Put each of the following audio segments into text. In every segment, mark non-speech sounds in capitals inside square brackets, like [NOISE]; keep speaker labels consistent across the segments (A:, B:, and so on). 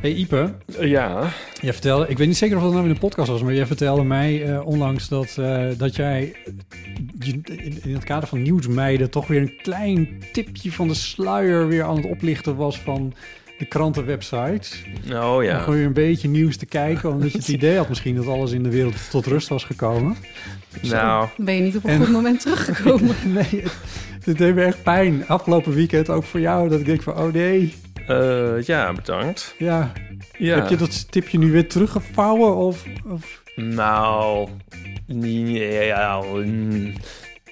A: Hey Ipe,
B: Ja,
A: jij vertelde, ik weet niet zeker of dat nou in de podcast was, maar jij vertelde mij eh, onlangs dat, eh, dat jij je- in- in het kader van nieuwsmeiden toch weer een klein tipje van de sluier weer aan het oplichten was van de krantenwebsites.
B: oh
A: Om
B: ja.
A: gewoon weer een beetje nieuws te kijken, omdat [LAUGHS] je het idee had misschien dat alles in de wereld tot rust was gekomen. [LAUGHS]
B: Nou,
C: Ben je niet op een
A: En-
C: goed moment
A: [LAUGHS]
C: teruggekomen?
A: Nee, het, het deed me echt pijn. Afgelopen weekend ook voor jou, dat ik denk van, oh nee,
B: eh, ja, bedankt.
A: ja.
B: Ja.
A: Heb je dat tipje nu weer teruggevouwen of... of...
B: Nou, nee, ja, mm.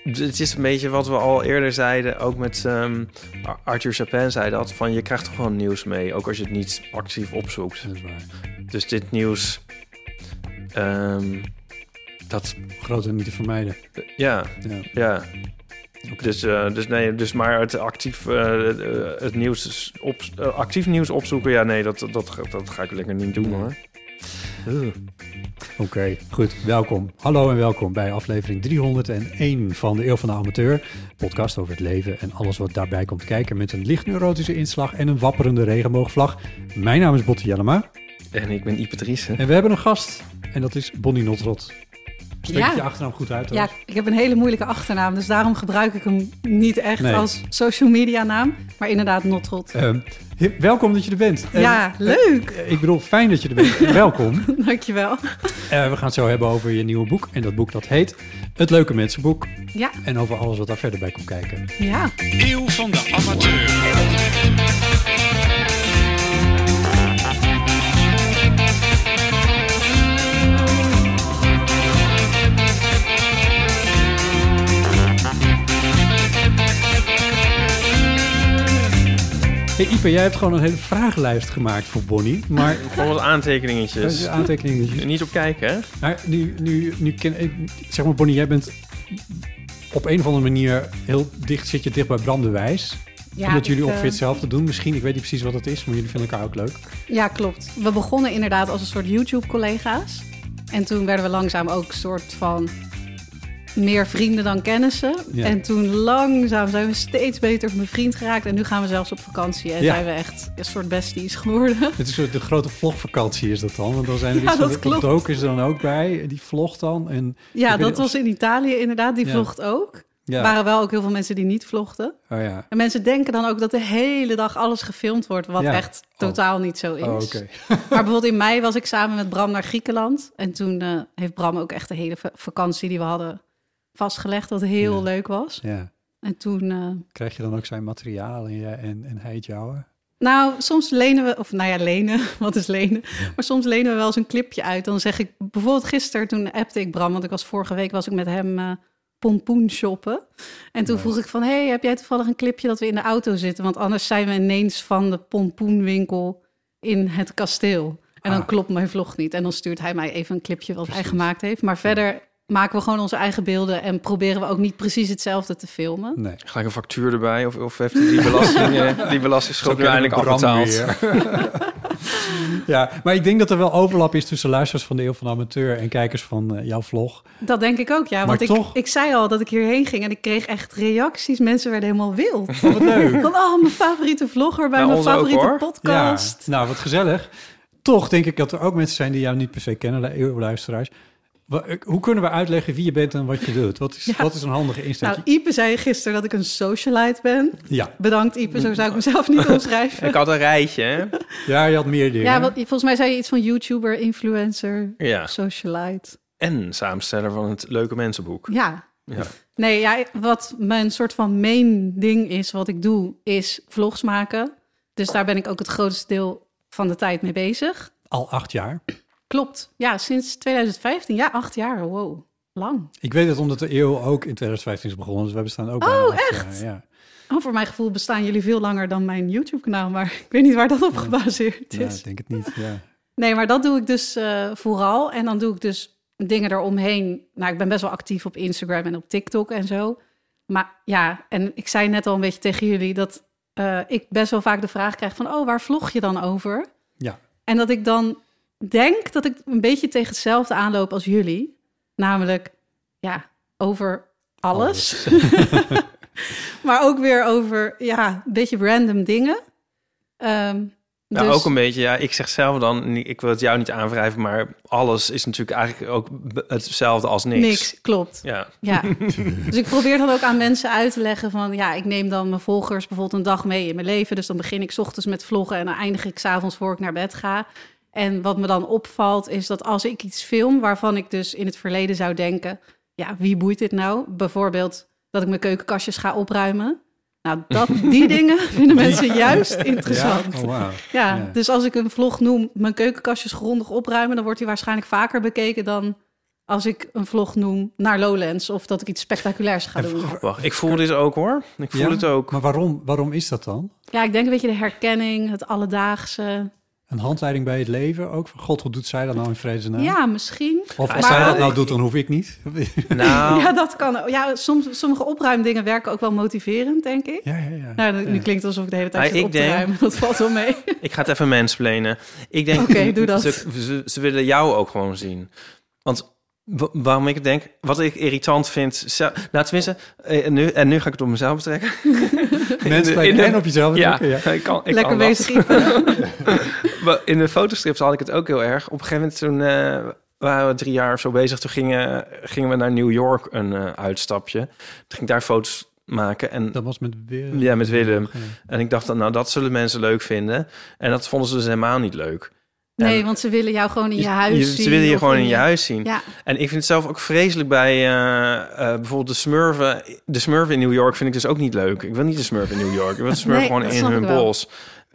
B: het is een beetje wat we al eerder zeiden, ook met ehm, Ar- Arthur Chapin zei dat, van je krijgt toch gewoon nieuws mee, ook als je het niet actief opzoekt.
A: Dat is waar.
B: Dus dit nieuws, ehm,
A: Dat groot en niet te vermijden.
B: ja,
A: Ja.
B: ja. Dus, eh, dus nee, dus maar het actief, eh, eh, het nieuws is op, eh, actief nieuws opzoeken, ja nee, dat, dat, dat, ga ik lekker niet doen hoor.
A: Oké, goed. Welkom. Hallo en welkom bij aflevering 301 van de Eeuw van de Amateur. Podcast over het leven en alles wat daarbij komt kijken met een licht neurotische inslag en een wapperende regenboogvlag. Mijn naam is Botte Jellema
B: En ik ben Ipatrice.
A: en we hebben een gast en dat is Bonnie Notrot. Spreek
C: Ja.
A: je achternaam goed uit?
C: Ja, ik heb een hele moeilijke achternaam, dus daarom gebruik ik hem niet echt
A: Nee.
C: als social media naam, maar inderdaad Notrot.
A: Ehm, he- welkom dat je er bent. En,
C: ja, leuk. [LAUGHS]
A: eh, Ik bedoel, fijn dat je er bent. En Welkom.
C: Dankjewel.
A: Eh, we gaan het zo hebben over je nieuwe boek. En dat boek dat heet Het Leuke Mensenboek.
C: Ja,
A: En over alles wat daar verder bij komt kijken.
C: ja.
D: Eeuw van de amateur.
A: Hey Ipe, jij hebt gewoon een hele vragenlijst gemaakt voor Bonnie. [LAUGHS] Maar
B: Gewoon wat aantekeningetjes.
A: aantekeningen.
B: Niet op kijken, hè?
A: Maar nu, nu, nu ken ik. Zeg maar, Bonnie, jij bent op een of andere manier heel dicht. Zit je dicht bij Bram de Wijs.
C: ja
A: omdat jullie
C: ik, eh,
A: ongeveer hetzelfde doen. Misschien, ik weet niet precies wat het is, maar jullie vinden elkaar ook leuk.
C: Ja, klopt. We begonnen inderdaad als een soort YouTube-collega's. En toen werden we langzaam ook een soort van meer vrienden dan kennissen.
A: Ja.
C: En toen langzaam zijn we steeds beter bevriend geraakt. En nu gaan we zelfs op vakantie en
A: Ja.
C: zijn we echt een soort besties geworden.
A: Het is een soort de grote vlogvakantie is dat dan. Want dan zijn er
C: Ja,
A: iets van
C: dat
A: de
C: klopt.
A: Dook is er dan ook bij. Die vlogt dan. En,
C: Ja,
A: Ik weet
C: dat
A: niet of-
C: was in Italië inderdaad. Die
A: Ja.
C: vlogt ook.
A: ja.
C: Er waren wel ook heel veel mensen die niet vlochten.
A: Oh ja.
C: En mensen denken dan ook dat de hele dag alles gefilmd wordt, wat
A: Ja.
C: echt
A: Oh.
C: totaal niet zo is.
A: Oh, oké.
C: [LAUGHS] Maar bijvoorbeeld in mei was ik samen met Bram naar Griekenland. En toen eh, heeft Bram ook echt de hele va- vakantie die we hadden vastgelegd, wat heel
A: Ja.
C: leuk was.
A: Ja.
C: En toen, eh,
A: Krijg je dan ook zijn materiaal en, jij- en, en hij het jouwe?
C: nou, soms lenen we, of nou ja, lenen, [LAUGHS] wat is lenen? Maar soms lenen we wel eens een clipje uit. Dan zeg ik, bijvoorbeeld gisteren, toen appte ik Bram, want ik was vorige week was ik met hem eh, pompoen shoppen. En toen
A: Nice.
C: vroeg ik van, hey, heb jij toevallig een clipje dat we in de auto zitten? Want anders zijn we ineens van de pompoenwinkel in het kasteel. En dan
A: Ah.
C: klopt mijn vlog niet. En dan stuurt hij mij even een clipje wat hij
A: Precies.
C: gemaakt heeft. Maar verder maken we gewoon onze eigen beelden en proberen we ook niet precies hetzelfde te filmen.
A: Nee.
B: Gelijk een factuur erbij. Of, of heeft hij die belasting, [LAUGHS] eh, die belastingschuld nu eindelijk afbetaald?
A: [LAUGHS] ja, maar ik denk dat er wel overlap is tussen luisteraars van de Eeuw van de Amateur en kijkers van eh, jouw vlog.
C: Dat denk ik ook, ja.
A: Maar
C: want ik,
A: toch-
C: ik zei al dat ik hierheen ging en ik kreeg echt reacties. Mensen werden helemaal wild.
A: Oh, wat leuk.
C: Van, oh, mijn favoriete vlogger bij
B: Nou,
C: mijn
B: onze ook,
C: favoriete
B: hoor.
A: ja,
C: podcast.
A: nou wat gezellig. Toch denk ik dat er ook mensen zijn die jou niet per se kennen, lu- eeuwluisteraars. Wa- eh, Hoe kunnen we uitleggen wie je bent en wat je doet? Wat is,
C: Ja.
A: wat is een handige insteek?
C: Nou, Ipe zei gisteren dat ik een socialite ben.
A: ja.
C: Bedankt, Ipe. Zo zou ik mezelf niet omschrijven.
B: Ik had een rijtje, hè?
A: ja, je had meer dingen.
C: Ja, want volgens mij zei je iets van YouTuber, influencer,
B: Ja.
C: socialite.
B: en samensteller van het Leuke Mensenboek.
C: Ja.
B: Ja.
C: Nee, ja, wat mijn soort van main ding is, wat ik doe, is vlogs maken. Dus daar ben ik ook het grootste deel van de tijd mee bezig.
A: Al acht jaar.
C: Klopt. Ja, sinds 2015. Ja, acht jaar. Wow. Lang.
A: Ik weet het omdat de eeuw ook in 2015 is begonnen. Dus we bestaan ook bijna
C: Oh,
A: acht
C: echt?
A: jaar, ja.
C: Oh, voor mijn gevoel bestaan jullie veel langer dan mijn YouTube-kanaal. Maar ik weet niet waar dat op gebaseerd
A: Ja,
C: is.
A: ik denk het niet. Ja.
C: Nee, maar dat doe ik dus eh, vooral. En dan doe ik dus dingen eromheen. Nou, ik ben best wel actief op Instagram en op TikTok en zo. Maar ja, en ik zei net al een beetje tegen jullie dat eh, ik best wel vaak de vraag krijg van... oh, waar vlog je dan over?
A: Ja.
C: En dat ik dan denk dat ik een beetje tegen hetzelfde aanloop als jullie. Namelijk, ja, over alles. [LAUGHS]
B: [LAUGHS]
C: maar ook weer over, ja, een beetje random dingen. Ehm,
B: Nou,
C: dus-
B: ook een beetje, ja, ik zeg zelf dan, ik wil het jou niet aanwrijven, maar alles is natuurlijk eigenlijk ook b- hetzelfde als niks.
C: dus Niks, klopt.
B: Ja,
C: Ja, dus ik probeer dan ook aan mensen uit te leggen van... ja, ik neem dan mijn volgers bijvoorbeeld een dag mee in mijn leven. Dus dan begin ik 's ochtends met vloggen en dan eindig ik 's avonds voor ik naar bed ga. En wat me dan opvalt is dat als ik iets film... waarvan ik dus in het verleden zou denken... ja, wie boeit dit nou? Bijvoorbeeld dat ik mijn keukenkastjes ga opruimen. Nou, dat, die dingen vinden mensen juist interessant.
A: Oh, wow.
C: Ja,
A: Ja.
C: dus als ik een vlog noem, mijn keukenkastjes grondig opruimen, dan wordt die waarschijnlijk vaker bekeken dan als ik een vlog noem naar Lowlands of dat ik iets spectaculairs ga doen.
B: wacht, ik voel dit ook hoor. Ik voel
A: Ja?
B: het ook.
A: Maar waarom, waarom is dat dan?
C: Ja, ik denk een beetje de herkenning, het alledaagse.
A: Een handleiding bij het leven ook? Van God, hoe doet zij dat nou in vredesnaam?
C: Ja, misschien.
A: Of als
C: Maar-
A: zij dat nou doet, dan hoef ik niet. [LAUGHS]
B: Nou,
C: [LAUGHS] Ja, dat kan. ook. Ja, soms, sommige opruimdingen werken ook wel motiverend, denk ik.
A: ja, ja, ja.
C: Nou, nu klinkt het alsof ik de hele tijd
B: Maar
C: zit
B: ik
C: op te
B: denk-
C: ruimen. Dat valt wel mee.
B: [LAUGHS] ik ga het even mensplenen. Ik denk,
C: Oké, doe dat.
B: Ze, ze, ze willen jou ook gewoon zien. Want wa- waarom ik denk, wat ik irritant vind, zelf, nou tenminste, eh, nu, en nu ga ik het op mezelf betrekken.
A: [LAUGHS] Mensen
B: in de-
A: en op jezelf.
B: Ja,
A: drukken, ja.
B: ik kan, ik
C: Lekker
B: kan dat.
C: bezig. Ipe.
B: Maar In de fotostrips had ik het ook heel erg. Op een gegeven moment toen eh, waren we drie jaar of zo bezig. Toen gingen, gingen we naar New York een eh, uitstapje. Toen ging ik daar foto's maken. En,
A: Dat was met Willem.
B: ja, met Willem.
A: Ja.
B: En ik dacht, dan, nou dat zullen mensen leuk vinden. En dat vonden ze dus helemaal niet leuk.
C: Nee,
B: En
C: want ze willen jou gewoon in je huis
B: je-
C: zien.
B: Ze willen je
C: of
B: gewoon in je huis zien.
C: Ja,
B: En ik vind het zelf ook vreselijk bij eh, eh, bijvoorbeeld de smurven. De smurven in New York vind ik dus ook niet leuk. Ik wil niet de smurven in New York. Ik wil de smurven
C: Nee,
B: gewoon
C: dat
B: in
C: snap
B: hun
C: ik wel.
B: bos.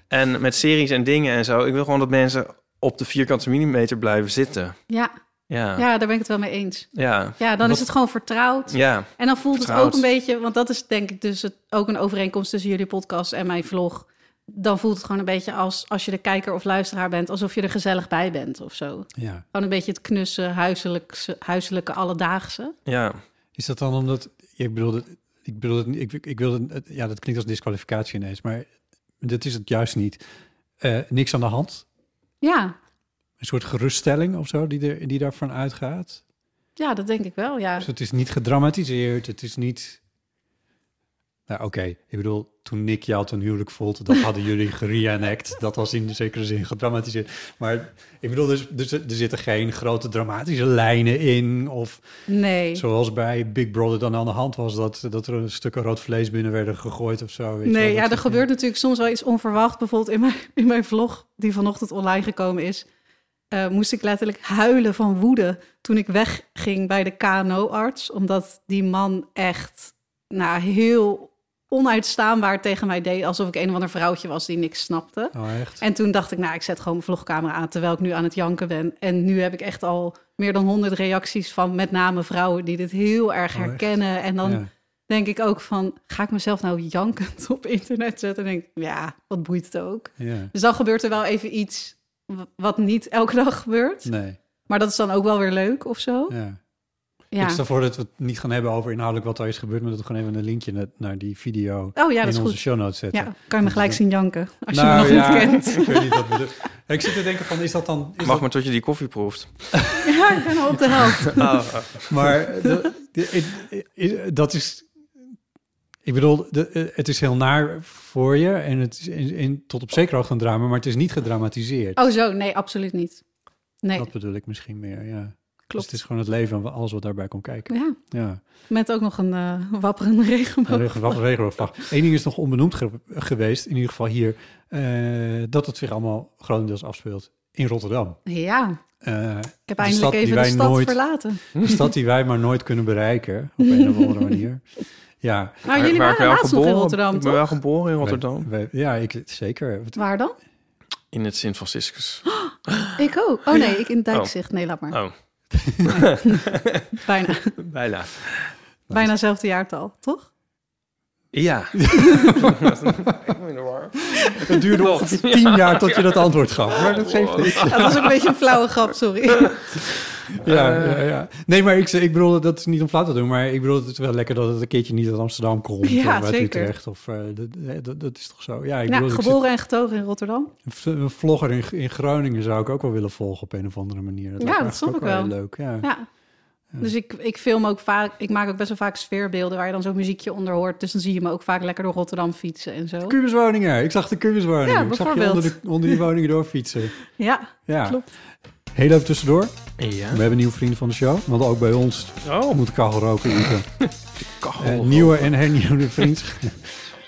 B: En met series en dingen en zo. Ik wil gewoon dat mensen op de vierkante millimeter blijven zitten.
C: ja,
B: Ja, ja,
C: ja, daar ben ik het wel mee eens.
B: ja.
C: Ja, dan
B: Wat-
C: is het gewoon vertrouwd. En dan voelt het
B: Vertrouwd.
C: ook een beetje, want dat is denk ik dus het, ook een overeenkomst tussen jullie podcast en mijn vlog. Dan voelt het gewoon een beetje als als je de kijker of luisteraar bent, alsof je er gezellig bij bent of zo.
A: Ja.
C: Gewoon een beetje het knussen, huiselijkse, huiselijke, alledaagse.
B: ja.
A: Is dat dan omdat... ja, ik bedoel, dat- ik bedoel, dat niet- ik, ik wil het- het- ja, dat klinkt als disqualificatie ineens, maar dat is het juist niet. Eh, niks aan de hand.
C: Ja,
A: Een soort geruststelling of zo die, er, die daarvan uitgaat.
C: ja, dat denk ik wel. Ja,
A: Dus het is niet gedramatiseerd, het is niet... Nou, oké. Ik bedoel, toen Nick jou ten huwelijk vond, dat hadden
C: [LAUGHS]
A: jullie gereenact. Dat was in zekere zin gedramatiseerd. Maar ik bedoel, dus, dus er er zitten geen grote dramatische lijnen in. Of
C: nee.
A: zoals bij Big Brother dan aan de hand was, dat, dat er een stukken rood vlees binnen werden gegooid of zo. Weet je wel,
C: Nee, ja,
A: dat
C: er
A: is-
C: gebeurt natuurlijk soms wel iets onverwacht. Bijvoorbeeld in mijn, in mijn vlog, die vanochtend online gekomen is, eh, moest ik letterlijk huilen van woede toen ik wegging bij de KNO-arts. Omdat die man echt nou, heel onuitstaanbaar tegen mij deed. Alsof ik een of ander vrouwtje was die niks snapte.
A: Oh, echt?
C: En toen dacht ik, nou, ik zet gewoon mijn vlogcamera aan terwijl ik nu aan het janken ben. En nu heb ik echt al meer dan honderd reacties van met name vrouwen die dit heel erg
A: Oh, echt?
C: herkennen. En dan
A: Ja.
C: denk ik ook van, ga ik mezelf nou jankend [LAUGHS] op internet zetten? En denk ik, ja, wat boeit het ook?
A: ja.
C: Dus dan gebeurt er wel even iets w- wat niet elke dag gebeurt.
A: Nee,
C: Maar dat is dan ook wel weer leuk of zo.
A: ja. Ik
C: Ja.
A: stel voor dat we het niet gaan hebben over inhoudelijk wat er is gebeurd, maar dat we gewoon even een linkje naar, naar die video
C: Oh ja,
A: in
C: dat is
A: onze
C: goed.
A: show notes zetten.
C: Ja, kan je me gelijk zien janken als je
A: Nou,
C: me nog
A: ja,
C: niet
A: [LAUGHS]
C: kent.
A: Ik weet niet wat we doen. Ik zit te denken van, is dat dan... Is
B: Mag
A: dat-
B: maar tot je die koffie
C: [LAUGHS]
B: proeft.
C: Oh, Ja, ik ben al op de helft.
A: maar de- de- i- i- dat is... Ik bedoel, de- eh, het is heel naar voor je en het is in, in- tot op zekere hoogte een drama, maar het is niet gedramatiseerd.
C: Oh zo, nee, absoluut niet. Nee,
A: Dat bedoel ik misschien meer, ja. Dus het
C: klopt.
A: is gewoon het leven en alles wat daarbij komt kijken.
C: Ja,
A: Ja.
C: met ook nog een eh, wapperende
A: Een
C: regenboog.
A: regen- wat een regenboogvlag. Eén ding is nog onbenoemd ge- geweest, in ieder geval hier, eh, dat het zich allemaal grotendeels afspeelt in Rotterdam.
C: Ja,
A: eh,
C: Ik heb
A: De
C: eindelijk
A: stad die
C: even de
A: wij
C: stad
A: nooit-
C: verlaten.
A: een stad die wij maar nooit kunnen bereiken, op een of andere manier. Ja,
C: Maar Nou, jullie
B: Waar ik
C: waren
B: wel
C: laatst nog in
B: geboren-
C: Rotterdam,
B: Ik ben wel
C: toch?
B: geboren in Rotterdam.
A: wij- ja ik, zeker.
C: Waar dan?
B: In het
C: [LAUGHS]
B: Sint-Franciscus.
C: Ik ook. Oh nee, ik in Dijkzicht. Nee, laat maar.
B: Oh,
C: Bijna,
B: [LAUGHS] bijna.
C: bijna hetzelfde jaartal, toch?
B: Ja. ik ben in de war.
A: Het duurde nog
B: Klopt.
A: tien jaar tot je dat antwoord gaf. Maar dat geeft niks.
C: Ja, dat was ook een beetje een flauwe grap, sorry.
A: Ja, ja, ja. Nee, maar ik, ik bedoel, dat is niet om flauw te doen, maar ik bedoel, het is wel lekker dat het een keertje niet uit Amsterdam komt.
C: Ja,
A: of uit
C: zeker.
A: Utrecht. Of, eh, dat- eh, dat, dat is toch zo? Ja, ik
C: Ja,
A: bedoel, ik zit-
C: geboren en getogen in Rotterdam.
A: een vlogger in, in Groningen zou ik ook wel willen volgen op een of andere manier. Dat
C: Ja,
A: lijkt me
C: dat snap
A: eigenlijk
C: ik
A: ook
C: wel.
A: heel leuk, ja.
C: Ja. Dus ik, ik film ook vaak, ik maak ook best wel vaak sfeerbeelden waar je dan zo'n muziekje onder hoort. Dus dan zie je me ook vaak lekker door Rotterdam fietsen en zo.
A: Kubuswoningen. Ik zag de kubuswoningen.
C: Ja,
A: ik zag je onder,
C: bijvoorbeeld.
A: de, onder die woningen doorfietsen.
C: Ja,
A: Ja.
C: Klopt.
A: Heel even tussendoor.
B: Ja.
A: We hebben nieuwe vrienden van de show. Want ook bij ons
B: Oh,
A: moet kachel roken. Iepen. Eh,
B: kachel.
A: nieuwe en hernieuwde [LAUGHS] vriendschap.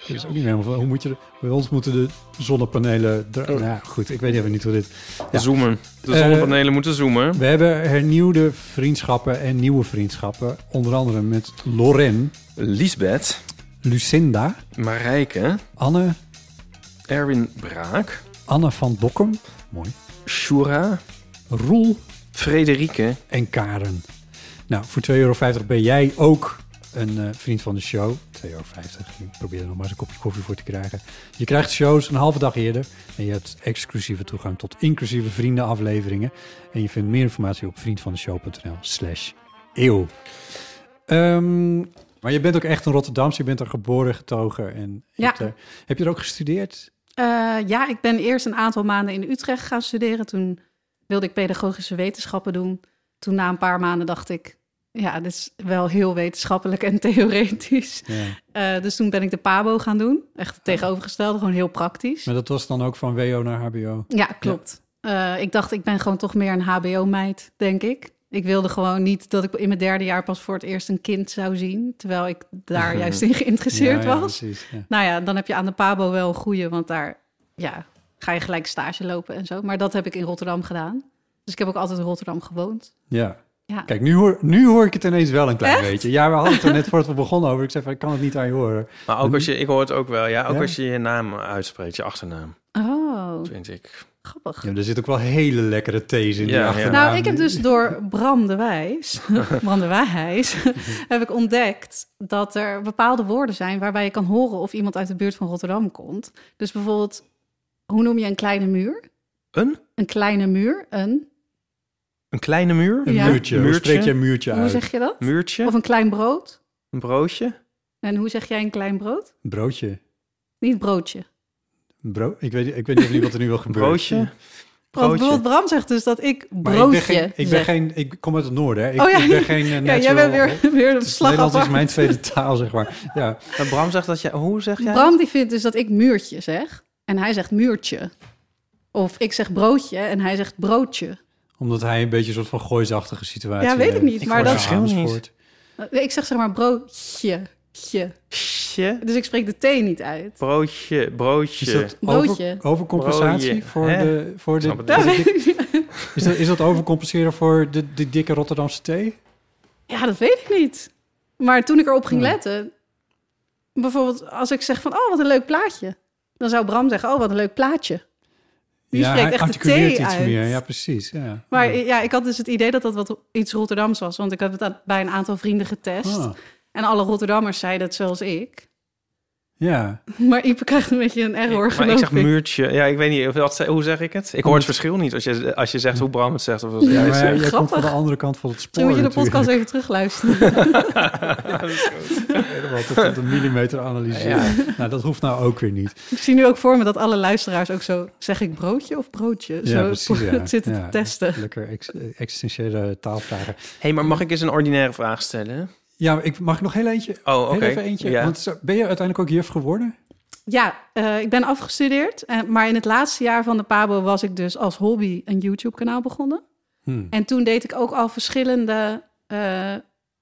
A: Ik is ook niet meer helemaal van, hoe moet je... er- Bij ons moeten de zonnepanelen... er- Nou ja, goed, ik weet even niet hoe dit... Ja.
B: Zoomen. De
A: Eh,
B: zonnepanelen moeten zoomen.
A: We hebben hernieuwde vriendschappen en nieuwe vriendschappen. Onder andere met Loren,
B: Lisbeth,
A: Lucinda,
B: Marijke,
A: Anne,
B: Erwin Braak,
A: Anne van Dokkum, mooi,
B: Shura,
A: Roel
B: Frederike.
A: en Karen. Nou, voor 2,50 euro ben jij ook een eh, vriend van de show. 2,50 euro. Ik probeer er nog maar eens een kopje koffie voor te krijgen. Je krijgt shows een halve dag eerder. En je hebt exclusieve toegang tot inclusieve vriendenafleveringen. En je vindt meer informatie op vriendvandeshow.nl slash eeuw. Ehm, maar je bent ook echt een Rotterdamse. Je bent er geboren, getogen. En je
C: Ja.
A: hebt er- heb je er ook gestudeerd?
C: Eh, ja, ik ben eerst een aantal maanden in Utrecht gaan studeren. Toen wilde ik pedagogische wetenschappen doen. Toen na een paar maanden dacht ik, ja, dit is wel heel wetenschappelijk en theoretisch.
A: Ja.
C: Eh, dus toen ben ik de PABO gaan doen. Echt het tegenovergestelde, gewoon heel praktisch.
A: Maar dat was dan ook van WO naar HBO.
C: Ja, klopt. Eh, ik dacht, ik ben gewoon toch meer een HBO-meid, denk ik. Ik wilde gewoon niet dat ik in mijn derde jaar pas voor het eerst een kind zou zien. Terwijl ik
A: [LAUGHS]
C: daar juist in geïnteresseerd
A: Ja, ja,
C: was.
A: precies, ja.
C: Nou ja, dan heb je aan de Pabo wel een goede, want daar ja, ga je gelijk stage lopen en zo. Maar dat heb ik in Rotterdam gedaan. Dus ik heb ook altijd in Rotterdam gewoond.
A: ja.
C: Ja,
A: Kijk, nu hoor, nu hoor ik het ineens wel een klein beetje. Ja, we hadden het er net voordat we begonnen over. Ik zei van, ik kan het niet aan je horen.
B: Maar ook als je, ik hoor het ook wel, Hm? ja. Hm? Ook
A: Ja.
B: als je je naam uitspreekt, je achternaam,
C: oh,
B: vind ik.
C: grappig.
A: Ja, er zit ook wel hele lekkere thees in die
B: Ja, ja.
A: achternaam.
C: Nou, ik heb dus door Bram de Wijs, [LAUGHS] Bram de Wijs, [LAUGHS] heb ik ontdekt dat er bepaalde woorden zijn waarbij je kan horen of iemand uit de buurt van Rotterdam komt. Dus bijvoorbeeld, hoe noem je een kleine muur?
B: Een?
C: Een kleine muur, een,
B: Een kleine muur?
A: Een
C: Ja.
A: muurtje. Hoe
B: Muurtje.
A: spreek je een muurtje
C: hoe
A: uit?
C: zeg je dat?
B: Muurtje?
C: Of een klein brood?
B: Een broodje?
C: En hoe zeg jij een klein brood?
A: Een broodje.
C: Niet broodje.
A: Een bro ik, weet, ik weet niet of niet wat er nu wel
B: Een
A: gebeurt.
B: broodje?
C: Want
B: Broodje.
C: bijvoorbeeld Bram zegt dus dat ik
A: Maar
C: broodje
A: ik ben, geen, ik, ben
C: zeg.
A: geen, ik kom uit het noorden, hè. Ik,
C: Oh ja,
A: ik ben geen eh,
C: [LAUGHS] Ja, jij
A: natural-
C: bent weer, weer een
A: Het is-
C: slag
A: Nederlands is
C: apart.
A: mijn tweede taal, zeg maar. Ja,
B: En Bram zegt dat jij... Hoe zeg jij?
C: Bram die vindt dus dat ik muurtje zeg. En hij zegt muurtje. Of ik zeg broodje en hij zegt broodje.
A: omdat hij een beetje een soort van gooisachtige situatie eh,
C: Ja, weet ik
A: heeft.
C: niet, Ik maar hoor dat- het
B: verschil niet.
A: Amersfoort.
C: Nee, Eh, Ik zeg zeg maar broodje. tje.
B: Broodje?
C: Dus ik spreek de T niet uit.
B: Broodje,
A: Is
B: broodje.
A: dat
C: Broodje.
A: over, overcompensatie
B: Broodje,
A: voor
B: hè?
A: de... Voor de
B: Snap het
C: Dat
B: Dus
C: weet ik niet.
A: is, dat, is dat overcompenseren voor de, de dikke Rotterdamse thee?
C: [LAUGHS] Ja, dat weet ik niet. Maar toen ik erop ging letten... Bijvoorbeeld als ik zeg van, oh, wat een leuk plaatje. Dan zou Bram zeggen, oh, wat een leuk plaatje. Die
A: ja,
C: spreekt
A: hij
C: echt de
A: articuleert
C: T
A: iets
C: uit.
A: meer. Ja, precies. Ja.
C: Maar
A: ja.
C: ja, ik had dus het idee dat dat wat iets Rotterdams was. Want ik had het aan- bij een aantal vrienden getest.
A: Ah,
C: En alle Rotterdammers zeiden het zoals ik.
A: [LAUGHS] ja.
C: [LAUGHS] Maar Ipe krijgt een beetje een error,
B: maar
C: geloof
B: ik zeg
C: ik.
B: muurtje. Ja, ik weet niet, of dat, hoe zeg ik het? Ik hoor het verschil niet als je, als je zegt hoe Bram het zegt. Of als jij
A: Ja,
B: het
A: maar
B: zegt.
A: jij komt van de
C: Grappig.
A: andere kant van het spoor
C: Misschien moet je de
A: natuurlijk. [LAUGHS]
C: podcast even terugluisteren.
A: Helemaal tot op de millimeter analyseren. Nou, dat hoeft nou ook weer niet.
C: ik zie nu ook voor me dat alle luisteraars ook zo... Zeg ik broodje of broodje? Zo
A: precies, ja.
C: [LAUGHS] zitten
A: Ja.
C: te testen.
A: Lekker ex- existentiële taalvragen.
B: [LAUGHS] hey, maar mag ik eens een ordinaire vraag stellen?
A: Ja, maar ik, mag ik nog heel eentje?
B: Oh, oké.
A: Heel even eentje.
B: Ja.
A: Want zo- ben je uiteindelijk ook juf geworden?
C: Ja, eh, ik ben afgestudeerd. eh, maar in het laatste jaar van de PABO was ik dus als hobby een YouTube-kanaal begonnen.
A: Hmm.
C: En toen deed ik ook al verschillende eh,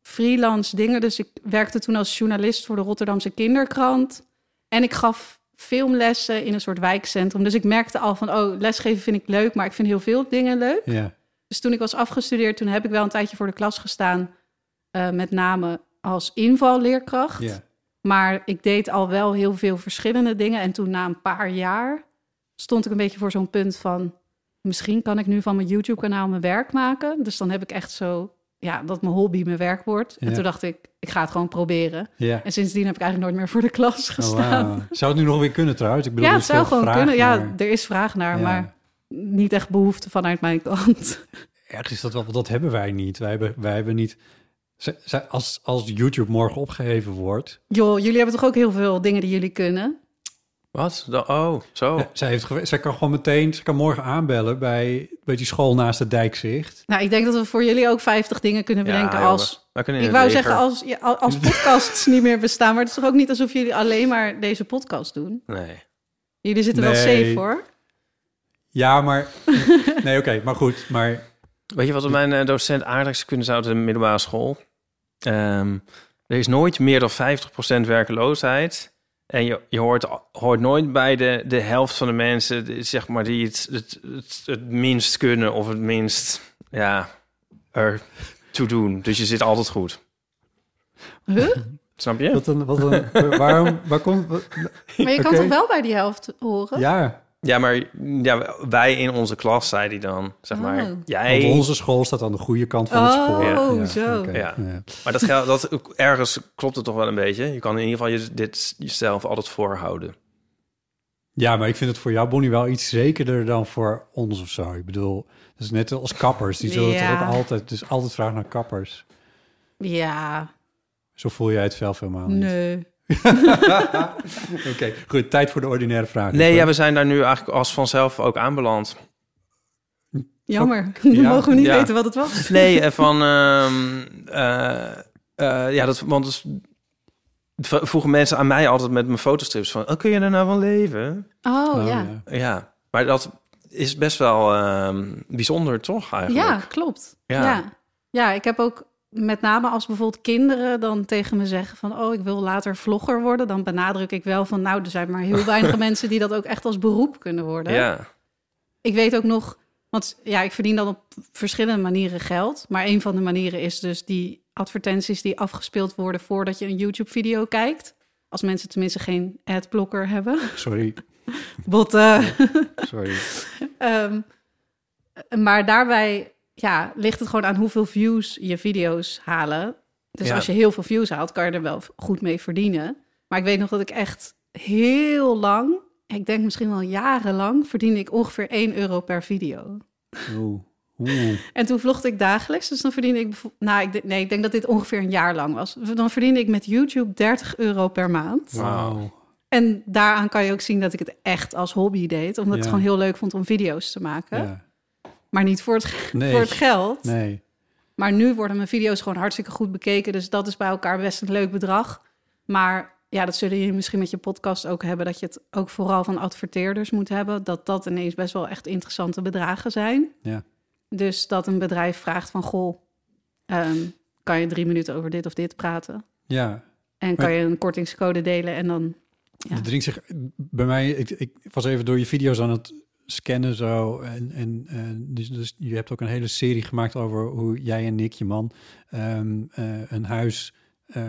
C: freelance dingen. Dus ik werkte toen als journalist voor de Rotterdamse Kinderkrant. En ik gaf filmlessen in een soort wijkcentrum. Dus ik merkte al van, oh, lesgeven vind ik leuk, maar ik vind heel veel dingen leuk.
A: Ja.
C: Dus toen ik was afgestudeerd, toen heb ik wel een tijdje voor de klas gestaan. eh, met name als invalleerkracht.
A: Ja.
C: Maar ik deed al wel heel veel verschillende dingen. En toen na een paar jaar stond ik een beetje voor zo'n punt van... misschien kan ik nu van mijn YouTube-kanaal mijn werk maken. Dus dan heb ik echt zo... ja, dat mijn hobby mijn werk wordt.
A: Ja.
C: En toen dacht ik, ik ga het gewoon proberen.
A: ja.
C: En sindsdien heb ik eigenlijk nooit meer voor de klas
A: Oh,
C: gestaan.
A: wauw. Zou het nu nog weer kunnen trouwens? Ik bedoel,
C: Ja,
A: er
C: het
A: is
C: zou
A: veel
C: gewoon
A: vraag
C: kunnen. Ja,
A: naar-
C: er is vraag naar,
A: Ja.
C: maar niet echt behoefte vanuit mijn kant.
A: Ergens is dat wel, want dat hebben wij niet. Wij hebben, wij hebben niet... Z- z- Als, als YouTube morgen opgeheven wordt...
C: Joh, jullie hebben toch ook heel veel dingen die jullie kunnen?
B: Wat? Da- Oh, zo.
A: Ja, eh, zij, heeft gewe- zij kan gewoon meteen, ze kan morgen aanbellen bij, bij die school naast het dijkzicht.
C: Nou, ik denk dat we voor jullie ook 50 dingen kunnen
B: Ja,
C: bedenken
B: jongen.
C: als...
B: Wij kunnen in
C: Ik
B: het
C: wou
B: leger.
C: zeggen, als, ja, al- als podcasts niet meer bestaan. Maar het is toch ook niet alsof jullie alleen maar deze podcast doen?
B: Nee.
C: Jullie zitten wel
A: Nee.
C: safe, hoor.
A: Ja, [LAUGHS] maar... Nee, oké, maar goed. Maar
B: Weet je wat op mijn eh, docent aardrijkskunde zou de middelbare school? Ehm, er is nooit meer dan 50% werkeloosheid. En je, je hoort, hoort nooit bij de, de helft van de mensen die, zeg maar, die het, het, het, het minst kunnen of het minst ja, er toe doen. Dus je zit altijd goed.
C: Huh?
B: Snap je?
A: wat een, wat een, waarom... Waar komt, wat-
C: Maar je kan
A: Oké.
C: toch wel bij die helft horen?
A: ja,
B: Ja, maar ja, wij in onze klas, zei die dan. Zeg maar,
C: Oh.
B: jij...
A: want onze school staat aan de goede kant van het
C: Oh,
A: spoor.
C: Ja.
A: Ja,
C: zo.
A: oké,
B: Ja.
A: ja.
B: Maar dat, geldt- dat, ergens klopt het toch wel een beetje. Je kan in ieder geval je, dit jezelf altijd voorhouden.
A: Ja, maar ik vind het voor jou, Bonnie, wel iets zekerder dan voor ons of zo. Ik bedoel, dat is net als kappers. Die zullen het
C: Ja.
A: ook altijd... Het is altijd vraag naar kappers.
C: Ja,
A: Oh, Zo voel jij het zelf helemaal niet.
C: nee.
A: Oké, goed. Tijd voor de ordinaire vraag.
B: Nee, ja, we zijn daar nu eigenlijk als vanzelf ook aanbeland.
C: Jammer. [LAUGHS] Dan
A: Ja.
C: mogen we niet
B: Ja.
C: weten wat het was.
B: Nee, eh, van... ehm, eh, eh, ja, dat, want dus, v- vroegen mensen aan mij altijd met mijn fotostrips van... Oh, kun je er nou van leven?
C: Oh,
A: Oh,
C: ja.
A: ja.
B: Ja, maar dat is best wel ehm, bijzonder, toch eigenlijk?
C: Ja, klopt.
B: Ja.
C: Ja. Ja. ik heb ook met name als bijvoorbeeld kinderen dan tegen me zeggen van... oh, ik wil later vlogger worden, dan benadruk ik wel van... nou, er zijn maar heel weinig mensen die dat ook echt als beroep kunnen worden.
B: Ja,
C: Ik weet ook nog, want ja, ik verdien dan op verschillende manieren geld. Maar een van de manieren is dus die advertenties die afgespeeld worden voordat je een YouTube-video kijkt. Als mensen tenminste geen adblocker hebben. [LAUGHS]
A: eh,
C: eh,
A: Sorry,
C: Botten.
A: sorry.
C: Ehm, maar daarbij ja, ligt het gewoon aan hoeveel views je video's halen. Dus
B: Ja.
C: als je heel veel views haalt, kan je er wel goed mee verdienen. Maar ik weet nog dat ik echt heel lang, ik denk misschien wel jarenlang, verdiende ik ongeveer 1 euro per video.
A: Oeh. Oeh.
C: En toen vlogde ik dagelijks, dus dan verdiende ik... bevo- Nou, ik, denk- nee, ik denk dat dit ongeveer een jaar lang was. Dan verdiende ik met YouTube 30 euro per maand.
A: Wauw.
C: En daaraan kan je ook zien dat ik het echt als hobby deed. Omdat ik
A: Ja.
C: het gewoon heel leuk vond om video's te maken.
A: Ja.
C: Maar niet voor het, ge-
A: Nee.
C: voor het geld.
A: Nee.
C: Maar nu worden mijn video's gewoon hartstikke goed bekeken. Dus dat is bij elkaar best een leuk bedrag. Maar ja, dat zullen jullie misschien met je podcast ook hebben. Dat je het ook vooral van adverteerders moet hebben. Dat dat ineens best wel echt interessante bedragen zijn.
A: Ja.
C: Dus dat een bedrijf vraagt van... Goh, ehm, kan je drie minuten over dit of dit praten?
A: Ja.
C: En
A: Maar-
C: kan je een kortingscode delen en dan... Ja.
A: Het dringt zich bij mij. Ik, ik was even door je video's aan het scannen zo. En, en eh, dus, dus je hebt ook een hele serie gemaakt over hoe jij en Nick, je man, ehm, eh, een huis eh,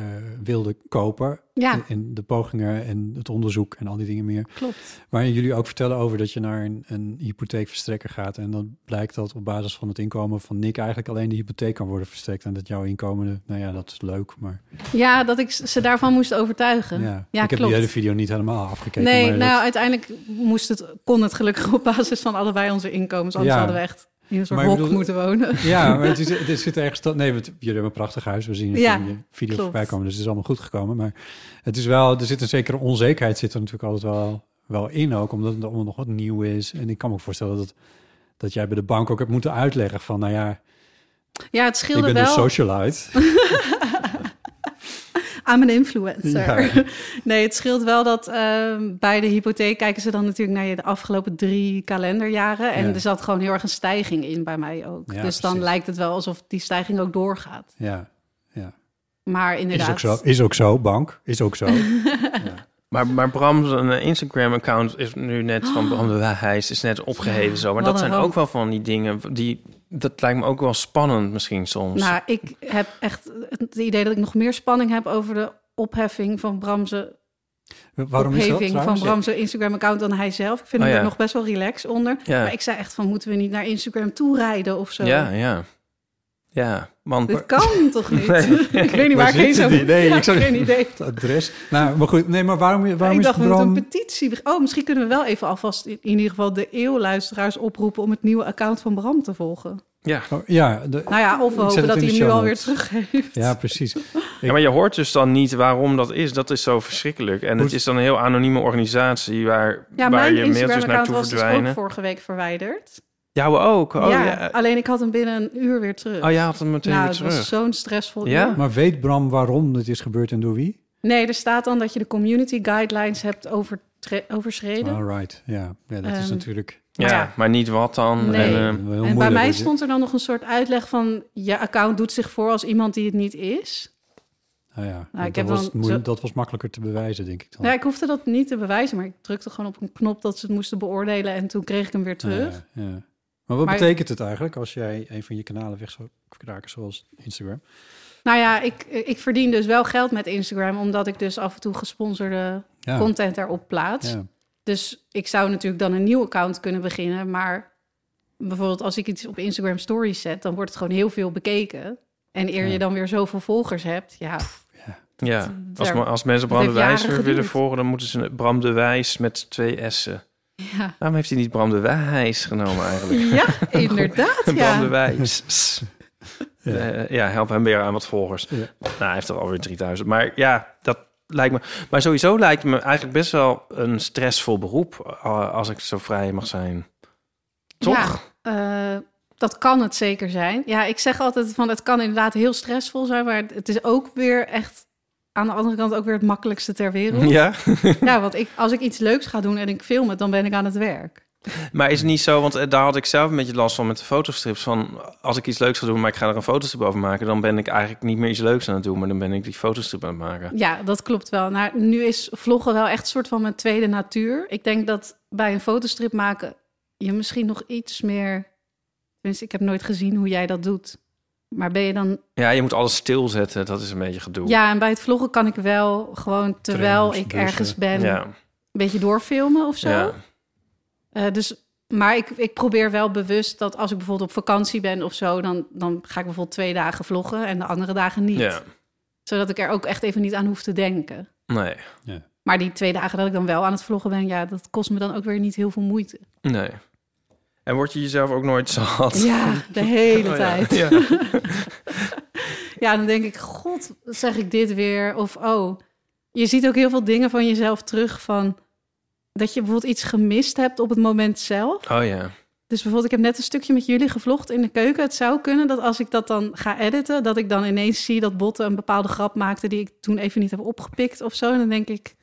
A: wilden kopen.
C: Ja,
A: En- En de pogingen en het onderzoek en al die dingen meer.
C: klopt.
A: Waarin jullie ook vertellen over dat je naar een, een hypotheekverstrekker gaat. En dan blijkt dat op basis van het inkomen van Nick eigenlijk alleen de hypotheek kan worden verstrekt. En dat jouw inkomen, nou ja, dat is leuk, maar
C: Ja, dat ik ze daarvan moest overtuigen.
A: ja.
C: ja
A: ik heb
C: klopt.
A: die hele video niet helemaal afgekeken.
C: Nee,
A: maar
C: nou
A: dat-
C: uiteindelijk moest het, kon het gelukkig op basis van allebei onze inkomens. Anders
A: Ja.
C: hadden we echt in een soort
A: Maar ik
C: hok
A: bedoel-
C: moeten wonen. [LAUGHS]
A: Ja, maar het, is, het zit ergens... dat- Nee, want jullie hebben een prachtig huis. We zien het
C: Ja,
A: in je video
C: klopt.
A: voorbij komen. Dus het is allemaal goed gekomen. Maar het is wel... Er zit een zekere onzekerheid zit er natuurlijk altijd wel, wel in ook. Omdat het allemaal nog wat nieuw is. En ik kan me ook voorstellen dat, dat jij bij de bank ook hebt moeten uitleggen van... Nou ja,
C: Ja, het
A: ik
C: scheelde
A: ben dus een
C: wel
A: socialite.
C: aan mijn influencer.
A: Ja.
C: Nee, het scheelt wel dat ehm, bij de hypotheek kijken ze dan natuurlijk naar je de afgelopen drie kalenderjaren. En
A: Ja.
C: er zat gewoon heel erg een stijging in bij mij ook.
A: Ja,
C: dus dan
A: precies.
C: lijkt het wel alsof die stijging ook doorgaat.
A: Ja, ja.
C: Maar
A: Is
C: inderdaad.
A: ook, zo, is ook zo, bank. Is
C: [LAUGHS]
A: ook zo.
B: Maar, maar Bram's eh, Instagram-account is nu net van Bram de Wijs is net opgeheven zo. Maar
C: Oh.
B: dat
C: wat een
B: zijn
C: ramp.
B: ook wel van die dingen die dat lijkt me ook wel spannend misschien soms.
C: Nou, ik heb echt het idee dat ik nog meer spanning heb over de opheffing van Bramse
A: Waarom is dat
C: opheving van
A: trouwens?
C: Bram zijn Instagram-account dan hij zelf. Ik vind
B: Oh,
C: hem
B: ja.
C: er nog best wel relaxed onder.
B: Ja.
C: Maar ik zei echt van, moeten we niet naar Instagram toe rijden of zo?
B: ja, ja. Ja, want...
C: Dit kan
A: [LAUGHS]
C: toch niet?
B: Nee.
C: [LAUGHS] ik weet niet waar
A: Waar
C: ik heen
A: zit
C: zou
A: het idee?
C: Ja,
A: Ik zou-
C: geen idee.
A: Het adres. Nou, maar goed. Nee, maar waarom, waarom
C: ik
A: is
C: dacht, we
A: Bram...
C: moeten een petitie... beg- Oh, misschien kunnen we wel even alvast in, in ieder geval de eeuwluisteraars oproepen... om het nieuwe account van Bram te volgen.
B: Ja.
A: Oh, ja, de-
C: Nou ja, of we
A: Ik zet
C: hopen
A: het in
C: dat hij
A: de
C: hem nu
A: show
C: alweer
A: notes.
C: teruggeeft.
A: ja, precies.
B: Ja, maar je hoort dus dan niet waarom dat is. Dat is zo verschrikkelijk. En het
A: Hoe-
B: is dan een heel anonieme organisatie waar,
C: Ja,
B: waar
C: mijn
B: je mailtjes
C: Instagram-account
B: naartoe
C: was dus ook
B: verdwijnen.
C: vorige week verwijderd.
B: Jouw ook? Oh ja.
C: ja, alleen ik had hem binnen een uur weer terug.
B: Oh, jij had hem meteen
C: nou,
B: weer
C: het
B: terug.
C: was zo'n stressvol
B: Ja?
C: uur.
A: Maar weet Bram waarom dit is gebeurd en door wie?
C: Nee, er staat dan dat je de community guidelines hebt overtre- overschreden.
A: All right, ja. ja dat is
C: Ehm,
A: natuurlijk...
B: Ja,
C: Ja.
B: maar niet wat dan.
C: Nee.
B: En,
A: heel
B: ehm,
C: en bij
A: moeilijk,
C: mij
A: dus-
C: stond er dan nog een soort uitleg van... je account doet zich voor als iemand die het niet is.
A: Nou ja, want
C: ik
A: dat,
C: heb
A: was
C: wel
A: moeilijk-
C: zo-
A: dat was makkelijker te bewijzen, denk ik dan.
C: Ja, Nou, ik hoefde dat niet te bewijzen, maar ik drukte gewoon op een knop... dat ze het moesten beoordelen en toen kreeg ik hem weer terug.
A: Ah, Ja, ja. Maar wat
C: Maar-
A: betekent het eigenlijk als jij een van je kanalen weg zou kraken, zoals Instagram?
C: Nou ja, ik, ik verdien dus wel geld met Instagram... omdat ik dus af en toe gesponsorde
A: Ja,
C: content daarop plaats.
A: Ah. ja.
C: Dus ik zou natuurlijk dan een nieuw account kunnen beginnen. Maar bijvoorbeeld als ik iets op Instagram Stories zet, dan wordt het gewoon heel veel bekeken. En eer
A: Ja.
C: je dan weer zoveel volgers hebt, ja,
B: ja. Als,
C: daar-
B: ma- als mensen
C: dat
B: Bram de
C: heeft
B: Wijs
C: jaren
B: weer willen
C: geduurd.
B: volgen, dan moeten ze Bram de Wijs met twee S'en.
C: ja.
B: Waarom heeft hij niet Bram de Wijs genomen eigenlijk?
C: [LAUGHS] [LAUGHS] ja inderdaad.
B: Bram de
C: Ja.
A: [LAUGHS]
B: Wijs.
A: Ja.
B: Eh, ja, help hem weer aan wat volgers.
A: Ja.
B: Nou, hij heeft er alweer 3000. Maar ja, dat lijkt me... Maar sowieso lijkt me eigenlijk best wel een stressvol beroep... eh, als ik zo vrij mag zijn. Toch?
C: Ja, eh, dat kan het zeker zijn. Ja, ik zeg altijd van het kan inderdaad heel stressvol zijn, maar het is ook weer echt aan de andere kant ook weer het makkelijkste ter wereld.
B: Ja?
C: Ja, want ik, als ik iets leuks ga doen en ik film het, dan ben ik aan het werk.
B: Maar is het niet zo, want eh, daar had ik zelf een beetje last van met de fotostrips. Van als ik iets leuks ga doen, maar ik ga er een fotostrip over maken, dan ben ik eigenlijk niet meer iets leuks aan het doen, maar dan ben ik die fotostrip aan het maken.
C: Ja, dat klopt wel. Nou, nu is vloggen wel echt een soort van mijn tweede natuur. Ik denk dat bij een fotostrip maken je misschien nog iets meer... Tenminste, ik heb nooit gezien hoe jij dat doet. Maar ben je dan...
B: Ja, je moet alles stilzetten, dat is een beetje gedoe.
C: Ja, en bij het vloggen kan ik wel gewoon terwijl
A: Trainers,
C: ik
A: bussen.
C: ergens ben...
B: ja.
C: een beetje doorfilmen of zo.
B: ja.
C: Eh, dus, maar ik, ik probeer wel bewust dat als ik bijvoorbeeld op vakantie ben of zo... Dan, dan ga ik bijvoorbeeld twee dagen vloggen en de andere dagen niet.
B: Ja.
C: Zodat ik er ook echt even niet aan hoef te denken.
B: Nee.
C: Maar die twee dagen dat ik dan wel aan het vloggen ben, ja, dat kost me dan ook weer niet heel veel moeite.
B: Nee. En word je jezelf ook nooit zat?
C: [LAUGHS] Ja, de hele
B: Oh, ja.
C: tijd. Ja.
B: Ja.
C: dan denk ik, god, zeg ik dit weer? Of oh, je ziet ook heel veel dingen van jezelf terug van dat je bijvoorbeeld iets gemist hebt op het moment zelf.
B: Oh ja.
C: Dus bijvoorbeeld, ik heb net een stukje met jullie gevlogd in de keuken. Het zou kunnen dat als ik dat dan ga editen, dat ik dan ineens zie dat Botten een bepaalde grap maakte die ik toen even niet heb opgepikt of zo. En dan denk ik,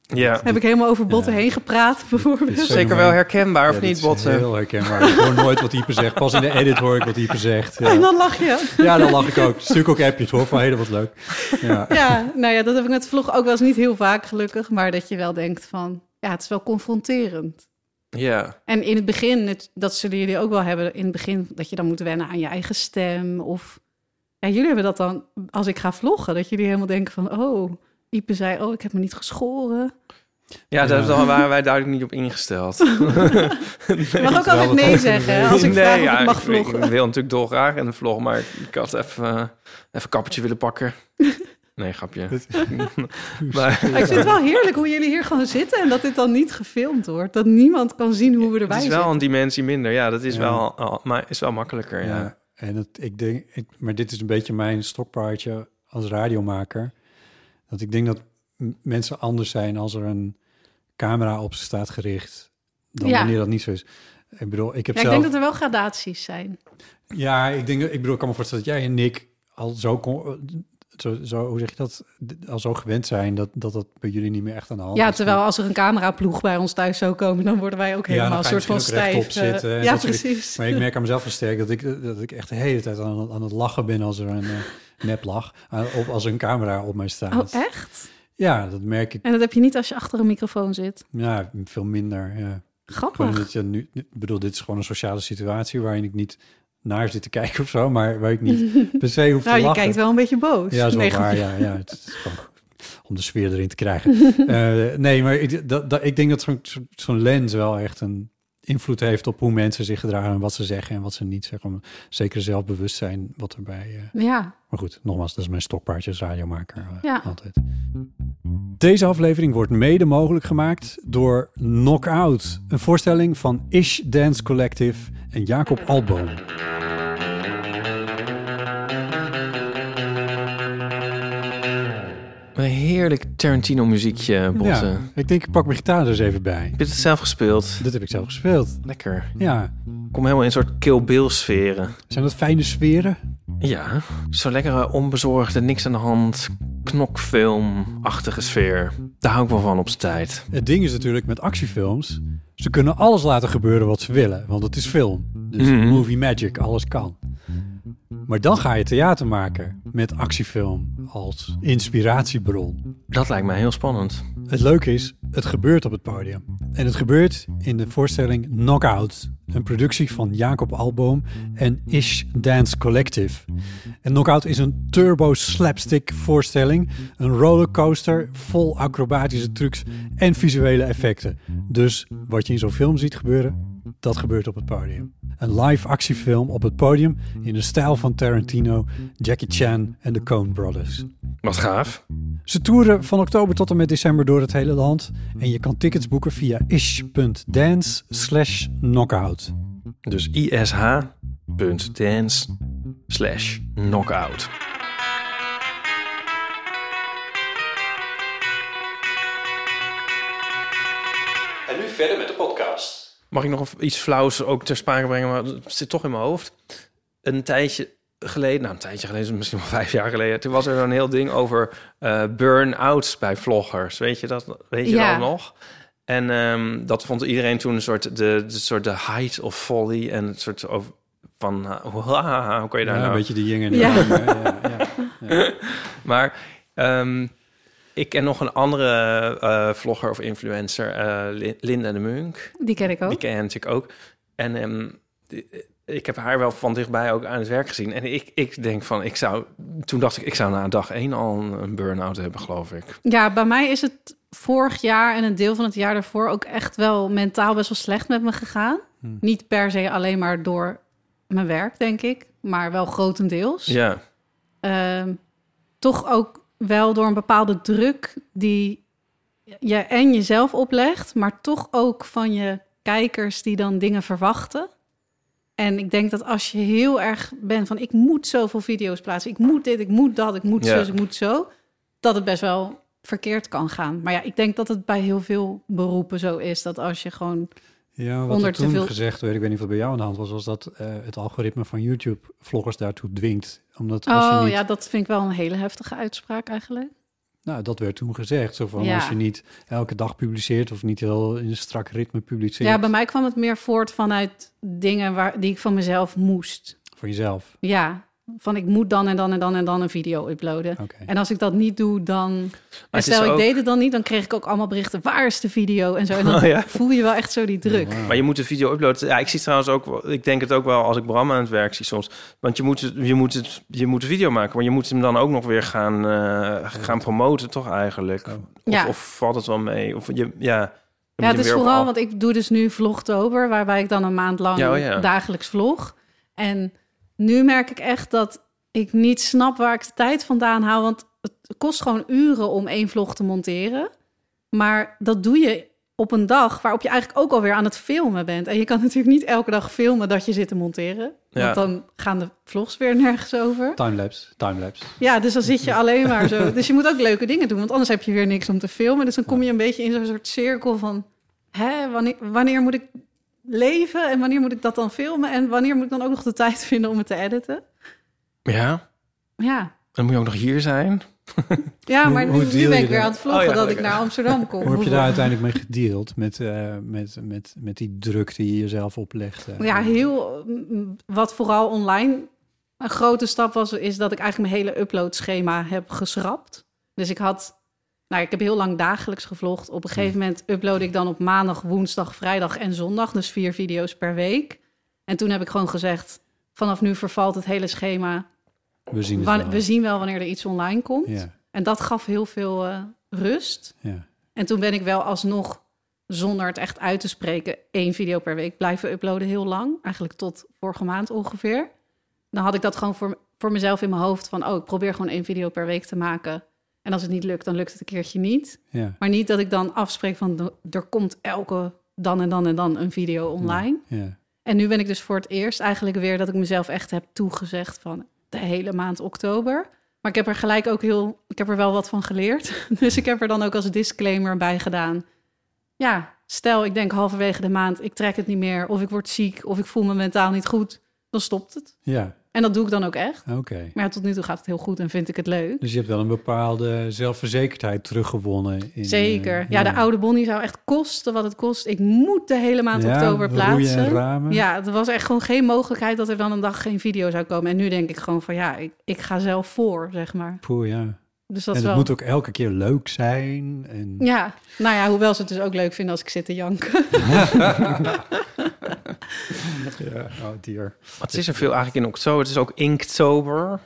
B: Ja.
C: heb ik helemaal over Botten
A: Ja.
C: heen gepraat [LAUGHS] bijvoorbeeld.
A: Dit is
B: Zeker wel herkenbaar, of
A: Ja, dit
B: niet,
A: is
B: Botten?
A: Heel herkenbaar. Ik hoor nooit wat Ieper zegt. Pas in de edit hoor ik wat Ieper zegt.
C: En
A: Ja,
C: dan lach je.
A: ja dan lach ik ook. Stuk ook appjes hoor, van hele wat leuk. Ja.
C: Ja, nou ja, dat heb ik met vlog ook wel eens niet heel vaak gelukkig. Maar dat je wel denkt van, ja, het is wel confronterend.
B: Ja.
C: En in het begin, het, dat zullen jullie ook wel hebben in het begin, dat je dan moet wennen aan je eigen stem. Of, ja, jullie hebben dat dan, als ik ga vloggen, dat jullie helemaal denken van, oh, Ipe zei, oh, ik heb me niet geschoren.
B: Ja, daar
A: Ja.
B: waren wij duidelijk niet op ingesteld. [LAUGHS]
C: Je mag ook
A: Terwijl
C: altijd
A: dat
C: nee
A: ook-
C: zeggen hè, als ik
B: Nee,
C: vraag of
B: ja,
C: ik mag
B: ik-
C: vloggen.
B: Ik wil natuurlijk dolgraag in de vlog, maar ik had even, eh, even een kappertje willen
C: [LAUGHS]
B: pakken. Nee, grapje. maar
C: Maar [LAUGHS] ik vind het wel heerlijk hoe jullie hier gewoon zitten en dat dit dan niet gefilmd wordt. Dat niemand kan zien hoe we
B: het
C: erbij
B: is
C: zitten.
B: wel een dimensie minder. Ja, dat is
A: Ja.
B: wel, al- maar is wel makkelijker. Ja.
A: Ja, en dat, ik denk, ik, maar dit is een beetje mijn stokpaardje als radiomaker. Dat ik denk dat m- mensen anders zijn als er een camera op ze staat gericht, dan
C: Ja.
A: wanneer dat niet zo is. Ik bedoel, ik heb
C: Ja, ik
A: zelf...
C: denk dat er wel gradaties zijn.
A: Ja, ik denk, ik bedoel, ik kan me voorstellen dat jij en Nick al zo, kon- zo, zo hoe zeg je dat, D- al zo gewend zijn dat dat, dat bij jullie niet meer echt aan de hand
C: Ja,
A: is.
C: terwijl als er een cameraploeg bij ons thuis zou komen, dan worden wij ook
A: Ja,
C: helemaal
A: dan
C: een
A: ga je
C: soort van
A: misschien ook
C: stijf.
A: rechtop
C: eh,
A: zitten en
C: ja,
A: dat soort dingen.
C: precies.
A: Maar ik merk aan mezelf wel sterk dat ik, dat ik echt de hele tijd aan, aan het lachen ben als er een eh, nep lach. Aan- op, als er een camera op mij
C: Oh,
A: staat.
C: echt?
A: ja, dat merk ik
C: En dat heb je niet als je achter een microfoon zit.
A: ja, veel minder. Ja. Gewoon
C: Grappig.
A: dat je nu, ik bedoel, dit is gewoon een sociale situatie waarin ik niet naar zit te kijken of zo, maar waar ik
C: [LAUGHS]
A: niet per se hoef
C: Nou,
A: te
C: je
A: lachen.
C: kijkt wel een beetje boos.
A: Ja, zo
C: Nee,
A: waar.
C: grapje.
A: Ja, ja, het is gewoon om de sfeer erin te
C: [LAUGHS]
A: krijgen. Eh, nee, maar ik, dat, dat, ik denk dat zo'n zo- zo'n lens wel echt een invloed heeft op hoe mensen zich gedragen en wat ze zeggen en wat ze niet zeggen. Om zeker zelfbewustzijn wat erbij. eh,
C: Ja,
A: maar goed, nogmaals, dat is mijn stokpaardje als radiomaker eh,
C: Ja.
A: altijd. Deze aflevering wordt mede mogelijk gemaakt door Knockout. Een voorstelling van Ish Dance Collective en Jacob Alboom.
B: Een heerlijk Tarantino muziekje, Botte.
A: Ja, ik denk ik pak mijn gitaar er eens even bij.
B: Heb je het zelf gespeeld?
A: Dit heb ik zelf gespeeld.
B: Lekker.
A: Ja,
B: Ik kom helemaal in een soort Kill Bill sferen.
A: Zijn dat fijne sferen?
B: Ja, zo'n lekkere onbezorgde, niks aan de hand, knokfilm-achtige sfeer. Daar hou ik wel van op zijn tijd.
A: Het ding is natuurlijk met actiefilms, ze kunnen alles laten gebeuren wat ze willen, want het is film. Dus
B: Mhm.
A: movie magic, alles kan. Maar dan ga je theater maken met actiefilm als inspiratiebron.
B: Dat lijkt mij heel spannend.
A: Het leuke is, het gebeurt op het podium. En het gebeurt in de voorstelling Knockout, een productie van Jacob Alboom en Ish Dance Collective. En Knockout is een turbo slapstick voorstelling, een rollercoaster vol acrobatische trucs en visuele effecten. Dus wat je in zo'n film ziet gebeuren, dat gebeurt op het podium. Een live actiefilm op het podium in de stijl van Tarantino, Jackie Chan en de Coen Brothers.
B: Wat gaaf.
A: Ze toeren van oktober tot en met december door het hele land. En je kan tickets boeken via ish.dance slash knockout.
B: Dus ish.dance slash knockout.
A: En nu verder met de podcast.
B: Mag ik nog iets flauws ook ter sprake brengen, maar het zit toch in mijn hoofd. Een tijdje geleden, nou een tijdje geleden, misschien wel [LAUGHS] vijf jaar geleden, toen was er zo'n heel ding over eh, burn-outs bij vloggers. Weet je dat, weet je
C: Ja.
B: dat nog? En ehm, dat vond iedereen toen een soort de, de soort de height of folly en het soort over- van, ah, haha, hoe kan je
A: Ja,
B: daar nou
A: een beetje de jing en de
C: Ja.
A: yang, hè, ja, ja.
B: maar ehm, ik ken nog een andere eh, vlogger of influencer, eh, Lin- Linda de Munk.
C: die ken ik ook.
B: Die ken je natuurlijk ook. En ehm, die- ik heb haar wel van dichtbij ook aan het werk gezien. En ik, ik denk van, ik zou... Toen dacht ik, ik zou na dag één al een, een burn-out hebben, geloof ik.
C: Ja, bij mij is het vorig jaar en een deel van het jaar daarvoor ook echt wel mentaal best wel slecht met me gegaan.
A: Hm.
C: Niet per se alleen maar door mijn werk, denk ik, maar wel grotendeels.
B: Ja,
C: Ehm, toch ook wel door een bepaalde druk die je en jezelf oplegt, maar toch ook van je kijkers die dan dingen verwachten. En ik denk dat als je heel erg bent van ik moet zoveel video's plaatsen, ik moet dit, ik moet dat, ik moet
B: Ja.
C: zo, ik moet zo, dat het best wel verkeerd kan gaan. Maar ja, ik denk dat het bij heel veel beroepen zo is dat als je gewoon
A: Ja, wat
C: Onder
A: er
C: te
A: toen
C: veel-
A: gezegd werd, ik weet niet of het bij jou aan de hand was, was dat eh, het algoritme van YouTube vloggers daartoe dwingt. Omdat als je
C: oh
A: niet,
C: ja, dat vind ik wel een hele heftige uitspraak eigenlijk.
A: nou, dat werd toen gezegd. Zo van,
C: Ja.
A: als je niet elke dag publiceert of niet heel in een strak ritme publiceert
C: Ja, bij mij kwam het meer voort vanuit dingen waar, die ik van mezelf moest.
A: voor jezelf.
C: Ja, van ik moet dan en dan en dan en dan een video uploaden.
A: Oké.
C: En als ik dat niet doe, dan... En
B: is
C: stel, ik
B: ook-
C: deed het dan niet, dan kreeg ik ook allemaal berichten... waar is de video en zo. En
B: [LAUGHS]
C: dan
B: Oh, ja.
C: voel je wel echt zo die druk.
A: Wauw.
B: maar je moet de video uploaden. Ja, ik zie trouwens ook... wel- Ik denk het ook wel als ik Bram aan het werk zie soms. Want je moet, het, je moet, het, je moet de video maken, maar je moet hem dan ook nog weer gaan, eh, gaan promoten, toch eigenlijk?
A: Oh.
B: Of,
C: Ja.
B: of valt het wel mee? Of je, ja... dan moet je
C: Ja, het is
B: weer op
C: vooral,
B: al-
C: want ik doe dus nu Vlogtober... waarbij ik dan een maand lang
B: Ja, oh ja.
C: dagelijks vlog. En nu merk ik echt dat ik niet snap waar ik de tijd vandaan haal... want het kost gewoon uren om één vlog te monteren. Maar dat doe je op een dag waarop je eigenlijk ook alweer aan het filmen bent. En je kan [LAUGHS] natuurlijk niet elke dag filmen dat je zit te monteren.
B: Ja.
C: Want dan gaan de vlogs weer nergens over.
A: Timelapse, timelapse.
C: Ja, dus dan zit je alleen maar zo. [LAUGHS] Dus je moet ook leuke dingen doen, want anders heb je weer niks om te filmen. Dus dan kom je een beetje in zo'n soort cirkel van... Hè, wanneer, wanneer moet ik leven en wanneer moet ik dat dan filmen? En wanneer moet ik dan ook nog de tijd [LAUGHS] vinden om het te editen?
B: Ja,
C: Ja,
B: dan moet je ook nog hier zijn.
C: ja
A: Hoe-
C: maar dus
A: hoe
C: nu,
A: deal
C: nu ben
A: je
C: ik weer
A: dat?
C: aan het vloggen
B: Oh ja,
C: dat ik
B: lekker.
C: naar Amsterdam kom.
A: Hoe heb je daar uiteindelijk mee gedeeld met, eh, met, met, met die druk die je jezelf oplegt? eh?
C: Ja, heel mm, wat vooral online een grote stap was, is dat ik eigenlijk mijn hele uploadschema heb geschrapt. Dus ik had, nou, ik heb heel lang dagelijks gevlogd. Op een gegeven moment upload ik dan op maandag, woensdag, vrijdag en zondag, dus vier video's per week. En toen heb ik gewoon gezegd, vanaf nu vervalt het hele schema.
A: We zien het
C: Wa-
A: wel.
C: We zien wel wanneer er iets online komt.
A: Ja,
C: En dat gaf heel veel eh, rust.
A: ja.
C: En toen ben ik wel alsnog, zonder het echt uit te spreken, één video per week blijven uploaden heel lang. Eigenlijk tot vorige maand ongeveer. Dan had ik dat gewoon voor, voor mezelf in mijn hoofd van, oh, ik probeer gewoon één video per week te maken. En als het niet lukt, dan lukt het een keertje niet.
A: ja.
C: Maar niet dat ik dan afspreek van, d- er komt elke dan en dan en dan een video online.
A: ja.
C: En nu ben ik dus voor het eerst eigenlijk weer dat ik mezelf echt heb toegezegd van de hele maand oktober. Maar ik heb er gelijk ook heel, ik heb er wel wat van geleerd. [LAUGHS] Dus ik heb er dan ook als disclaimer bij gedaan. Ja, stel ik denk halverwege de maand, ik trek het niet meer, of ik word ziek, of ik voel me mentaal niet goed, dan stopt het.
A: ja.
C: En dat doe ik dan ook echt.
A: oké.
C: Maar ja, tot nu toe gaat het heel goed en vind ik het leuk.
A: Dus je hebt wel een bepaalde zelfverzekerdheid teruggewonnen. In,
C: Zeker.
A: eh,
C: ja, de oude Bonnie zou echt kosten wat het kost. Ik moet de hele maand
A: Ja,
C: oktober
A: roeien en
C: plaatsen.
A: ramen.
C: Ja, er was echt gewoon geen mogelijkheid dat er dan een dag geen video zou komen. En nu denk ik gewoon van ja, ik, ik ga zelf voor, zeg maar.
A: Poeh, ja.
C: Dus dat
A: en het
C: is wel.
A: moet ook elke keer leuk zijn. En...
C: Ja, nou ja, hoewel ze het dus ook leuk vinden als ik zit te janken.
A: Ja, Oh, dier.
B: Wat is er veel eigenlijk in oktober? Het is ook Inktober.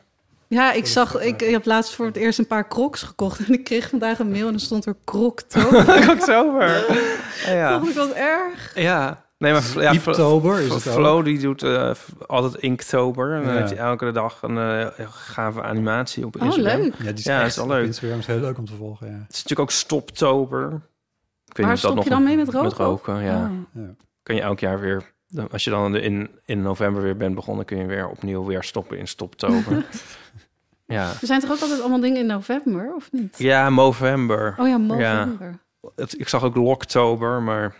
C: Ja, ik zag, ik, heb laatst voor het eerst een paar crocs gekocht. En ik kreeg vandaag een mail en er stond er croctober. Dat
B: oktober. Oh, ja.
C: vond ik wat erg.
B: ja. Nee, maar ja,
A: Dieptober is
B: Flo-
A: het ook.
B: Flo die doet eh, altijd Inktober. En dan
A: Ja.
B: heeft hij elke dag een eh, gave animatie op
C: Oh,
B: Instagram.
C: leuk.
A: Ja, die is,
B: Ja,
A: echt,
B: is wel
A: op
B: leuk.
A: Instagram is heel leuk om te volgen, ja.
B: Het is natuurlijk ook Stoptober. Ik weet
C: Waar
B: niet of dat
C: stop
B: nog
C: je dan mee met roken?
B: Met roken, ja.
C: Oh.
B: Kun je elk jaar weer... Als je dan in, in november weer bent begonnen... kun je weer opnieuw weer stoppen in Stoptober.
C: [LAUGHS]
B: ja.
C: Er zijn toch ook altijd allemaal dingen in november, of niet?
B: Ja, Movember.
C: Oh ja, november.
B: Het- Ik zag ook Loktober, maar...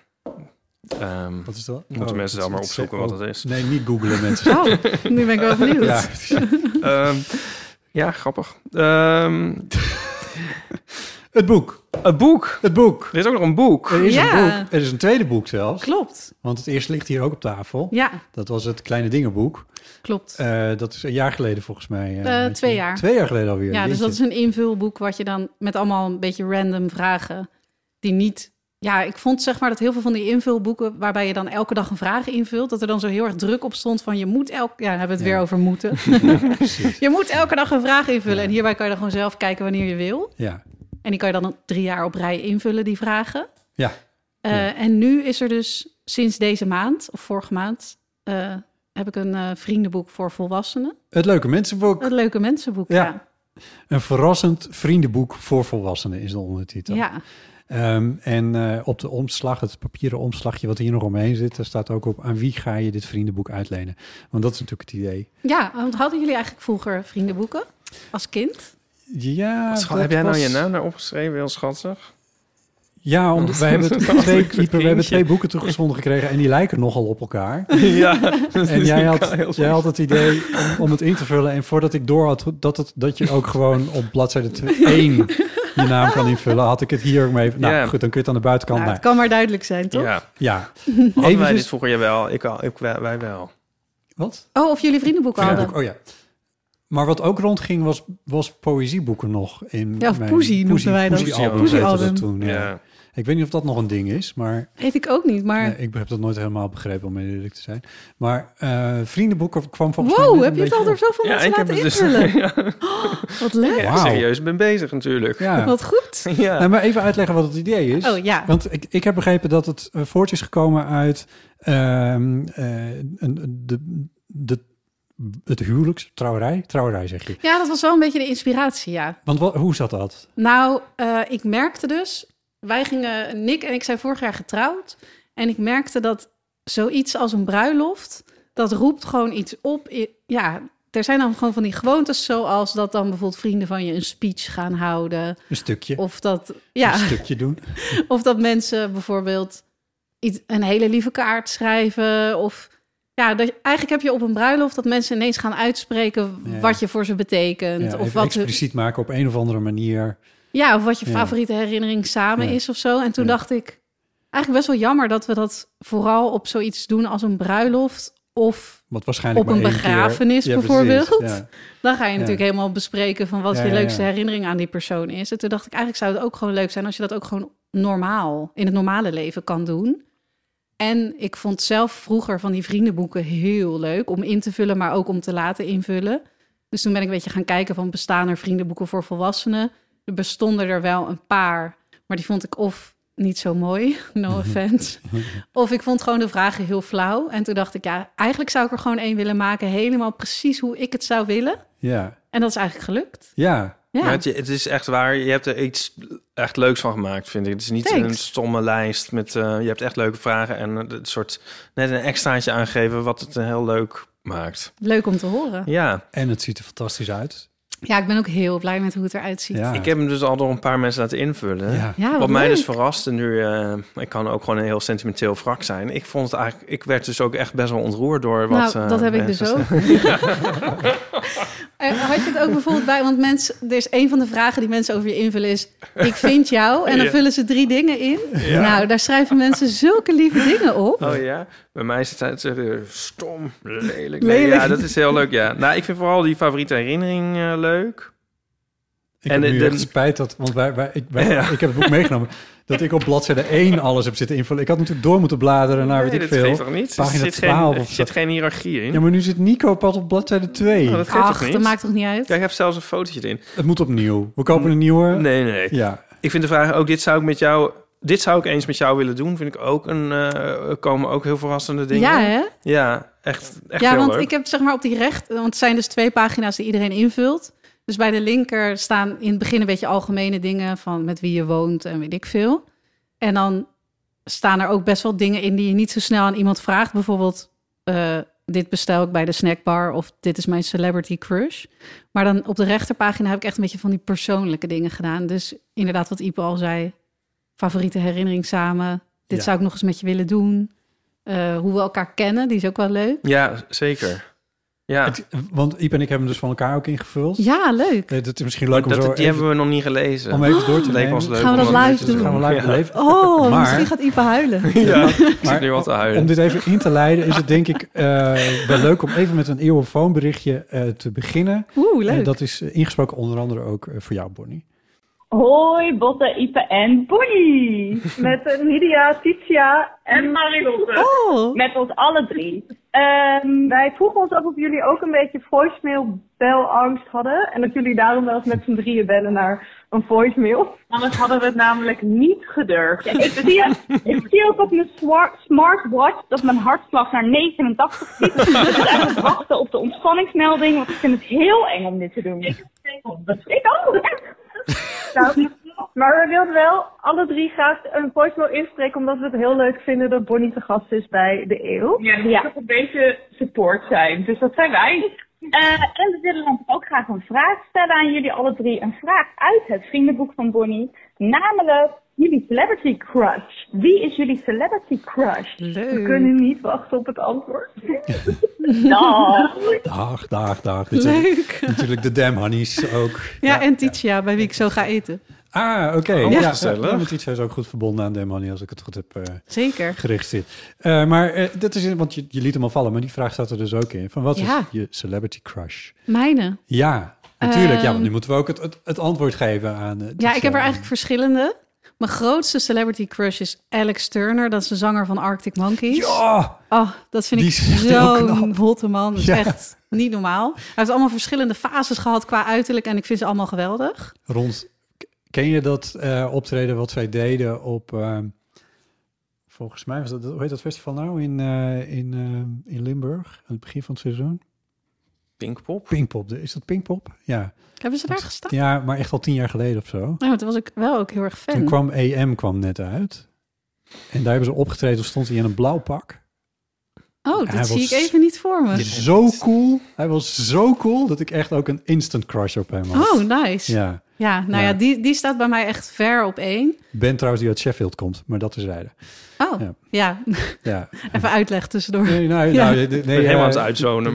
B: ehm,
C: [LAUGHS]
A: Wat is dat? Oh,
B: Moeten mensen
A: dat-
B: zelf maar
A: dat-
B: opzoeken wat dat is.
A: Nee, niet googlen
C: [LAUGHS]
A: mensen.
C: Oh, nu ben ik wel benieuwd.
A: ja.
B: ehm, ja, grappig. Ehm,
A: Het boek.
B: een boek.
A: Het boek.
B: Er is ook nog een boek.
A: Er is
C: Ja.
A: een boek. Er is een tweede boek zelfs.
C: Klopt.
A: Want het eerste ligt hier ook op tafel.
C: Ja,
A: Dat was het Kleine Dingenboek.
C: klopt.
A: Eh, dat is een jaar geleden volgens mij. eh,
C: Eh,
A: Maartje.
C: twee jaar.
A: Twee jaar geleden alweer.
C: ja, dus
A: Jeetje.
C: dat is een invulboek wat je dan met allemaal een beetje random vragen die niet... Ja, ik vond zeg maar dat heel veel van die invulboeken waarbij je dan elke dag een vraag invult, dat er dan zo heel erg druk op stond van je moet elke... Ja, dan hebben we het
A: Ja.
C: weer over
A: [LAUGHS]
C: moeten. je moet elke dag een vraag invullen en hierbij kan je dan gewoon zelf kijken wanneer je wil.
A: Ja.
C: En die kan je dan drie jaar op rij invullen, die vragen.
A: Ja.
C: Eh,
A: Ja.
C: En nu is er dus sinds deze maand, of vorige maand, eh, heb ik een eh, vriendenboek voor volwassenen.
A: Het Leuke Mensenboek.
C: Het leuke mensenboek,
A: Ja.
C: ja.
A: Een verrassend vriendenboek voor volwassenen is de
C: Ja,
A: ondertitel. Ehm, en eh, op de omslag, het papieren omslagje wat hier nog omheen zit, daar staat ook op aan wie ga je dit vriendenboek uitlenen. Want dat is natuurlijk het idee.
C: ja. want hadden jullie eigenlijk vroeger vriendenboeken als kind?
A: Ja,
B: Schat,
A: dat
B: heb jij nou
A: was-
B: je naam daar opgeschreven? Heel schattig.
A: Ja, omdat
B: [LAUGHS]
A: wij hebben,
B: Dat was
A: twee,
B: een
A: Ieper, we hebben
B: kindje.
A: twee boeken toegezonden gekregen en die lijken nogal op elkaar.
B: [LAUGHS] ja. [LAUGHS]
A: En jij had, jij had het idee om, om het in te vullen. En voordat ik door had dat, het, dat je ook gewoon op bladzijde 1 je naam kan invullen, had ik het hier ook mee. Nou
B: Ja.
A: goed, dan kun je het aan de buitenkant.
C: nou,
A: Nou,
C: het kan maar duidelijk zijn, toch?
B: [LAUGHS] Ja,
A: Ja.
B: hadden wij
A: Eventjes-
B: dit vroeger jawel. Ik, al, ik, wij, wij wel.
A: Wat?
C: Oh, of jullie vriendenboeken hadden.
A: Vriendenboek, Oh ja. Maar wat ook rondging was, was poëzieboeken nog. In
C: Ja, of
A: mijn-
C: poesie noemden wij dat.
A: Poesiealbum
C: Poesiealbum.
A: heette dat
B: Oh,
A: toen, ja.
B: Ja.
A: Ik weet niet of dat nog een ding is, maar
C: Weet ik ook niet, maar...
A: nee, ik heb dat nooit helemaal begrepen om eerlijk te zijn. Maar eh, vriendenboeken kwam volgens mij
C: wow,
A: net
C: heb
A: een
C: je het al
A: beetje
C: door zoveel
B: Ja,
C: mensen
B: ik heb
C: laten
B: het dus.
C: invullen?
B: [LAUGHS] ja,
C: Wat leuk.
A: Wauw.
B: Serieus, ben bezig natuurlijk.
A: op.
C: [LAUGHS]
A: Ja.
C: Wat goed.
B: Ja.
A: Nou, maar even uitleggen wat het idee is.
C: Oh ja.
A: Want ik, ik heb begrepen dat het eh, voort is gekomen uit ehm, eh, een, de, de, het huwelijks, trouwerij, trouwerij zeg je.
C: Ja, dat was wel een beetje de inspiratie, ja.
A: Want wat, hoe zat dat?
C: Nou, eh, ik merkte dus, wij gingen, Nick en ik zijn vorig jaar getrouwd. En ik merkte dat zoiets als een bruiloft, dat roept gewoon iets op. I- Ja, er zijn dan gewoon van die gewoontes zoals dat dan bijvoorbeeld vrienden van je een speech gaan houden.
A: Een stukje.
C: Of dat,
A: Een [LAUGHS]
C: ja,
A: stukje
C: [LAUGHS]
A: doen.
C: of dat mensen bijvoorbeeld iets, een hele lieve kaart schrijven. Of ja, dat, eigenlijk heb je op een bruiloft dat mensen ineens gaan uitspreken
A: Ja.
C: wat je voor ze betekent.
A: Ja,
C: of
A: even
C: wat ze-
A: expliciet maken op een of andere manier.
C: ja, of wat je
A: Ja.
C: favoriete herinnering samen
A: Ja.
C: is of zo. En toen
A: Ja.
C: dacht ik, eigenlijk best wel jammer dat we dat vooral op zoiets doen als een bruiloft. Of
A: Wat waarschijnlijk
C: Op
A: maar
C: een
A: één keer-
C: begrafenis
A: Ja, precies,
C: bijvoorbeeld.
A: ja.
C: dan ga je natuurlijk helemaal bespreken van wat
A: Ja,
C: je
A: ja,
C: leukste
A: ja.
C: herinnering aan die persoon is. En toen dacht ik, eigenlijk zou het ook gewoon leuk zijn als je dat ook gewoon normaal, in het normale leven kan doen. En ik vond zelf vroeger van die vriendenboeken heel leuk om in te vullen, maar ook om te laten invullen. Dus toen ben ik een beetje gaan kijken van bestaan er vriendenboeken voor volwassenen. Er bestonden er wel een paar, maar die vond ik of niet zo mooi, [LAUGHS]
A: [LAUGHS]
C: no offense. Of ik vond gewoon de vragen heel flauw. En toen dacht ik, ja, eigenlijk zou ik er gewoon één willen maken, helemaal precies hoe ik het zou willen.
A: Ja.
C: En dat is eigenlijk gelukt.
A: Ja.
C: Ja,
B: Maar het, het is echt waar. Je hebt er iets echt leuks van gemaakt, vind ik. Het is niet
C: Thanks.
B: een stomme lijst. Met, eh, je hebt echt leuke vragen en een soort net een extraatje aangegeven wat het eh, heel leuk maakt.
C: leuk om te horen.
B: Ja,
A: En het ziet er fantastisch uit.
C: Ja, ik ben ook heel blij met hoe het eruit ziet.
A: Ja.
B: ik heb hem dus al door een paar mensen laten invullen.
A: Ja.
C: Ja,
B: Wat
C: Ah, wat
B: mij
C: leuk.
B: dus verraste nu, eh, ik kan ook gewoon een heel sentimenteel wrak zijn. Ik vond het eigenlijk, ik werd dus ook echt best wel ontroerd door wat.
C: nou,
B: eh,
C: dat heb ik
B: mensen
C: dus ook. [LAUGHS] En Had je het ook bijvoorbeeld bij, want mensen, er is een van de vragen die mensen over je invullen is, ik vind jou, en dan
B: Ja.
C: vullen ze drie dingen in. [LAUGHS] Nou, daar schrijven mensen zulke lieve dingen op.
B: Oh ja, bij mij is het eh, stom, lelijk. Nee,
C: Lelijk.
B: ja, dat is heel leuk, ja. Nou, ik vind vooral die favoriete herinnering eh, leuk.
A: Ik heb
B: En de-
A: nu
B: de-
A: echt spijt dat, want wij, wij, ik, wij-
B: Ja.
A: ik heb het boek meegenomen, dat ik op bladzijde 1 alles heb zitten invullen. Ik had natuurlijk door moeten bladeren naar Nou,
B: nee,
A: weet ik
B: dat
A: veel.
B: geeft toch niet? Er
A: Pagina
B: zit,
A: 12
B: geen,
A: of zo.
B: er zit geen hiërarchie in.
A: Ja, maar nu zit Nico pas op bladzijde 2.
B: Oh, dat geeft
C: Ach,
B: toch
C: dat
B: niet?
C: maakt toch niet uit?
B: Kijk, ik heb zelfs een fotootje erin.
A: Het moet opnieuw. We kopen een nieuwe.
B: Nee, nee.
A: Ja.
B: Ik vind de vraag ook, dit zou ik met jou... Dit zou ik eens met jou willen doen, vind ik ook een... eh, Er komen ook heel verrassende dingen.
C: Ja, hè?
B: Ja, echt, echt
C: ja,
B: heel
C: want
B: leuk.
C: ik heb zeg maar op die recht, want het zijn dus twee pagina's die iedereen invult. Dus bij de linker staan in het begin een beetje algemene dingen van met wie je woont en weet ik veel. En dan staan er ook best wel dingen in die je niet zo snel aan iemand vraagt. Bijvoorbeeld, eh, dit bestel ik bij de snackbar of dit is mijn celebrity crush. Maar dan op de rechterpagina heb ik echt een beetje van die persoonlijke dingen gedaan. Dus inderdaad wat Ipo al zei, favoriete herinnering samen. Dit
A: Ja.
C: zou ik nog eens met je willen doen. Eh, hoe we elkaar kennen, die is ook wel leuk.
B: Ja, zeker. Ja,
A: Het- want Iep en ik hebben hem dus van elkaar ook ingevuld.
C: Ja, leuk.
A: Eh, Het is misschien leuk om
B: dat,
A: zo
B: die
A: even,
B: hebben we nog niet gelezen. [LAUGHS]
A: om even door te
B: Het leek ons
A: nemen.
B: leuk
C: Gaan we
B: om
C: dat
B: een
C: live
B: beetje te
C: doen?
A: Gaan we
B: doen.
A: live
B: Ja. [LAUGHS]
A: beleven.
C: Oh,
A: Maar-
C: misschien gaat Ipe huilen.
B: Ik zit nu al te huilen.
A: Om dit even in te leiden is het denk ik eh, wel leuk om even met een eeuwenfoonberichtje eh te beginnen.
C: Oeh, leuk.
A: Eh, dat is eh, ingesproken onder andere ook eh, voor jou, Bonnie.
E: Hoi, Botte, Ipe en Bonnie. Met eh, Lydia, Titia en Marilotte.
C: Oh,
E: Met ons alle drie. Ehm, wij vroegen ons af of jullie ook een beetje voicemail-belangst hadden. En dat jullie daarom wel eens met z'n drieën bellen naar een voicemail.
F: Anders hadden we het namelijk niet gedurfd.
E: Ja, ik, zie, ik zie ook op mijn swa- smartwatch dat mijn hartslag naar 89 schiet. [LAUGHS] Dus aan het wachten op de ontspanningsmelding. Want ik vind het heel eng om dit te doen. Ik ook. Nou, maar we wilden wel alle drie graag een voicemail inspreken. Omdat we het heel leuk vinden dat Bonnie te gast is bij de eeuw.
F: Ja, het moet
E: Ja.
F: toch een beetje support zijn. Dus dat zijn wij.
E: Eh, en we willen dan ook graag een vraag stellen aan jullie alle drie. Een vraag uit het vriendenboek van Bonnie. Namelijk jullie celebrity crush. Wie is jullie celebrity crush? We kunnen
C: leuk.
E: niet wachten op het antwoord. Dag.
A: Dag, dag, dag. Dit zijn
C: Leuk.
A: [LAUGHS] natuurlijk de Dam Honeys ook.
C: Ja, en Titia, bij wie ik zo ga eten.
A: Ah, oké. Ja,
B: wat
A: ja,
B: Oh, gezellig.
A: ja, met iets is ook goed verbonden aan de Money, als ik het goed heb eh,
C: Zeker.
A: gericht zit. Eh, maar eh, dat is, want je, je liet hem al vallen, maar die vraag staat er dus ook in. Van wat
C: Ja.
A: is je celebrity crush?
C: Mijne.
A: Ja, natuurlijk. ja, want nu
C: Ehm.
A: moeten we ook het, het, het antwoord geven aan... eh,
C: Ja,
A: Titia.
C: ik heb er eigenlijk verschillende. Mijn grootste celebrity crush is Alex Turner. Dat is de zanger van Arctic Monkeys.
A: Ja!
C: Oh, dat vind
A: Die
C: ik
A: is echt heel
C: zo'n
A: knap.
C: hotte man. Dat is
A: Ja.
C: echt niet normaal. Hij heeft allemaal verschillende fases gehad qua uiterlijk. En ik vind ze allemaal geweldig.
A: Rond, k- ken je dat eh, optreden wat zij deden op... ehm, volgens mij was dat... Hoe heet dat festival nou in, eh, in, eh, in Limburg? Aan het begin van het seizoen?
B: Pinkpop?
A: Pinkpop. Is dat Pinkpop? Ja.
C: Hebben ze daar gestaan?
A: Ja, maar echt al tien jaar geleden of zo.
C: Nou, toen was ik wel ook heel erg
A: Toen
C: fan.
A: kwam EM kwam net uit. En daar hebben ze opgetreden. Toen stond hij in een blauw pak.
C: Oh,
A: Hij
C: dat zie ik
A: was-
C: even niet voor me.
A: Zo cool. Hij was zo cool dat ik echt ook een instant crush op hem had.
C: Oh, nice.
A: Ja.
C: Ja, nou ja,
A: Ja.
C: die, die staat bij mij echt ver op één.
A: Ben trouwens die uit Sheffield komt, maar dat terzijde.
C: Oh,
A: Ja.
C: ja. [LAUGHS]
A: Ja.
C: Even uitleg tussendoor.
A: Nee, nou,
C: Ja.
A: nou, nee, nee,
B: Ik ben helemaal aan
A: eh,
B: het uitzonen,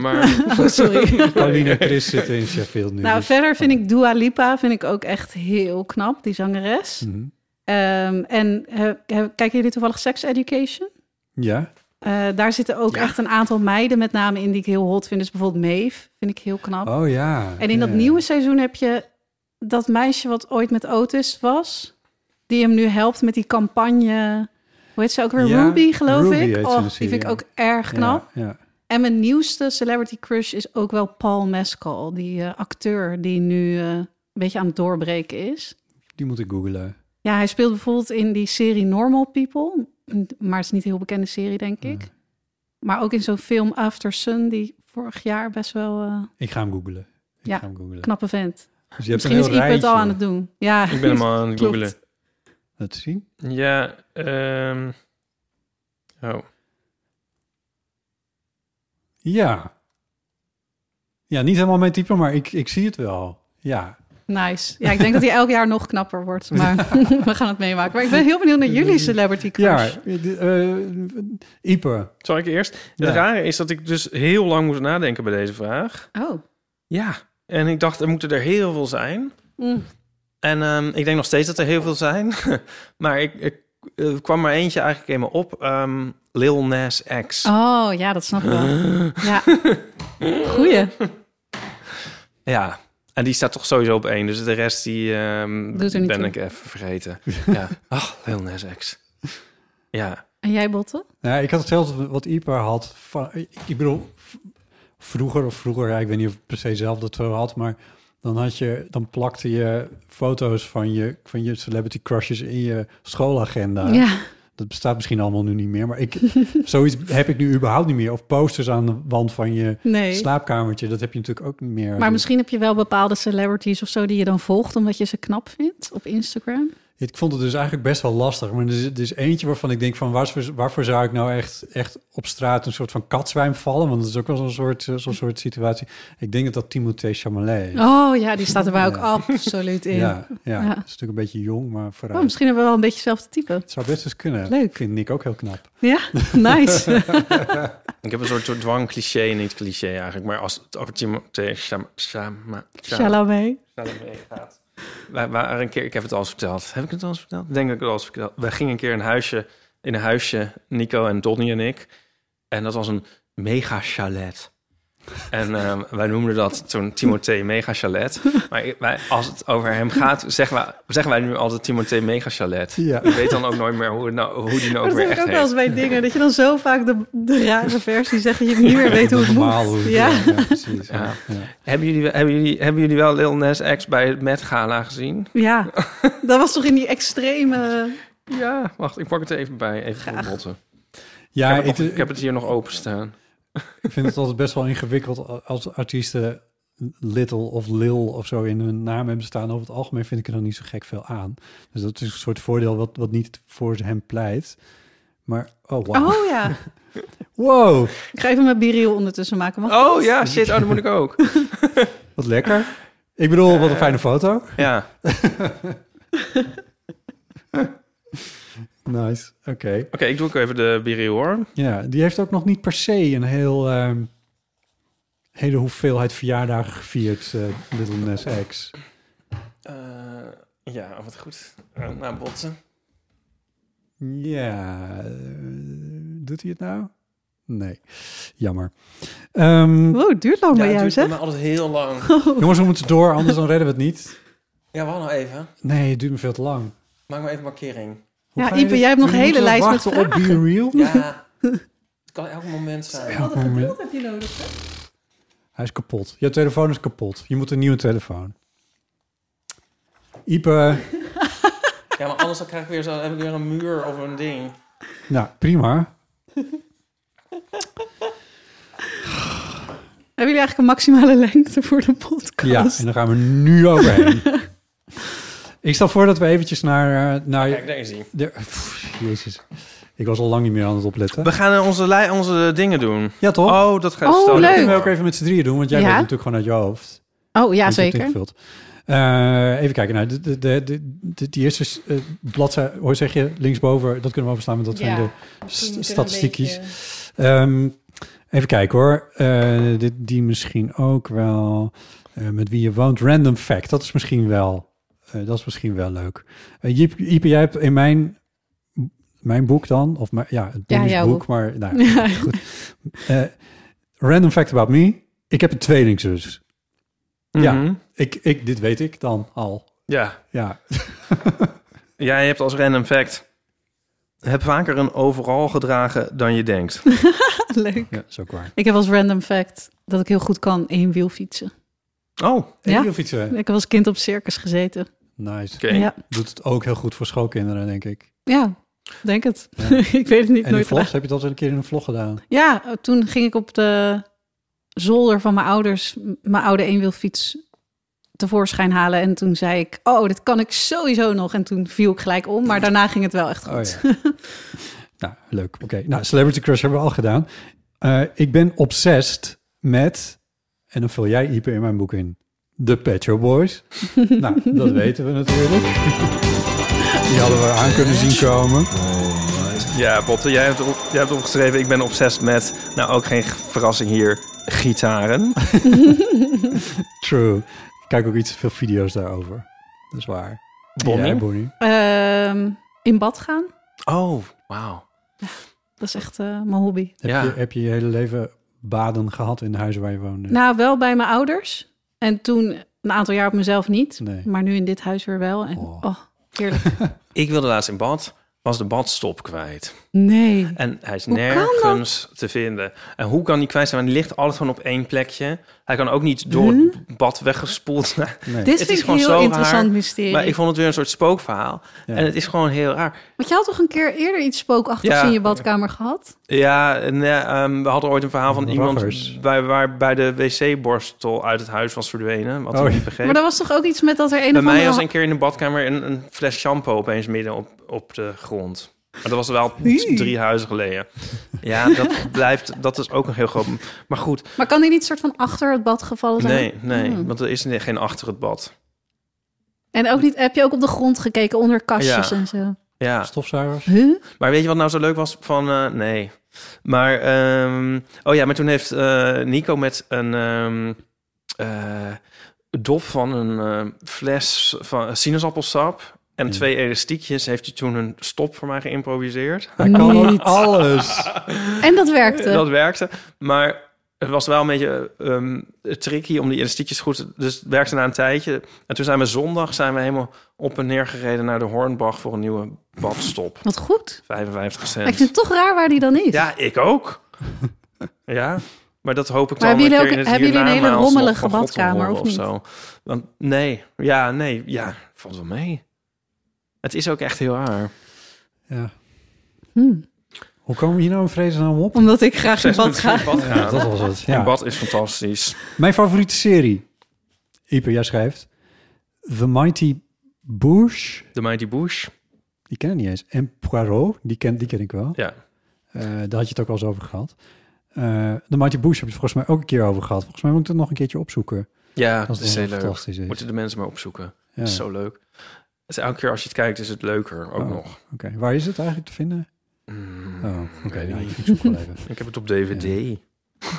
A: [LAUGHS]
B: maar...
C: Oh, sorry.
A: Pauline en Chris zitten in Sheffield nu.
C: nou,
A: dus-
C: verder vind ik Dua Lipa vind ik ook echt heel knap, die zangeres.
A: Mhm.
C: Ehm, en eh, eh, kijken jullie toevallig Sex Education?
A: Ja.
C: Eh, daar zitten ook
B: Ja.
C: echt een aantal meiden met name in die ik heel hot vind. Dus bijvoorbeeld Maeve vind ik heel knap.
A: Oh ja.
C: en in dat
A: Ja.
C: nieuwe seizoen heb je dat meisje wat ooit met Otis was. Die hem nu helpt met die campagne Hoe heet ze ook weer?
A: Ja,
C: Ruby, geloof
A: Ruby heet
C: ik.
A: ze in de
C: Och, die
A: serie,
C: vind ik
A: ja.
C: ook erg knap.
A: Ja, ja.
C: En mijn nieuwste celebrity crush is ook wel Paul Mescal. Die eh, acteur die nu eh, een beetje aan het doorbreken is.
A: Die moet ik googlen.
C: Ja, hij speelt bijvoorbeeld in die serie Normal People. Maar het is niet een heel bekende serie, denk ik. Maar ook in zo'n film After Sun, die vorig jaar best wel eh,
A: Ik ga hem googlen. Ik
C: Ja,
A: ga hem googlen.
C: knappe vent.
A: Dus je hebt
C: Misschien is
A: een heel
C: Ipe het al
A: rijtje.
C: aan het doen. Ja,
B: Ik
C: [LAUGHS]
B: ben hem al aan het
C: Klopt.
B: googelen.
A: Laat zien.
B: Ja, ehm Oh.
A: Ja. Ja, niet helemaal mijn type, maar ik, ik zie het wel. Ja.
C: Nice. Ja, ik denk dat hij elk jaar nog knapper
A: [LAUGHS]
C: wordt. Maar [LAUGHS] we gaan het meemaken. Maar ik ben heel benieuwd naar jullie celebrity crush.
A: Ja, eh, eh, Ipe.
B: Zal ik eerst?
A: Ja.
B: Het rare is dat ik dus heel lang moest nadenken bij deze vraag.
C: Oh.
B: Ja. En ik dacht, er moeten er heel veel zijn.
C: Mm.
B: En ehm, ik denk nog steeds dat er heel veel zijn. [LAUGHS] maar ik, ik, er kwam maar eentje eigenlijk in me op. ehm, Lil Nas X.
C: Oh, ja, dat snap ik wel.
A: [GASPS]
C: Ja. Goeie.
B: Ja. En die staat toch sowieso op één. Dus de rest die ehm,
C: Doet er niet
B: ben
C: toe.
B: ik even
C: [LAUGHS]
B: vergeten. ja. Ach, Lil Nas X. Ja.
C: En jij, Botte?
A: Nou, ik had hetzelfde wat Ipe had. Van, ik bedoel, v- vroeger of vroeger, ja, ik weet niet of ik per se zelf dat zo had, maar dan had je, dan plakte je foto's van je, van je celebrity crushes in je schoolagenda.
C: Ja.
A: Dat bestaat misschien allemaal nu niet meer, maar ik, [LAUGHS] zoiets heb ik nu überhaupt niet meer. Of posters aan de wand van je
C: Nee.
A: slaapkamertje, dat heb je natuurlijk ook niet meer.
C: Maar
A: Dus
C: misschien heb je wel bepaalde celebrities of zo die je dan volgt omdat je ze knap vindt op Instagram.
A: Ik vond het dus eigenlijk best wel lastig. Maar er is, er is eentje waarvan ik denk van waarvoor, waarvoor zou ik nou echt, echt op straat een soort van katzwijn vallen? Want dat is ook wel zo'n soort, eh, zo'n soort situatie. Ik denk dat dat Timothée Chalamet is.
C: Oh ja, die staat er bij ook
A: Ja.
C: absoluut in.
A: ja, ja,
C: Ja.
A: is natuurlijk een beetje jong, maar vooruit.
C: Oh, misschien hebben we wel een beetje hetzelfde type.
A: Het zou best eens kunnen.
C: Leuk.
A: Vind Nick ook heel
C: [LAUGHS]
A: knap. [LAUGHS]
C: Ja, nice.
B: Ik heb een soort soort dwang-cliché, niet cliché eigenlijk. Maar als het over Timothée Chama- Chama- Chama-
C: Chalamet.
B: snel ermee gaat. Wij waren een keer, ik heb het al eens verteld. Heb ik het al eens verteld? Ik Denk dat ik het al eens verteld. We gingen een keer een huisje, in een huisje, Nico en Donnie en ik. En dat was een mega chalet. En ehm, wij noemden dat toen Timothée Mega Chalet. Maar ik- wij, als het over hem gaat, zeggen wij, zeggen wij nu altijd Timothée Mega Chalet.
A: Ja.
B: Ik weet dan ook nooit meer hoe, het nou, hoe die nou
C: Dat
B: ook weer
C: heb ik
B: echt
C: ook wel eens
B: heet.
C: bij dingen. Dat je dan zo vaak de, de rare versie zegt dat je niet meer weet hoe het
A: Normaal
C: moet.
A: hoe-
C: Ja.
A: ja, precies.
B: Ja.
A: Ja. Ja.
B: Hebben jullie, hebben, jullie, hebben jullie wel Lil Nas X bij het Met Gala gezien?
C: ja, dat was toch in die extreme...
B: Ja, wacht, ik pak het er even bij. Even voor
C: Graag.
B: botten.
A: Ja,
B: ik, heb het
A: ik,
B: nog- ik heb het hier nog openstaan.
A: ik vind het altijd best wel ingewikkeld als artiesten Little of Lil of zo in hun naam hebben staan. Over het algemeen vind ik er dan niet zo gek veel aan. Dus dat is een soort voordeel wat, wat niet voor hem pleit. Maar, oh wow.
C: Oh ja,
A: Wow,
C: ik ga even mijn biriel ondertussen maken. Mag
B: Oh ja, shit, oh, dat moet ik ook. [LAUGHS]
A: wat lekker. Ik bedoel, wat een fijne foto.
B: Ja, oké,
A: Nice, oké.
B: ik doe ook even de biriel hoor.
A: Ja, die heeft ook nog niet per se een heel, ehm, hele hoeveelheid verjaardagen gevierd, eh, Little Nas X.
B: Eh, ja, wat goed. nou, botsen.
A: Ja, eh, doet hij het nou? Nee, jammer. Ehm,
C: Wow, het duurt lang bij jou, zeg.
B: altijd heel lang.
A: jongens, we moeten door, anders dan redden we het niet.
B: Ja, wacht nou even.
A: Nee, het duurt me veel te lang.
B: Maak maar even markering.
A: Hoe
C: Ja,
A: ga je
C: Ipe,
A: dit-
C: jij hebt nog
A: we
C: een hele
A: moeten
C: lijst met
A: wachten op Be Real. [LAUGHS]
B: Ja, het kan elk moment zijn.
C: Wat een geduld heb je nodig, hè?
A: Hij is kapot. Jouw telefoon is kapot. Je moet een nieuwe telefoon. Ipe,
B: Ja, maar anders dan krijg ik weer zo, dan heb ik weer een muur of een ding.
A: nou prima.
C: Hebben jullie eigenlijk een maximale [LAUGHS] lengte voor de podcast?
A: Ja, en dan gaan we nu overheen. ik stel voor dat we eventjes naar... eh, naar
B: Kijk, daar is hij.
A: de, pff, jezus, ik was al lang niet meer aan het opletten.
B: We gaan eh, onze, lei- onze dingen doen.
A: Ja, toch?
B: Oh, dat gaat
C: Oh,
B: stel-
C: leuk.
A: Dat kunnen we ook even met z'n drieën doen, want jij
C: Ja.
A: weet het natuurlijk gewoon uit je hoofd.
C: Oh ja,
A: Want je hebt
C: zeker.
A: ingevuld. Eh, even kijken. Nou, de, de, de, de, de- die eerste eh, bladzij, hoe zeg je, linksboven, dat kunnen we overslaan, want dat zijn de st- statistiekjes.
C: [LAUGHS]
A: Ehm, even kijken hoor. Eh, dit, die misschien ook wel. eh, met wie je woont. Random fact. Dat is misschien wel. eh, dat is misschien wel leuk. Eh Jiep- Ipe, jij hebt in mijn. Mijn boek dan, of mijn, ja, het
C: Ja,
A: Bonnie's
C: jouw
A: boek,
C: boek.
A: maar
C: [LAUGHS]
A: nou,
C: Ja.
A: goed. Eh, random fact about me. Ik heb een tweelingzus.
B: Mhm.
A: Ik, ik, dit weet ik dan al.
B: ja.
A: Ja,
B: Jij hebt als random fact Heb vaker een overal gedragen dan je denkt.
C: Leuk.
A: Ja, is ook waar.
C: Ik heb als random fact dat ik heel goed kan één wiel fietsen.
B: Oh, oké.
C: Ja.
A: Heel fietsen.
C: Ik heb als kind op circus gezeten.
A: eh, Nice.
C: Ja.
A: Doet het ook heel goed voor schoolkinderen, denk ik.
C: ja, denk het.
A: Ja.
C: [LAUGHS] ik weet het niet.
A: En die
C: nooit gedaan.
A: vlogs, heb je dat een keer in een vlog gedaan?
C: Ja, toen ging ik op de zolder van mijn ouders m- mijn oude eenwielfiets tevoorschijn halen. En toen zei ik, oh, dit kan ik sowieso nog. En toen viel ik gelijk om, maar daarna ging het wel echt
A: Oh
C: goed.
A: ja. nou, leuk. Oké. Nou, Celebrity Crush hebben we al gedaan. Eh, ik ben obsessed met, en dan vul jij Ipe in mijn boek in, de Pet Shop [LAUGHS] Boys. nou, dat weten we natuurlijk. [LAUGHS] Die hadden we aan kunnen zien komen.
B: Ja, Bob, jij hebt, op, jij hebt opgeschreven, ik ben obsessed met, nou ook geen verrassing hier, gitaren.
A: True. Ik kijk ook iets te veel video's daarover. Dat is waar.
B: Bonnie?
A: Ja, Bonnie.
C: [LAUGHS] Ehm, in bad gaan,
B: Oh, wauw.
C: dat is echt eh, mijn hobby.
A: Heb,
B: Ja.
A: je, heb je je hele leven baden gehad in de huizen waar je woonde?
C: Nou, wel bij mijn ouders. En toen een aantal jaar op mezelf niet.
A: Nee.
C: Maar nu in dit huis weer wel. En,
A: Oh.
C: oh. heerlijk.
B: [LAUGHS] Ik wilde laatst in bad, was de badstop kwijt.
C: Nee.
B: En hij is
C: Hoe kan
B: nergens te vinden. En hoe kan die kwijt zijn? Want die ligt alles gewoon op één plekje. Hij kan ook niet door het bad weggespoeld. worden.
A: Nee.
C: Dit
B: Het
C: vind
B: is
C: ik
B: gewoon
C: heel
B: zo
C: interessant
B: raar.
C: mysterie.
B: Maar ik vond het weer een soort spookverhaal.
A: Ja.
B: En het is gewoon heel raar.
C: Want je had toch een keer eerder iets spookachtigs
B: Ja.
C: in je badkamer gehad?
B: Ja, en, eh, ehm, we hadden ooit een verhaal van
A: Raggers.
B: iemand... Bij, waarbij de wc-borstel uit het huis was verdwenen. Wat
A: Oh,
B: ik
A: ja.
B: niet begreep.
C: Maar dat was toch ook iets met dat er een
B: Bij
C: of andere...
B: mij was een keer in de badkamer een, een fles shampoo opeens midden op, op de grond. Maar dat was wel drie huizen geleden. Ja,
C: [LAUGHS]
B: dat blijft, dat is ook een heel groot. Maar goed,
C: Maar kan die niet soort van achter het bad gevallen zijn?
B: nee, nee,
C: Hmm.
B: want er is ne- geen achter het bad.
C: En ook niet, heb je ook op de grond gekeken onder kastjes
B: Ja.
C: en zo?
B: Ja,
A: Stofzuigers?
C: Huh?
B: maar weet je wat nou zo leuk was van, eh, nee. Maar, ehm, oh ja, maar toen heeft eh, Nico met een ehm, eh, dop van een ehm, fles van eh, sinaasappelsap en
A: Ja.
B: twee elastiekjes heeft hij toen een stop voor mij geïmproviseerd.
A: Hij kan ook
C: Niet.
A: alles.
C: En dat werkte.
B: Dat werkte. Maar het was wel een beetje ehm, tricky om die elastiekjes goed... te- Dus het werkte na een tijdje. En toen zijn we zondag zijn we helemaal op en neer gereden naar de Hornbach... voor een nieuwe badstop.
C: Wat goed.
B: 55
C: Maar ik vind
B: cent.
C: het toch raar waar die dan is.
B: Ja, ik ook. Ja, maar dat hoop ik
C: Maar
B: dan
C: hebben
B: een keer
C: jullie
B: in
C: ook-
B: het
C: hebben jullie een hele
B: hiernamaals nog
C: rommelige
B: van God te
C: badkamer,
B: horen
C: of niet?
B: zo. Want nee, ja, nee, ja, valt wel mee. Het is ook echt heel raar.
A: Ja.
C: Hm.
A: Hoe komen we hier nou een vreesnaam op?
C: Omdat ik graag in bad ga.
B: Bad
A: Ja,
B: gaan.
A: dat was het. Ja.
B: En bad is fantastisch.
A: Mijn favoriete serie. Ieper, jij schrijft... The Mighty Boosh.
B: De Mighty Bush.
A: Die ken ik niet eens. En Poirot. Die ken, die ken ik wel.
B: Ja.
A: Eh, daar had je het ook al eens over gehad. Eh, The Mighty Boosh heb je het volgens mij ook een keer over gehad. Volgens mij moet ik dat nog een keertje opzoeken.
B: Ja,
A: Als
B: dat is
A: wel
B: heel leuk.
A: fantastisch is.
B: Moeten de mensen maar opzoeken. Het
A: Ja.
B: is zo leuk. Het is elke keer als je het kijkt, is het leuker ook
A: Oh.
B: nog.
A: Oké, waar is het eigenlijk te vinden?
B: Mm,
A: Oh, oké.
B: weet
A: nou,
B: niet.
A: ik zoek wel even.
B: Ik heb het op DVD.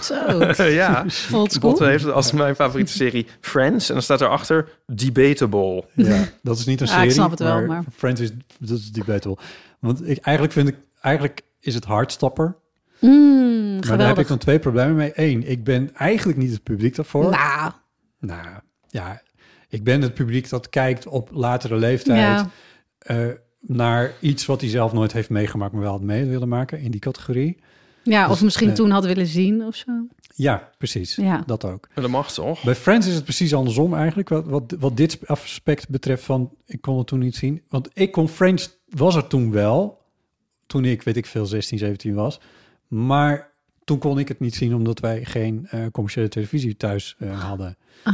C: Zo,
B: [LAUGHS] ja,
C: old
B: Bot
C: school.
B: heeft het als mijn favoriete serie Friends. En dan staat erachter [LAUGHS] Debatable.
A: Ja, dat is niet een
C: Ja, Ah, ik
A: serie.
C: snap het wel, maar-
A: Friends is, dat is debatable. Want ik, eigenlijk vind ik, eigenlijk is het hardstopper.
B: eh.
C: Mm,
A: Maar daar heb ik
C: geweldig.
A: dan twee problemen mee. Eén, ik ben eigenlijk niet het publiek daarvoor.
C: Nou,
A: Nou, ja, ik ben het publiek dat kijkt op latere leeftijd
C: ja.
A: eh, naar iets wat hij zelf nooit heeft meegemaakt, maar wel had mee willen maken in die categorie.
C: ja, of misschien
A: nee.
C: toen had willen zien of zo.
A: Ja, precies.
C: Ja.
A: Dat ook.
B: En dat mag toch?
A: Bij Friends is het precies andersom eigenlijk. Wat, wat, wat dit aspect betreft van... ik kon het toen niet zien. Want ik kon Friends... was er toen wel. Toen ik, weet ik veel, 16, 17 was. Maar toen kon ik het niet zien... omdat wij geen eh, commerciële televisie thuis eh, hadden.
C: Ah.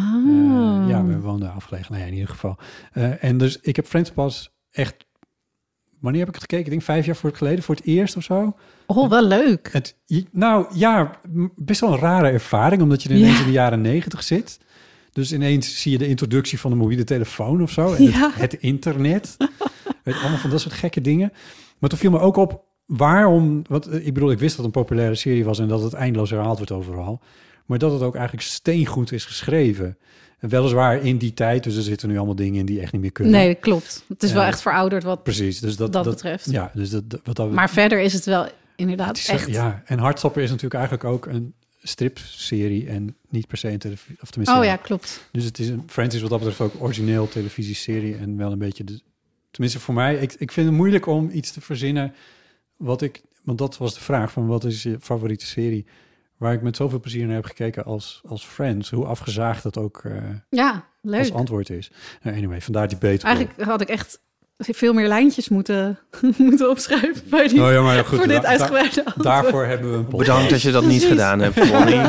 A: Eh, ja, we woonden afgelegen. Nou ja, in ieder geval. Eh, en dus ik heb Friends pas echt... Wanneer heb ik het gekeken? Ik denk vijf jaar voor het geleden, voor het eerst of zo.
C: Oh, wel leuk.
A: Het, je- nou ja, m- best wel een rare ervaring, omdat je ineens
C: Ja.
A: in de jaren negentig zit. Dus ineens zie je de introductie van de mobiele telefoon of zo. En het-
C: Ja.
A: het,
C: [LAUGHS]
A: internet. Weet, allemaal van dat soort gekke dingen. Maar toen viel me ook op waarom... Want, eh, ik bedoel, ik wist dat het een populaire serie was... en dat het eindeloos herhaald wordt overal. Maar dat het ook eigenlijk steengoed is geschreven. En weliswaar in die tijd. Dus er zitten nu allemaal dingen in die echt niet meer kunnen.
C: Nee, dat klopt. Het is wel
A: Ja.
C: echt verouderd wat...
A: Precies. Dus dat,
C: Dat betreft.
A: Ja, dus dat, dat- wat dat,
C: Maar verder is het wel inderdaad
A: het is zo-
C: echt...
A: Ja, en Hardstopper is natuurlijk eigenlijk ook een stripserie en niet per se een televisie... Of tenminste,
C: Oh
A: ja.
C: ja, klopt.
A: Dus het is een, Friends is wat dat betreft ook origineel televisieserie en wel een beetje de Tenminste voor mij, ik, ik vind het moeilijk om iets te verzinnen wat ik... Want dat was de vraag van wat is je favoriete serie waar ik met zoveel plezier naar heb gekeken als, als Friends. Hoe afgezaagd dat ook eh,
C: Ja,
A: als
C: leuk.
A: antwoord is. Nou, anyway, vandaar die beter.
C: Eigenlijk had ik echt veel meer lijntjes moeten, [LAUGHS] moeten opschrijven bij die,
A: Oh Nou, ja, maar ja, goed,
C: [LAUGHS] voor dit
A: da-
C: uitgebreide
A: da-
C: antwoord.
A: Daarvoor hebben we een podcast.
B: Bedankt dat je dat niet
C: Precies.
B: gedaan hebt, Bonnie.
C: [LAUGHS]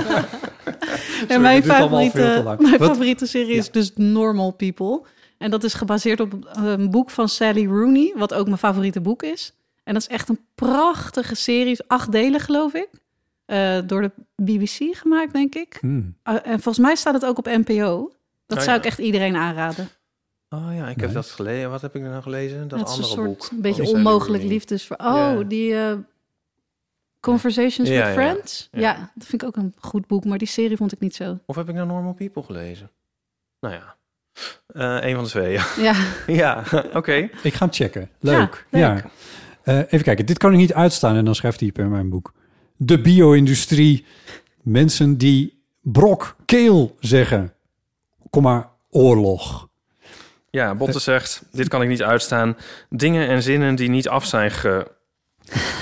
C: En mijn
A: dit duurt allemaal veel
C: favoriete,
A: te lang.
C: mijn
A: Wat-
C: favoriete serie is dus Normal People. En dat is gebaseerd op een boek van Sally Rooney, wat ook mijn favoriete boek is. En dat is echt een prachtige serie, acht delen geloof ik. Eh, door de BBC gemaakt, denk ik.
A: Hmm.
C: Ah, en volgens mij staat het ook op NPO. Dat
B: Ah,
C: zou
B: ja.
C: ik echt iedereen aanraden.
B: Oh ja, ik heb
A: Nice.
B: dat gelezen. Wat heb ik er nou gelezen? Dat
C: het is een
B: andere
C: soort
B: boek.
C: een beetje
B: van Sally
C: onmogelijk
B: Rooney.
C: liefdes voor. Oh,
B: Ja.
C: die eh, Conversations
B: Ja,
C: with
B: ja, ja.
C: Friends. Ja.
B: Ja.
C: dat vind ik ook een goed boek, maar die serie vond ik niet zo.
B: Of heb ik nou Normal People gelezen? Nou ja, Eh een van de twee. Ja, [LAUGHS]
C: Ja,
B: ja oké.
A: Ik ga hem checken. Leuk.
C: Ja,
A: Ja,
C: leuk.
A: Eh, even kijken. Dit kan ik niet uitstaan en dan schrijft hij per mijn boek. De bio-industrie. Mensen die brok keel zeggen. Kom maar, oorlog.
B: Ja, Botte zegt, dit kan ik niet uitstaan. Dingen en zinnen die niet af zijn ge...
C: [LAUGHS]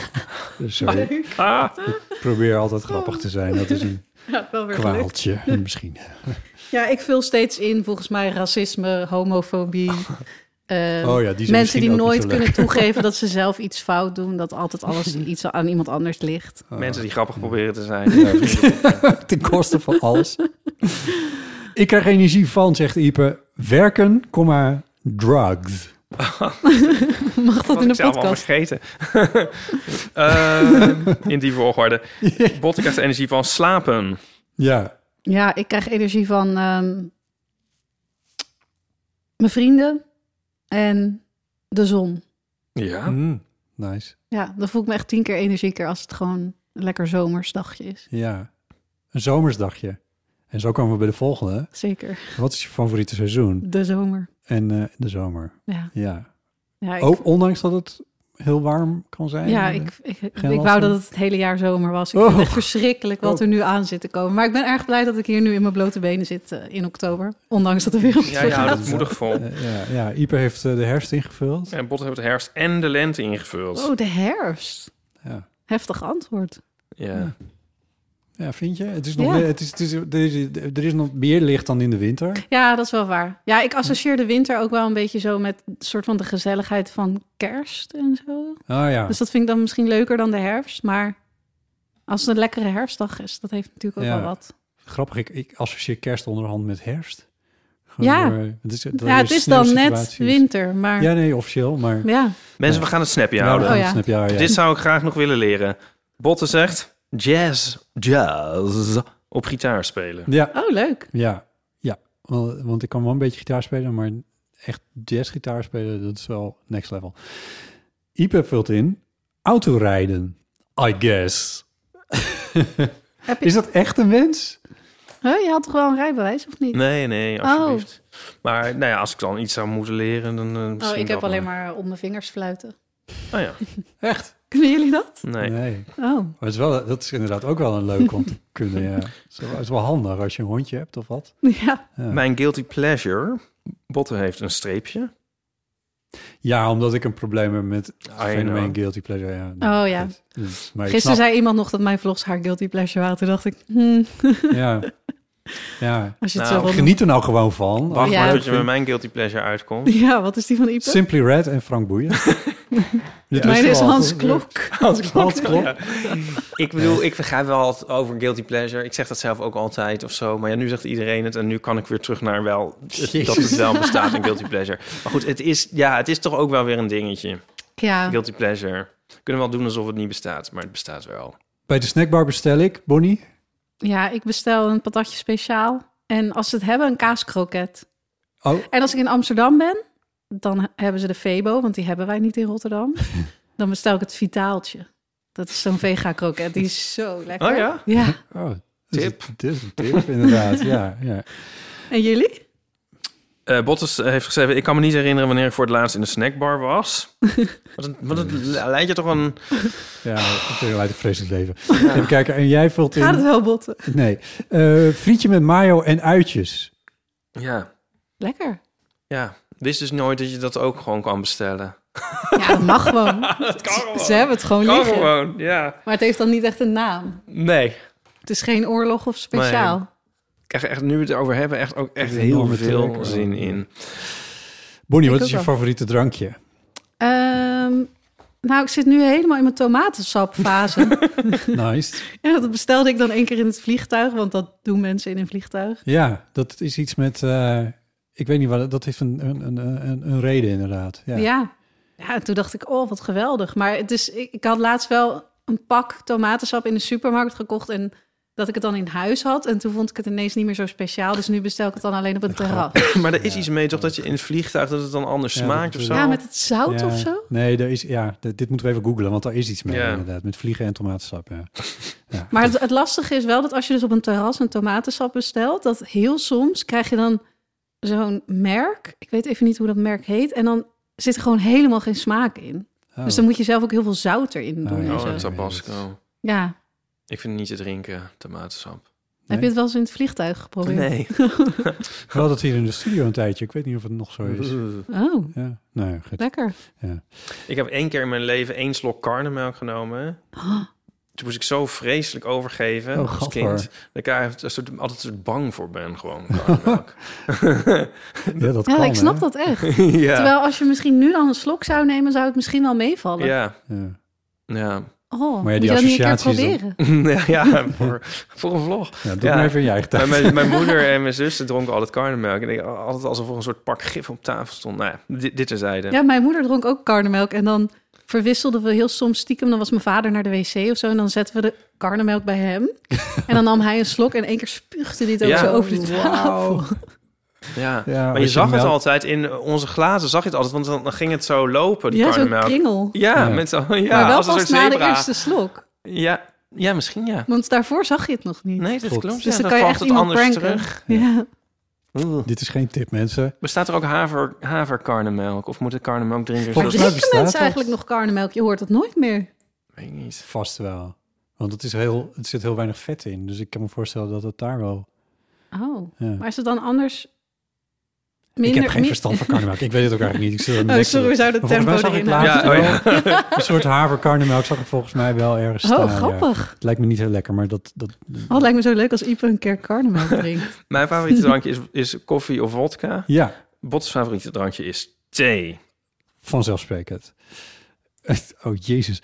A: Sorry,
B: Ah,
A: ik probeer altijd grappig te zijn. Dat is
C: [LAUGHS]
A: een
C: ja wel weer gelukt.
A: kwaaltje misschien.
C: Ehm, Ja, ik vul steeds in volgens mij racisme, homofobie. [LAUGHS] eh,
A: Oh ja, die zijn
C: mensen
A: misschien
C: die
A: ook niet
C: nooit
A: zo
C: kunnen
A: leuk.
C: toegeven dat ze zelf iets fout doen. Dat altijd alles iets aan iemand anders ligt.
B: mensen die grappig proberen te zijn.
A: [LAUGHS] Ten koste van alles. [LAUGHS] ik krijg energie van, zegt Ipe. Werken, kom maar, drugs.
C: Mag dat in de
B: ik zelf al
C: podcast?
B: vergeten. Ehm, in die volgorde. Botte krijgt energie van slapen.
A: Ja,
C: Ja, ik krijg energie van ehm, mijn vrienden en de zon. Oh.
B: Ja.
A: Mm, nice.
C: Ja, dan voel ik me echt tien keer energieker als het gewoon een lekker zomersdagje is.
A: Ja, een zomersdagje. En zo komen we bij de volgende.
C: Zeker,
A: Wat is je favoriete seizoen?
C: de zomer.
A: En eh, de zomer.
C: Ja,
A: Ja.
C: ja ik,
A: Ook ondanks dat het heel warm kan zijn.
C: ja, ik, ik, ik,
A: eh, Geen last
C: wou dat
A: van? Oh.
C: het het hele jaar zomer was. Ik vind het echt verschrikkelijk wat er nu aan zit te komen. Maar ik ben erg blij dat ik hier nu in mijn blote benen zit eh, in oktober. Ondanks dat de wereld
B: Ja,
C: zo
B: je houdt
C: gaat.
B: het moedig vol.
A: Eh, ja, ja, Ipe heeft eh, de herfst ingevuld.
B: En Botte heeft de herfst en de lente ingevuld.
C: Oh, de herfst.
A: Ja.
C: Heftig antwoord.
B: Ja.
A: Ja, vind je? Het is nog,
C: Ja.
A: meer- het is, het is, er, is, er is nog meer licht dan in de winter.
C: Ja, dat is wel waar. Ja, ik associeer de winter ook wel een beetje zo met een soort van de gezelligheid van kerst en zo.
A: Ah ja.
C: Dus dat vind ik dan misschien leuker dan de herfst. Maar als het een lekkere herfstdag is, dat heeft natuurlijk ook
A: Ja.
C: wel wat.
A: Grappig, ik, ik associeer kerst onderhand met herfst. Gewoon
C: Ja.
A: door, eh, het is, door
C: ja, het
A: de
C: is dan net
A: sneeuwsituaties.
C: winter, maar
A: Ja,
C: ja.
A: nee, officieel, maar... nou,
B: Mensen, we gaan het snapje houden.
C: Oh,
A: dan
C: ja.
A: snap je, ah, ja, ja.
B: Dit zou ik graag nog willen leren. Botte zegt jazz, jazz op gitaar spelen.
A: ja.
C: Oh, leuk.
A: Ja, ja. Wel, Want ik kan wel een beetje gitaar spelen, maar echt jazzgitaar spelen, dat is wel next level. Ipe vult in, autorijden, I guess. [LAUGHS]
C: Heb je...
A: Is dat echt een wens?
C: Huh, je had toch wel een rijbewijs, of niet?
B: Nee, nee, alsjeblieft. Maar nou ja, als ik dan iets zou moeten leren, dan eh, misschien
C: oh, ik heb
B: wel.
C: alleen maar op mijn vingers fluiten.
B: Oh
C: [LAUGHS]
B: ja,
A: Echt?
C: Kunnen jullie dat?
B: nee.
A: Nee.
C: Oh, [LAUGHS]
A: Maar het is wel, dat is inderdaad ook wel een leuk
B: [LAUGHS]
A: om te kunnen, ja. Het is wel- het is wel handig als je een hondje hebt of wat.
C: ja.
B: Mijn guilty pleasure. Botte heeft een streepje.
A: Ja, omdat ik een probleem heb met het
B: know.
A: fenomeen guilty pleasure. Ja,
C: Oh, ja.
A: dat- dus- maar ik
C: Gisteren
A: snap-
C: zei iemand nog dat mijn vlogs haar guilty pleasure waren. Toen dacht ik, hmm, [LAUGHS]
A: Ja. ja.
C: als je het
B: Nou,
C: zo wil...
A: Geniet er nou gewoon van.
B: Wacht
C: Ja.
B: maar tot je met mijn guilty pleasure uitkomt.
C: [LAUGHS] Ja, wat is die van Ipe?
A: Simply Red en Frank
C: [LAUGHS]
A: Boeien. Dit
C: Mijn is
A: wisten we al,
C: Hans
A: toch?
C: Klok.
A: [LAUGHS] Hans Klok.
B: Ik bedoel, ik begrijp wel het over guilty pleasure. Ik zeg dat zelf ook altijd of zo. Maar ja, nu zegt iedereen het. En nu kan ik weer terug naar wel het, dat het wel bestaat, een guilty pleasure. Maar goed, het is, ja, het is toch ook wel weer een dingetje.
C: Ja,
B: Guilty pleasure. We kunnen wel doen alsof het niet bestaat, maar het bestaat wel.
A: Bij de snackbar bestel ik, Bonnie.
C: Ja, ik bestel een patatje speciaal. En als ze het hebben, een kaaskroket.
A: Oh,
C: En als ik in Amsterdam ben, dan he- hebben ze de Febo, want die hebben wij niet in
B: [LAUGHS]
C: Rotterdam. dan bestel ik het Vitaaltje. Dat is zo'n vega-kroket. Die is zo lekker.
B: Oh ja?
C: Ja.
A: oh dit is-
B: Tip.
A: Dit is een
C: [LAUGHS]
A: tip, inderdaad. ja, ja.
C: En jullie?
B: Eh Bottas heeft geschreven... Ik kan me niet herinneren wanneer ik voor het laatst in de snackbar was. [LAUGHS] Wat een, wat een lijntje toch een...
A: ja het leidt een vreselijk leven. Even kijken, en jij vult
C: Gaat het
A: in...
C: wel botten?
A: Nee, Eh, frietje met mayo en uitjes.
B: Ja,
C: Lekker.
B: ja. Wist dus nooit dat je dat ook gewoon kan bestellen.
C: Ja, dat mag gewoon.
B: [LAUGHS]
C: Ze hebben het gewoon
B: Kan
C: liggen.
B: gewoon, ja.
C: Maar het heeft dan niet echt een naam.
B: Nee. Ik
C: Het is geen oorlog of speciaal.
B: krijg echt, nu we het erover hebben, echt ook echt
A: Een
B: heel
A: enorme
B: veel
A: trek,
B: zin in.
A: Bonnie,
C: Ik
A: wat is
C: ook
A: je
C: wel.
A: favoriete
C: [LAUGHS]
A: drankje?
C: Ehm, nou, ik zit nu helemaal in mijn
B: [LAUGHS]
C: tomatensapfase.
A: Nice.
C: ja, dat bestelde ik dan één keer in het vliegtuig, want dat doen mensen in een vliegtuig.
A: Ja, dat is iets met... eh, ik weet niet wat... Dat heeft een, een, een, een, een reden inderdaad. Ja.
C: Ja. ja. en toen dacht ik, oh, wat geweldig. Maar het is, ik, ik had laatst wel een pak tomatensap in de supermarkt gekocht en dat ik het dan in huis had. En toen vond ik het ineens niet meer zo speciaal. Dus nu bestel ik het dan alleen op het terras.
A: [COUGHS]
B: Maar er is iets mee toch dat je in het vliegtuig dat het dan anders
A: Ja, dat
B: smaakt of
A: bedoel
B: zo?
A: ik.
C: Ja, met het zout
A: Ja.
C: of zo.
A: Nee, er is, ja, dit, dit moeten we even googlen, want daar is iets mee
B: Ja.
A: inderdaad. Met vliegen en tomatensap, ja.
C: [LAUGHS] Maar het, het lastige is wel dat als je dus op een terras een tomatensap bestelt, dat heel soms krijg je dan zo'n merk. Ik weet even niet hoe dat merk heet. En dan zit er gewoon helemaal geen smaak in.
A: Oh.
C: Dus dan moet je zelf ook heel veel zout erin doen.
A: Oh, ja.
C: en
B: Oh,
C: zo.
B: een
C: ja.
B: tabasco. Ik vind het niet te drinken, tomatensap.
C: Heb je het wel eens in het vliegtuig geprobeerd?
A: We hadden het hier in de studio een tijdje. Ik weet niet of het nog zo is.
B: [LAUGHS]
C: Oh,
A: Ja, nou ja, goed.
C: lekker.
B: Ik heb één keer in mijn leven één slok karnemelk genomen. Toen moest ik zo vreselijk overgeven
A: Oh,
B: als
A: gadver.
B: kind. Dat ik daar een soort, altijd een soort bang voor ben, gewoon karnemelk.
A: [LAUGHS] Ja,
B: Oh,
A: dat
C: Ja,
A: kan,
C: ik snap
A: hè?
C: dat echt.
B: [LAUGHS] ja.
C: Terwijl als je misschien nu dan een slok zou nemen, zou het misschien wel meevallen.
B: Ja,
A: Ja.
B: ja.
C: Oh,
A: Maar ja, die
C: moet je dat niet een keer
A: associaties dan-
C: proberen?
B: [LAUGHS] ja, ja voor, voor een vlog.
A: Ja, doe
B: Ja.
A: maar even in je eigen
B: Bij
A: tijd.
B: mijn, mijn moeder en mijn zussen dronken altijd karnemelk. En ik altijd alsof er een soort pak gif op tafel stond. Nou ja, dit, dit terzijde.
C: Ja, mijn moeder dronk ook karnemelk. En dan verwisselden we heel soms stiekem. Dan was mijn vader naar de wc of zo. En dan zetten we de karnemelk bij
A: [LAUGHS]
C: hem. en dan nam hij een slok en één keer spuugde dit ook
B: Ja. Oh,
C: zo over de tafel.
B: Ja.
A: Ja, als je
B: maar je
A: nou-
B: zag het
A: melk-
B: altijd in onze glazen, zag je het altijd, want dan dan ging het zo lopen, die
C: Ja, zo'n
B: karnemelk.
C: kringel.
B: Ja,
A: Ja.
B: Met zo, ja
C: maar wel
B: als een soort
C: pas na de
B: zebra.
C: eerste slok.
B: Ja, ja, misschien ja.
C: Want daarvoor zag je het nog niet.
B: Nee, dat
A: Klopt.
B: klopt.
C: dus
B: ja,
C: dan kan je
B: valt
C: echt
B: het
C: iemand
B: anders
C: pranken.
B: terug.
C: Ja.
B: Oeh.
A: Dit is geen tip, mensen.
B: Bestaat er ook haver, haverkarnemelk? Of moet ik karnemelk drinken?
A: Volgens
C: Maar
B: zoals-
A: mij
C: drinken
A: bestaat
C: [LAUGHS] mensen
A: dat.
C: eigenlijk nog karnemelk? Je hoort het nooit meer.
B: Weet ik niet.
A: Vast wel. Want het, is heel, het zit heel weinig vet in. Dus ik kan me voorstellen dat het daar wel...
C: Oh,
A: Ja.
C: maar is het dan anders...
A: ik
C: minder-
A: heb geen
C: mi-
A: verstand van karnemelk. Ik weet het ook eigenlijk
C: [LAUGHS]
A: niet. Ik zit er
C: Oh,
A: niks
C: sorry, we
A: te-
C: zouden de
A: Maar volgens
C: tempo
A: mij
C: erin
A: zag ik
C: houden.
B: Ja, oh ja.
A: Een soort haverkarnemelk zag ik volgens mij wel ergens staan.
C: Oh,
A: ja.
C: grappig.
A: Het lijkt me niet heel lekker, maar dat... dat
C: Oh, het lijkt me zo leuk als Ipe een keer karnemelk
A: [LAUGHS]
C: drinkt.
B: Mijn favoriete drankje is, is koffie of vodka.
A: ja,
B: Bots favoriete drankje is thee.
A: vanzelfsprekend. Oh, jezus.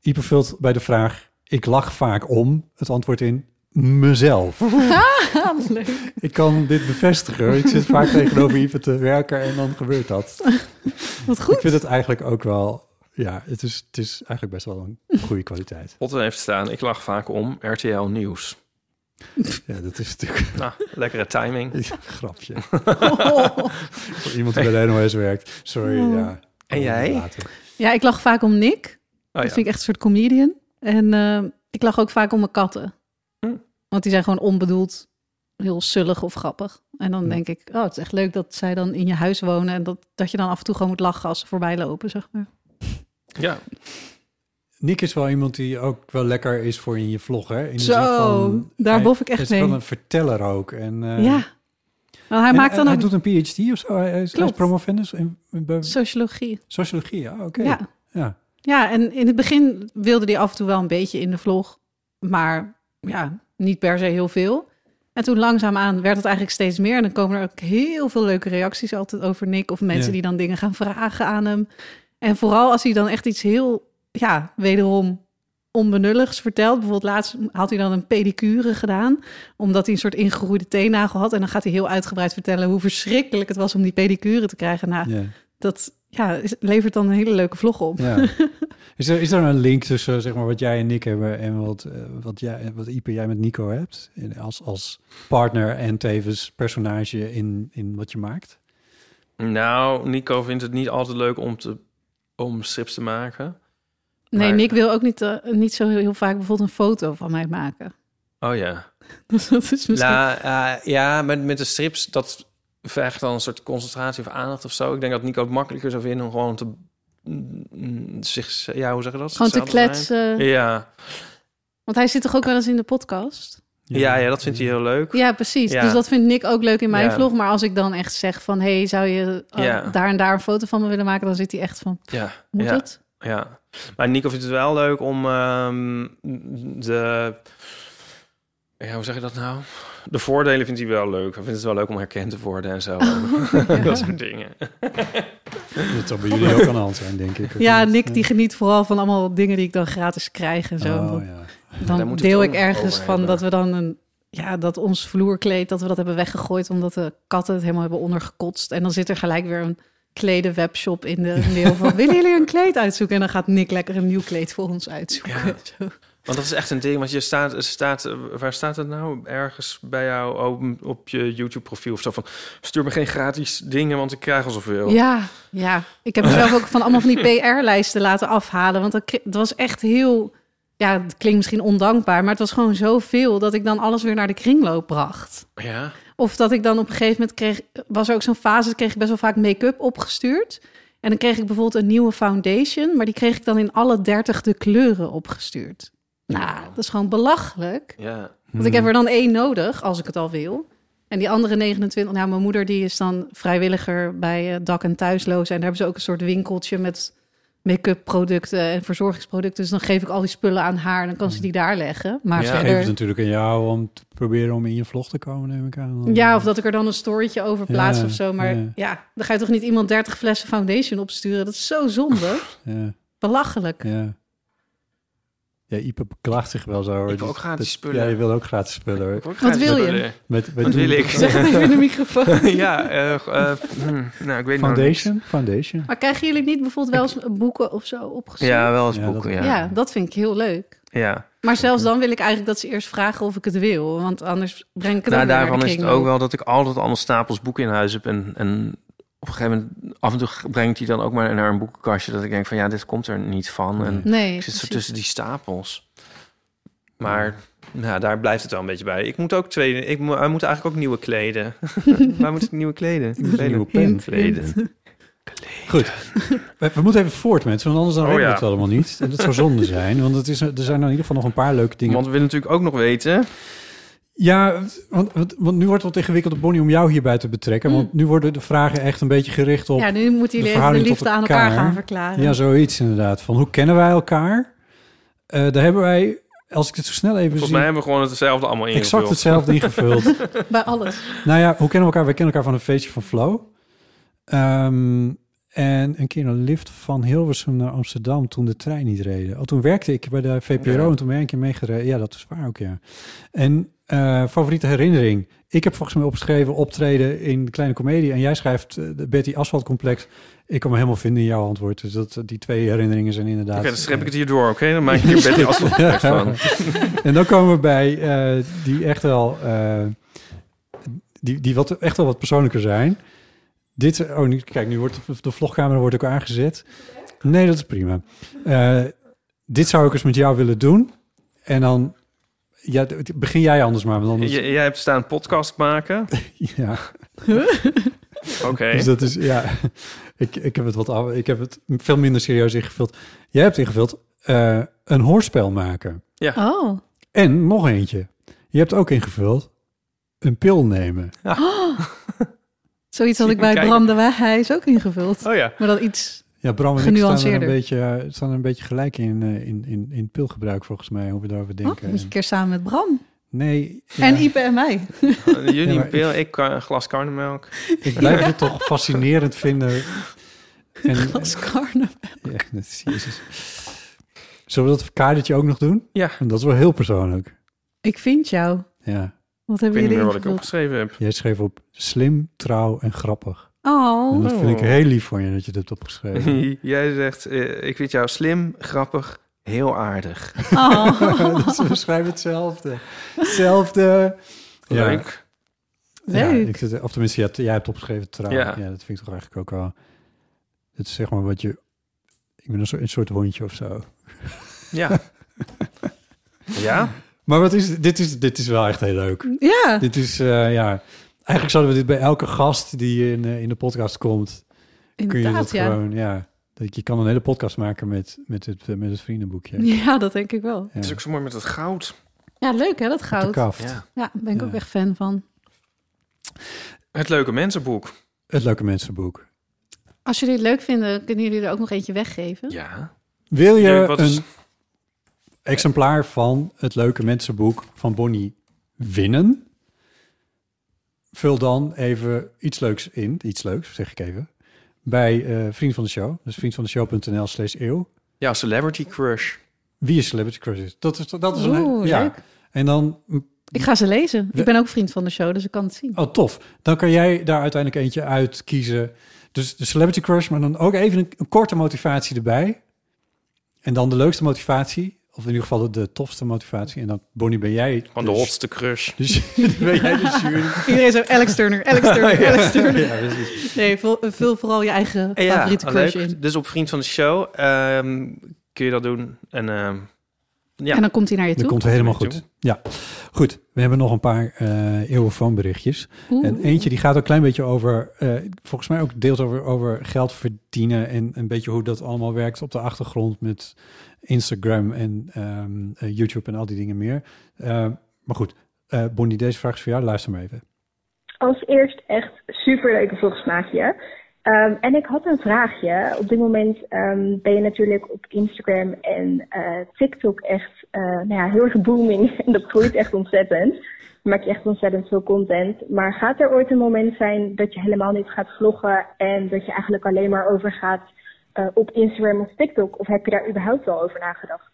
A: Ieper vult bij de vraag... Ik lach vaak om het antwoord in mezelf.
C: Ja, leuk.
A: Ik kan dit bevestigen. hoor. Ik zit vaak tegenover Ieper te werken en dan gebeurt dat.
C: Wat
A: [LAUGHS]
C: goed.
A: Ik vind het eigenlijk ook wel... Ja, het is, het is eigenlijk best wel een goede kwaliteit.
B: Potten heeft staan. Ik lach vaak om RTL Nieuws.
A: Ja, dat is natuurlijk [LAUGHS]
B: Nou, lekkere timing.
A: een grapje. Voor [LAUGHS] iemand die bij de NOS werkt. Sorry, ja.
B: En jij?
A: Later.
C: Ja, ik lach vaak om Nick.
B: Oh,
C: Dat
B: ja.
C: vind ik echt een soort comedian. En eh, ik lach ook vaak om mijn katten.
B: Hm.
C: Want die zijn gewoon onbedoeld heel zullig of grappig. En
A: Hm.
C: dan denk ik, oh, het is echt leuk dat zij dan in je huis wonen... en dat, dat je dan af en toe gewoon moet lachen als ze voorbij lopen, zeg maar.
B: ja.
A: Nick is wel iemand die ook wel lekker is voor in je vlog, hè? In de
C: Zo,
A: zin van,
C: daar
A: hij
C: bof ik echt
A: is wel
C: mee.
A: een verteller ook. En, eh,
C: ja. Want hij
A: en-
C: maakt dan
A: en
C: ook
A: Hij doet een PhD of zo. Hij is, hij is
C: Klopt.
A: promovendus in, in- bij
C: sociologie.
A: sociologie. Ja, oké.
C: Ja.
A: Ja.
C: ja, en in het begin wilde hij af en toe wel een beetje in de vlog... maar ja, niet per se heel veel. En toen langzaamaan werd het eigenlijk steeds meer. En dan komen er ook heel veel leuke reacties altijd over Nick... of mensen
A: Ja.
C: die dan dingen gaan vragen aan hem. En vooral als hij dan echt iets heel, ja, wederom onbenulligs vertelt. Bijvoorbeeld laatst had hij dan een pedicure gedaan... omdat hij een soort ingegroeide teennagel had. En dan gaat hij heel uitgebreid vertellen hoe verschrikkelijk het was... om die pedicure te krijgen. Nou,
A: ja.
C: dat ja, is- levert dan een hele leuke vlog op. [LAUGHS]
A: ja. is, er, is er een link tussen zeg maar, wat jij en Nick hebben en wat, eh, wat, jij, wat Ipe jij met Nico hebt? In- Als, als partner en tevens personage in, in wat je maakt?
B: Nou, Nico vindt het niet altijd leuk om, te, om strips te maken.
C: Nee,
B: Maar-
C: Nick wil ook niet, eh, niet zo heel, heel vaak bijvoorbeeld een foto van mij maken.
B: Oh ja.
C: Dus [LAUGHS] dat is misschien...
B: Nou, eh, ja, met, met de strips, dat vergt dan een soort concentratie of aandacht of zo. Ik denk dat Nico het makkelijker zou vinden om gewoon te... mm, mm, Zich, ja, hoe zeg je dat?
C: Gewoon te
B: Zichzelf zijn.
C: kletsen.
B: Ja,
C: Want hij zit toch ook wel eens in de podcast?
B: Ja, ja, dat vindt hij heel leuk.
C: Ja, precies.
B: Ja.
C: Dus dat vindt Nick ook leuk in mijn
B: Ja.
C: vlog. Maar als ik dan echt zeg van... hey, zou je eh,
B: Ja.
C: daar en daar een foto van me willen maken? Dan zit hij echt van,
B: Ja,
C: moet
B: ja,
C: het?
B: ja. Maar Nico vindt het wel leuk om ehm, de... Ja, hoe zeg je dat nou? De voordelen vindt hij wel leuk. Hij vindt het wel leuk om herkend te worden [LAUGHS] en zo. dat soort dingen.
A: Dat zal bij jullie ook aan de hand zijn, denk ik. of
C: Ja,
A: niet?
C: Nick die geniet vooral van allemaal dingen die ik dan gratis krijg en zo. En
A: Oh,
C: dan-
A: ja.
C: Dan
B: daar moet het
C: deel
B: ook
C: ik
B: nog
C: ergens
B: over
C: van
B: hebben.
C: dat we dan een... Ja, dat ons vloerkleed, dat we dat hebben weggegooid... omdat de katten het helemaal hebben ondergekotst. En dan zit er gelijk weer een kledenwebshop in de mail
B: [LAUGHS]
C: van... willen jullie een kleed uitzoeken? En dan gaat Nick lekker een nieuw kleed voor ons uitzoeken.
B: Ja.
C: Zo.
B: Want dat is echt een ding. Want je staat, er staat eh, waar staat het nou? Ergens bij jou op, op je YouTube profiel of zo van... Stuur me geen gratis dingen, want ik krijg al zoveel.
C: Ja, ja. Ik heb zelf ook van allemaal van die PR-lijsten laten afhalen. Want dat, kri- dat was echt heel... Ja, het klinkt misschien ondankbaar, maar het was gewoon zoveel... dat ik dan alles weer naar de kringloop bracht.
B: Ja?
C: Of dat ik dan op een gegeven moment kreeg... Was er ook zo'n fase, dat kreeg ik best wel vaak make-up opgestuurd. En dan kreeg ik bijvoorbeeld een nieuwe foundation... maar die kreeg ik dan in alle dertig de kleuren opgestuurd. Nou, dat is gewoon belachelijk.
B: Ja.
C: Want ik heb er dan één nodig, als ik het al wil. En die andere 29, nou, mijn moeder die is dan vrijwilliger bij eh, dak- en thuislozen. En daar hebben ze ook een soort winkeltje met make-up producten en verzorgingsproducten. Dus dan geef ik al die spullen aan haar en dan kan ze die daar leggen. Maar
B: Ja,
A: Ik Geef het
C: verder...
A: natuurlijk aan jou om te proberen om in je vlog te komen, neem ik aan.
C: Ja, of dat ik er dan een storytje over plaats
A: Ja,
C: of zo. Maar
A: ja.
C: ja. dan ga je toch niet iemand 30 flessen foundation opsturen? Dat is zo zonde.
A: [LAUGHS] Ja,
C: Belachelijk.
A: ja. Ja, Ipe beklaagt zich wel zo. hoor.
B: Ik wil
A: Dus
B: ook gratis
A: dat-
B: spullen.
A: Ja, je wil ook gratis spullen. hoor.
C: Wat wil je?
A: Met, met
B: Wat wil
A: [LAUGHS]
B: ik?
C: Zeg het even in de microfoon.
B: ja, eh eh, hmm, nou, ik weet nou
A: Foundation? Foundation.
C: Maar krijgen jullie niet bijvoorbeeld wel eens boeken of zo
B: niet.
C: opgestuurd?
B: Ja, wel eens
A: Ja, dat-
B: boeken, ja.
C: ja.
B: Ja.
C: dat vind ik heel leuk. Maar zelfs dan wil ik eigenlijk dat ze eerst vragen of ik het wil. Want anders breng
B: Nou,
C: ik het ook weer naar de
B: daarvan is het
C: kringloop.
B: ook wel dat ik altijd allemaal stapels boeken in huis heb. En, en op een gegeven moment, af en toe brengt hij dan ook maar naar een boekenkastje. Dat ik denk van, ja, dit komt er niet van. En
C: Nee,
B: ik zit zo
C: precies.
B: tussen die stapels. Maar nou, daar blijft het wel een beetje bij. Ik moet ook tweede. Ik moet, hij moet eigenlijk ook nieuwe
C: [LAUGHS]
B: kleden. Waar moet ik nieuwe kleden? Kleden.
A: nieuwe pen. Hint,
B: Kleden.
A: Goed. We, we moeten even voort, mensen. Want anders dan
B: Oh,
A: weten we
B: ja.
A: het allemaal niet. En dat zou zonde zijn. Want het is, er zijn in ieder geval nog een paar leuke dingen.
B: Want we willen natuurlijk ook nog weten.
A: Ja, want, want, want nu wordt het wat ingewikkeld, Bonnie, om jou hierbij te betrekken. Want nu worden de vragen echt een beetje gericht op...
C: Hmm. Ja, nu moeten
A: de
C: jullie even de
A: verhouding tot
C: liefde aan elkaar
A: elkaar.
C: gaan verklaren.
A: Ja, zoiets inderdaad. Van hoe kennen wij elkaar? Eh, daar hebben wij, als ik het zo snel even
B: Volgens
A: zie,
B: mij hebben we gewoon hetzelfde allemaal ingevuld.
A: exact hetzelfde
B: [LAUGHS]
A: ingevuld.
C: Bij alles.
A: nou ja, hoe kennen we elkaar? We kennen elkaar van een feestje van Flow. Ehm, en een keer een lift van Hilversum naar Amsterdam toen de trein niet reed. Oh, toen werkte ik bij de VPRO
B: Ja.
A: en toen ben ik een keer meegereden. Ja, dat is waar ook, ja. En eh, favoriete herinnering. Ik heb volgens mij opgeschreven optreden in de Kleine Comedie. En jij schrijft eh, de Betty Asphalt Complex. Ik kan me helemaal vinden in jouw antwoord. Dus dat, die twee herinneringen zijn inderdaad... eh,
B: Oké, dan schep ik het hier door, oké? Dan maak ik
A: [LAUGHS]
B: hier Betty Asselt
A: Ja.
B: van.
A: En dan komen we bij eh, die echt wel, eh, die, die wat, echt wel wat persoonlijker zijn. Dit, oh, nu, kijk, nu wordt de, de vlogcamera wordt ook aangezet. Nee, dat is prima. Eh, dit zou ik eens met jou willen doen. En dan, ja, d- begin jij anders maar. Want anders,
B: J- jij hebt staan podcast maken.
A: ja,
B: Oké.
A: dus dat is, ja, ik, ik heb het wat, af- ik heb het veel minder serieus ingevuld. Jij hebt ingevuld eh, een hoorspel maken.
C: Oh,
A: En nog eentje. Je hebt ook ingevuld een pil nemen.
C: zoiets had ik bij
B: Kijk.
C: Bram de Waaghuis ook ingevuld.
B: Oh ja.
C: Maar dan iets...
A: Ja, Bram en ik staan er een
C: Genuanceerder.
A: beetje, eh, staan er een beetje gelijk in, eh, in, in, in pilgebruik, volgens mij, hoe we daarover
C: Oh, dan
A: denken.
C: moet je een keer samen met Bram.
A: Nee, eh, ja,
C: En Ipe en mij. [LAUGHS]
B: Jullie
A: Ja, maar
B: een pil, ik eh, een glas karnemelk. [LAUGHS]
A: ik blijf het toch fascinerend vinden.
C: [LAUGHS]
A: En,
C: Als Karne.
A: ja, dat is Jezus. Zullen we dat kadertje ook nog doen?
B: Ja.
A: En dat is wel heel persoonlijk.
C: Ik vind jou.
A: Ja,
C: Wat
B: Ik
C: hebben
B: weet niet
C: jullie
B: meer wat ik
C: ingevuld?
B: opgeschreven heb.
A: jij schreef op slim, trouw en grappig. En [LAUGHS]
C: Oh,
A: dat vind ik
B: Oh.
A: heel lief van je dat je dat hebt opgeschreven.
B: [LAUGHS] [LAUGHS]
A: [LAUGHS]
B: jij zegt, eh, ik vind jou slim, grappig, heel aardig.
C: oh.
A: dus we schrijven hetzelfde. Hetzelfde. Ja.
B: Leuk.
C: Leuk.
A: Ja, ik zit, of tenminste, jij, hebt- jij hebt opgeschreven trouw. Ja.
B: Ja.
A: dat vind ik toch eigenlijk ook wel... Het is zeg maar wat je... Ik ben een soort, een soort hondje of zo.
B: Ja. ja?
A: Maar wat is, dit, is, dit is wel echt heel leuk.
C: ja.
A: Dit is, eh, ja... Eigenlijk zouden we dit bij elke gast die in, eh, in de podcast komt... Kun je dat
C: inderdaad, ja.
A: gewoon, ja... Dat je kan een hele podcast maken met, met, het, eh, met het vriendenboekje.
C: Ja, dat denk ik wel.
A: Ja.
B: Het is ook zo mooi met dat goud.
C: Ja, leuk hè, dat goud.
A: Kaft.
B: Ja.
C: Ja, ben ik ook
A: Ja.
C: echt fan van.
B: Het leuke mensenboek.
A: Het leuke mensenboek.
C: Als jullie het leuk vinden, kunnen jullie er ook nog eentje weggeven.
B: Ja.
A: Wil je
B: Dirk, wat
A: een
B: is-
A: exemplaar van het leuke mensenboek van Bonnie winnen? Vul dan even iets leuks in, iets leuks zeg ik even, bij eh Vriend van de Show. Dus vriendvandeshow.nl slash eeuw.
B: Ja, Celebrity Crush.
A: Wie is Celebrity Crush? Dat is, dat is
C: Oeh,
A: een... Ja.
C: leuk.
A: En dan...
C: Ik ga ze lezen.
A: We-
C: Ik ben ook vriend van de show, dus ik kan het zien.
A: Oh, tof. Dan kan jij daar uiteindelijk eentje uit kiezen. Dus de Celebrity Crush, maar dan ook even een, een korte motivatie erbij. En dan de leukste motivatie. Of in ieder geval de, de tofste motivatie. En dan, Bonnie, ben jij...
B: Van de hotste crush.
A: Dus, [LAUGHS] dan ben jij de jury.
C: [LAUGHS] Iedereen zo, Alex Turner, Alex Turner, Alex Turner.
A: Ja, precies.
C: Nee, vul, eh, vul vooral je eigen
B: Ja,
C: favoriete crush
B: leuk.
C: in.
B: Dus op Vriend van de Show ehm, kun je dat doen. En ehm, ja.
C: En dan komt hij naar je
A: Dat
C: toe.
A: komt helemaal
B: Doe.
A: goed. Ja, goed. We hebben nog een paar eh eeuwenfoonberichtjes.
C: Oeh.
A: En eentje die gaat ook een klein beetje over, eh, volgens mij ook deels over, over geld verdienen en een beetje hoe dat allemaal werkt op de achtergrond met Instagram en ehm, eh, YouTube en al die dingen meer. Eh, maar goed, eh, Bonnie, deze vraag is voor jou. Luister maar even.
E: Als eerst echt superleuke volksmaakje. Ehm en ik had een vraagje. Op dit moment ehm, ben je natuurlijk op Instagram en eh, TikTok echt eh, nou ja, heel erg booming. [LAUGHS] En dat groeit echt ontzettend. Je maakt echt ontzettend veel content. Maar gaat er ooit een moment zijn dat je helemaal niet gaat vloggen en dat je eigenlijk alleen maar overgaat eh, op Instagram of TikTok? Of heb je daar überhaupt al over nagedacht?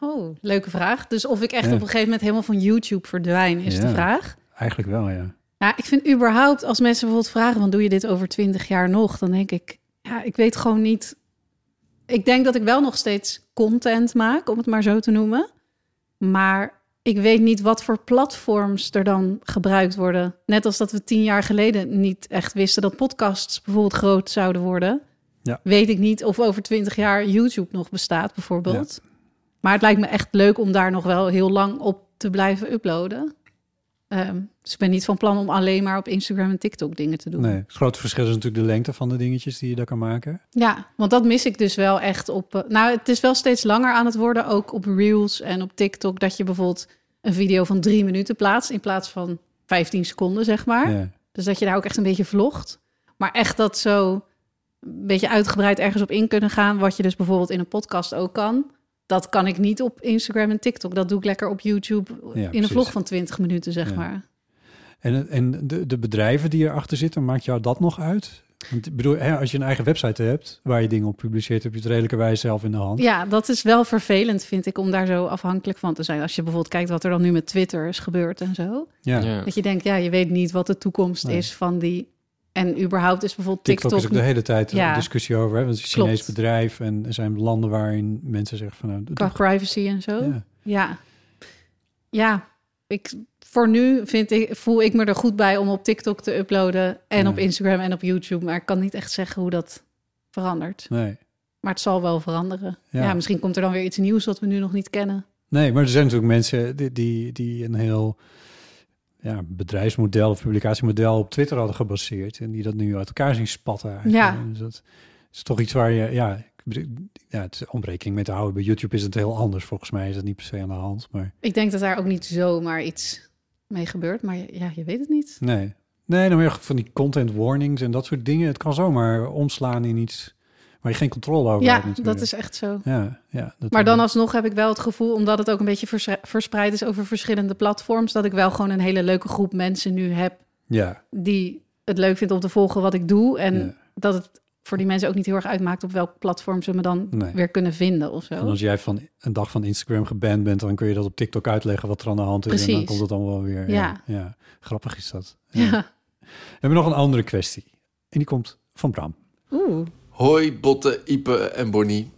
C: Oh, leuke vraag. Dus of ik echt
A: Ja.
C: op een gegeven moment helemaal van YouTube verdwijn, is de
A: Ja.
C: vraag.
A: Eigenlijk wel, ja.
C: Ja, ik vind überhaupt, als mensen bijvoorbeeld vragen, van doe je dit over twintig jaar nog? Dan denk ik, ja, ik weet gewoon niet. Ik denk dat ik wel nog steeds content maak, om het maar zo te noemen. Maar ik weet niet wat voor platforms er dan gebruikt worden. Net als dat we tien jaar geleden niet echt wisten dat podcasts bijvoorbeeld groot zouden worden.
A: Ja.
C: Weet ik niet of over twintig jaar YouTube nog bestaat, bijvoorbeeld. Maar het lijkt me echt leuk om daar nog wel heel lang op te blijven uploaden. Ehm, dus ik ben niet van plan om alleen maar op Instagram en TikTok dingen te doen.
A: Nee, het grote verschil is natuurlijk de lengte van de dingetjes die je daar kan maken.
C: Ja, want dat mis ik dus wel echt op. eh, Nou, het is wel steeds langer aan het worden, ook op Reels en op TikTok, dat je bijvoorbeeld een video van drie minuten plaatst in plaats van 15 seconden, zeg maar.
A: Ja.
C: Dus dat je daar ook echt een beetje vlogt. Maar echt dat zo een beetje uitgebreid ergens op in kunnen gaan, wat je dus bijvoorbeeld in een podcast ook kan. Dat kan ik niet op Instagram en TikTok. Dat doe ik lekker op YouTube in
A: precies.
C: een vlog van 20 minuten, zeg
A: Ja.
C: maar.
A: En, en de, de bedrijven die erachter zitten, maakt jou dat nog uit? Want ik bedoel, hè, als je een eigen website hebt waar je dingen op publiceert, heb je het redelijkerwijs zelf in de hand.
C: Ja, dat is wel vervelend, vind ik, om daar zo afhankelijk van te zijn. Als je bijvoorbeeld kijkt wat er dan nu met Twitter is gebeurd en zo.
A: Ja.
C: Dat je denkt, ja, je weet niet wat de toekomst
A: Nee.
C: is van die. En überhaupt is bijvoorbeeld
A: TikTok,
C: TikTok.
A: is ook de hele tijd een
C: Ja.
A: discussie over. Hè? Want het is een
C: Klopt.
A: Chinees bedrijf en er zijn landen waarin mensen zeggen van... Nou,
C: Qua
A: dat-
C: privacy en zo. Ja.
A: ja.
C: ja. ik, voor nu vind ik, voel ik me er goed bij om op TikTok te uploaden. En
A: Ja.
C: op Instagram en op YouTube. Maar ik kan niet echt zeggen hoe dat verandert.
A: Nee.
C: Maar het zal wel veranderen. Ja.
A: Ja.
C: misschien komt er dan weer iets nieuws wat we nu nog niet kennen.
A: nee, maar er zijn natuurlijk mensen die, die, die een heel ja, bedrijfsmodel of publicatiemodel op Twitter hadden gebaseerd. En die dat nu uit elkaar zien spatten. eigenlijk.
C: Ja.
A: Dus dat is toch iets waar je... Ja, ik bedoel, ja, het is om rekening mee te houden. Bij YouTube is het heel anders. Volgens mij is dat niet per se aan de hand. Maar
C: Ik denk dat daar ook niet zomaar iets mee gebeurt. Maar ja, je weet het niet.
A: nee. Nee, dan meer van die content warnings en dat soort dingen. Het kan zomaar omslaan in iets waar je geen controle over hebt.
C: Ja,
A: natuurlijk.
C: dat is echt zo.
A: Ja, ja. dat-
C: Maar dan alsnog heb ik wel het gevoel, omdat het ook een beetje verse- verspreid is over verschillende platforms, dat ik wel gewoon een hele leuke groep mensen nu heb
A: Ja,
C: die het leuk vindt om te volgen wat ik doe. En
A: Ja.
C: dat het voor die mensen ook niet heel erg uitmaakt op welk platform ze me dan
A: Nee.
C: weer kunnen vinden of zo.
A: en als jij van een dag van Instagram geband bent, dan kun je dat op TikTok uitleggen wat er aan de hand is. En dan
C: Precies.
A: komt het allemaal wel weer. ja. Ja. Grappig is dat. Ja.
C: [LAUGHS] Ja.
A: We hebben nog een andere kwestie. En die komt van Bram.
C: Oeh.
G: Hoi Botte, Ipe en Bonnie.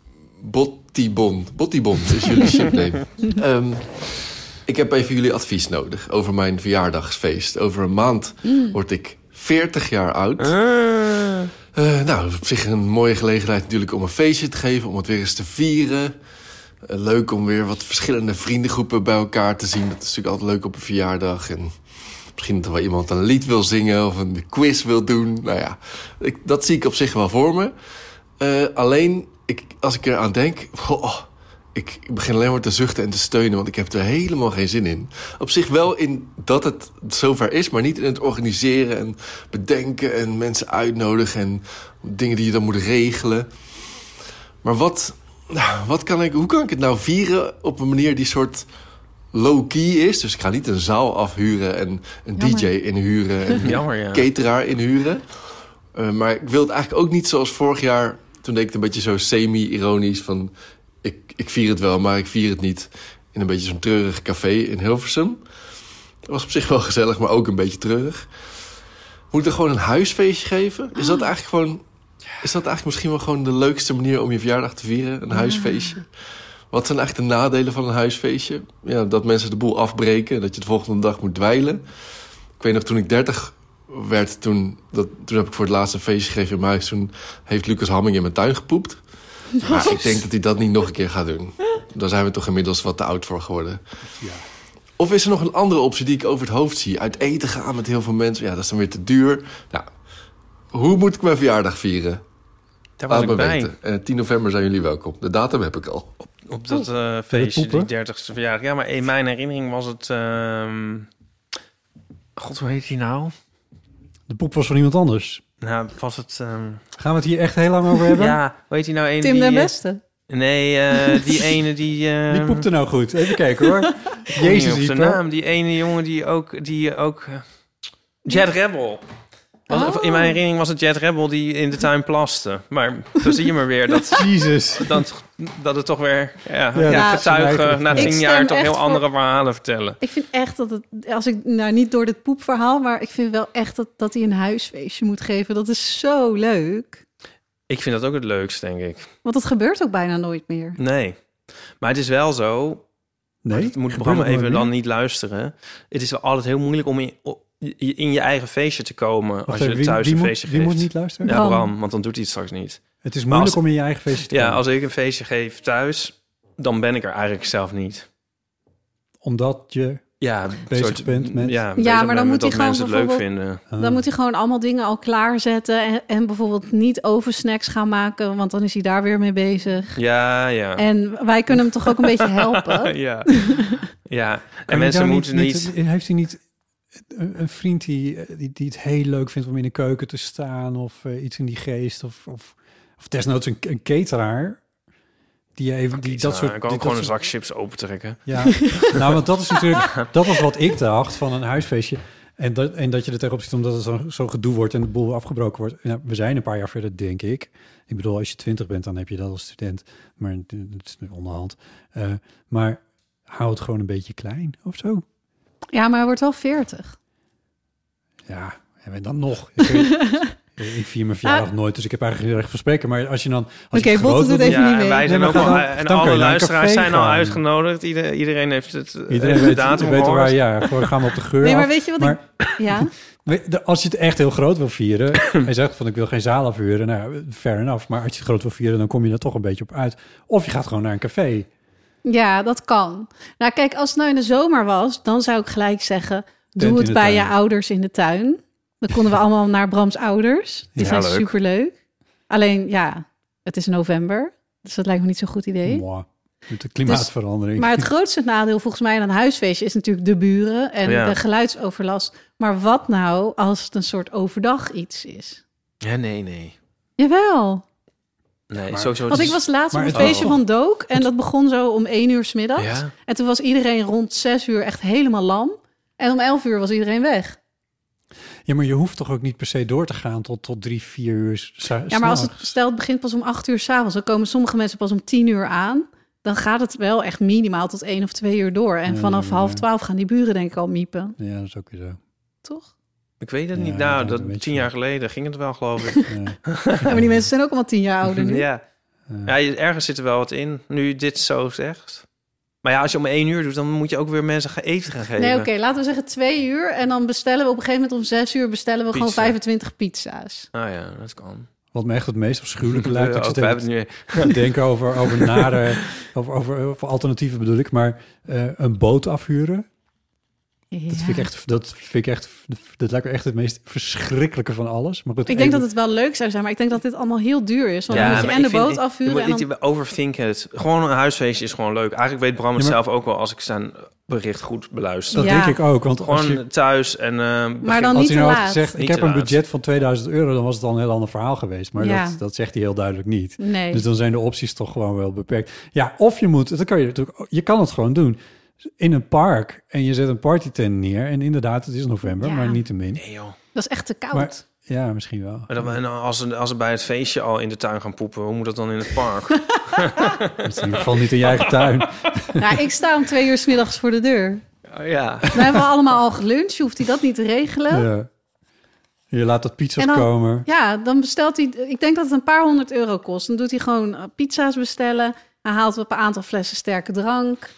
G: Bottibon. Bottibon is jullie shipname. Ehm, ik heb even jullie advies nodig over mijn verjaardagsfeest. Over een maand word ik 40 jaar oud. Eh, nou, op zich een mooie gelegenheid natuurlijk om een feestje te geven. Om het weer eens te vieren. Eh, leuk om weer wat verschillende vriendengroepen bij elkaar te zien. Dat is natuurlijk altijd leuk op een verjaardag. En misschien dat er wel iemand een lied wil zingen of een quiz wil doen. Nou ja, ik, dat zie ik op zich wel voor me. Eh, alleen, ik, als ik eraan denk, goh, ik ik begin alleen maar te zuchten en te steunen, want ik heb er helemaal geen zin in. Op zich wel in dat het zover is, maar niet in het organiseren en bedenken en mensen uitnodigen en dingen die je dan moet regelen. Maar wat, nou, wat kan ik, hoe kan ik het nou vieren op een manier die soort low-key is? Dus ik ga niet een zaal afhuren en een
C: Jammer.
G: DJ inhuren
B: [LAUGHS]
G: en
B: Jammer, ja.
G: cateraar inhuren. Eh, maar ik wil het eigenlijk ook niet zoals vorig jaar. Toen deed ik het een beetje zo semi-ironisch van... Ik, ik vier het wel, maar ik vier het niet. In een beetje zo'n treurig café in Hilversum. Dat was op zich wel gezellig, maar ook een beetje treurig. Moet ik er gewoon een huisfeestje geven? Is
B: Ah.
G: dat eigenlijk gewoon... Is dat eigenlijk misschien wel gewoon de leukste manier om je verjaardag te vieren? Een huisfeestje? Wat zijn eigenlijk de nadelen van een huisfeestje? Ja, dat mensen de boel afbreken. Dat je de volgende dag moet dweilen. Ik weet nog, toen ik 30 werd toen, dat, toen heb ik voor het laatste feestje gegeven in mijn huis. Toen heeft Lucas Hamming in mijn tuin gepoept. Maar ik denk dat hij dat niet nog een keer gaat doen. Daar zijn we toch inmiddels wat te oud voor geworden. Of is er nog een andere optie die ik over het hoofd zie? Uit eten gaan met heel veel mensen. Ja, dat is dan weer te duur. Nou, hoe moet ik mijn verjaardag vieren?
B: Daar was
G: Laat
B: ik
G: me
B: bij.
G: weten. Eh, 10 november zijn jullie welkom. De datum heb ik al.
B: Op dat eh, feestje, die
A: poepen?
B: 30ste verjaardag. Ja, maar in mijn herinnering was het... ehm, God, hoe heet die nou?
A: De poep was van iemand anders.
B: Nou, was het... ehm,
A: Gaan we het hier echt heel lang over hebben?
B: Ja, hoe heet die nou? Een
C: Tim
B: die,
C: den
B: eh,
C: Beste.
B: Nee, eh, die ene die... eh,
A: Wie poepte nou goed? Even kijken
B: [LAUGHS]
A: hoor.
B: ik weet niet
A: Jezus,
B: op zijn
A: Ipe.
B: naam. Die ene jongen die ook... Die ook eh, Jet Rebel. Was-
C: Oh.
B: In mijn herinnering was het Jet Rebel die in de tuin plaste. Maar zo zie je maar weer dat
A: Jezus.
B: dat, dat het toch weer ja,
A: Ja,
B: ja,
A: dat
B: getuigen
A: vergelijkt.
B: na
A: Ik
B: tien
C: stem
B: jaar toch
C: echt
B: heel
C: voor-
B: andere verhalen vertellen.
C: Ik vind echt dat het, als ik nou niet door dit poepverhaal, maar ik vind wel echt dat, dat hij een huisfeestje moet geven. Dat is zo leuk.
B: Ik vind dat ook het leukst, denk ik.
C: Want dat gebeurt ook bijna nooit meer.
B: Nee. Maar het is wel zo,
A: Nee,
B: dat moet
A: gebeurt
B: Bram
A: dat nooit
B: even dan
A: meer?
B: niet luisteren. Het is wel altijd heel moeilijk om in, o- in je eigen feestje te komen als
A: Wacht
B: je
A: even, wie-
B: thuis
A: wie
B: een
A: moet-
B: feestje
A: Wie
B: geeft.
A: moet niet luisteren?
B: Ja,
C: Bram.
B: Bram, want dan doet hij het straks niet.
A: Het is moeilijk
B: als-
A: om in je eigen feestje te
B: Ja,
A: komen.
B: als ik een feestje geef thuis, dan ben ik er eigenlijk zelf niet.
A: Omdat je...
B: Ja, een
A: Bezig bent met-
B: Ja,
C: Ja,
B: bezig
C: maar
B: ben
C: dan
B: met
C: moet hij
B: dat
C: gewoon
B: mensen het leuk
C: bijvoorbeeld-
B: vinden.
A: Ah.
C: Dan moet hij gewoon allemaal dingen al klaarzetten en, en bijvoorbeeld niet oversnacks gaan maken, want dan is hij daar weer mee bezig.
B: Ja, ja.
C: En wij kunnen hem toch ook een beetje
A: [LAUGHS]
C: helpen.
B: ja.
C: [LAUGHS]
B: ja.
A: Kan
B: En
A: hij
B: mensen
A: daar
B: moeten niet...
A: Heeft hij niet een een vriend die, eh, die, die het heel leuk vindt om in de keuken te staan of eh, iets in die geest? Of, of, of desnoods een, een cateraar? Die even die, dat soort...
B: Ik kan
A: die-
B: ook gewoon een
A: dat soort-
B: zak chips opentrekken.
A: Ja,
B: [LAUGHS]
A: nou, want dat is natuurlijk... Dat was wat ik dacht van een huisfeestje. En dat, en dat je er tegenop zit omdat het zo, zo gedoe wordt en de boel afgebroken wordt. Nou, we zijn een paar jaar verder, denk ik. Ik bedoel, als je twintig bent, dan heb je dat als student. Maar het is onderhand. Eh, maar hou het gewoon een beetje klein of zo.
C: Ja, maar hij wordt wel 40.
A: Ja, en dan nog. Ik,
C: [LAUGHS]
A: weet- ik vier mijn verjaardag nooit, dus ik heb eigenlijk geen recht van spreken. Maar als je dan... Als
C: Ah. Oké,
A: je het
C: Botte
A: groot
C: doet
A: wil-
C: even- niet
B: Ja, en
C: mee.
B: wij
A: Nee,
B: zijn
A: maar
B: ook
A: ga
B: al,
A: dan-
B: en
A: dan kun
B: alle
A: je naar een
B: luisteraars
A: café
B: zijn al
A: gaan.
B: uitgenodigd. Ieder- iedereen heeft het
A: Iedereen
B: de
A: weet,
B: datum
A: weet
B: gehoord.
A: waar, ja, gewoon gaan we op de geur
C: Nee, maar
A: af.
C: weet je wat
A: Maar
C: ik... Ja,
A: we- de- als je het echt heel groot wil vieren...
B: [COUGHS]
A: hij zegt van, ik wil geen zaal afhuren. Nou, ja, fair enough. Maar als je het groot wil vieren, dan kom je er toch een beetje op uit. Of je gaat gewoon naar een café.
C: ja, dat kan. Nou kijk, als het nou in de zomer was, dan zou ik gelijk zeggen...
A: in
C: Doe
A: de
C: het bij je
A: tuin.
C: ouders in de tuin. Dan
A: [LAUGHS]
C: konden we allemaal naar Brams ouders. Die
B: Ja,
C: zijn
B: leuk.
C: superleuk. Alleen, ja, het is november. Dus dat lijkt me niet zo'n goed idee.
A: Mwah, met de
B: [LAUGHS]
A: klimaatverandering.
C: Dus- Maar het grootste nadeel volgens mij aan een huisfeestje is natuurlijk de buren en
B: Ja.
C: de geluidsoverlast. Maar wat nou als het een soort overdag iets is?
B: Ja, nee, nee.
C: Jawel.
B: Nee,
A: Maar-
B: sowieso.
C: Want
B: het
C: ik
B: is-
C: was laatst op
A: maar
C: een
A: het was
C: feestje
A: toch-
C: van Dook en dat begon zo om één uur 's middags.
B: Ja.
C: En toen was iedereen rond zes uur echt helemaal lam. En om elf uur was iedereen weg.
A: Ja, maar je hoeft toch ook niet per se door te gaan tot, tot drie, vier uur sa-
C: Ja, maar als het
A: s'nachts?
C: stel het begint pas om acht uur s'avonds, dan komen sommige mensen pas om tien uur aan. Dan gaat het wel echt minimaal tot één of twee uur door. En
A: Ja,
C: vanaf
B: Mm.
A: ja,
C: half
A: ja.
C: twaalf gaan die buren denk ik al miepen,
A: Ja, dat is ook weer
C: [LAUGHS]
A: zo.
C: toch?
B: Ik weet het
A: Ja,
B: niet.
A: ja,
B: Nou,
A: een
B: dat
A: beetje.
B: tien jaar geleden ging het
A: [LAUGHS]
B: wel, geloof ik.
A: Ja.
C: Ja, [LAUGHS] maar die mensen zijn ook allemaal tien jaar
B: [LAUGHS]
C: ouder nu.
B: ja. ja, je- ergens zit er wel wat in. Nu je dit zo zegt. Maar ja, als je om één uur doet, dan moet je ook weer mensen gaan eten gaan geven.
C: Nee, oké, laten we zeggen twee uur. En dan bestellen we op een gegeven moment om zes uur bestellen we
B: Pizza.
C: gewoon 25 pizza's.
B: Nou ja, dat kan.
A: Wat me echt het meest afschuwelijke lijkt.
B: Ja,
A: Ik
B: ook,
A: zit
B: we
A: even
B: hebben het nu.
A: te denken over, over nare, over, over, over alternatieven bedoel ik, maar eh, een boot afhuren. Dat vind ik echt, dat vind ik echt, dat lijkt me echt het meest verschrikkelijke van alles. Maar
C: Ik denk dat het wel leuk zou zijn, maar ik denk dat dit allemaal heel duur is. Want
B: Ja,
C: dan moet je
B: maar
C: en
B: ik
C: de
B: vind-
C: boot
B: ik-
C: afhuren.
B: Je
C: En
B: moet
C: dan,
B: niet overvinken het. Gewoon een huisfeestje is gewoon leuk. Eigenlijk weet Bram het
A: Ja, maar-
B: zelf ook wel als ik zijn bericht goed beluister.
A: Dat
C: Ja.
A: denk ik ook, want als,
B: Gewoon
A: je,
B: thuis en... eh, begin-
C: maar dan
A: als
C: niet
A: hij
C: te
A: nou had
C: laat.
A: gezegd, ik
B: Niet
A: heb
B: te
A: een
B: laat.
A: budget van 2000 euro, dan was het al een heel ander verhaal geweest. Maar
C: Ja.
A: dat, dat zegt hij heel duidelijk niet.
C: Nee.
A: Dus dan zijn de opties toch gewoon wel beperkt. Ja, of je moet, dat kan je natuurlijk, je kan het gewoon doen. In een park en je zet een partytent neer. En inderdaad, het is november,
C: Ja.
A: maar niet te min.
B: Nee joh.
C: Dat is echt te koud.
A: Maar ja, misschien wel.
B: Maar dan, en als, ze, als ze bij het feestje al in de tuin gaan poepen, hoe moet dat dan in het
C: [LAUGHS]
B: park?
A: Het is in ieder geval niet in je eigen tuin.
C: [LAUGHS] Nou, ik sta om twee uur 's middags voor de deur.
B: Oh, ja.
C: We hebben we allemaal al geluncht, je hoeft hij dat niet te regelen. Ja.
A: Ja. Je laat dat pizza's
C: En dan-
A: komen.
C: dan bestelt hij, ik denk dat het een paar honderd euro kost. Dan doet hij gewoon eh, pizza's bestellen. Hij haalt op een aantal flessen sterke drank.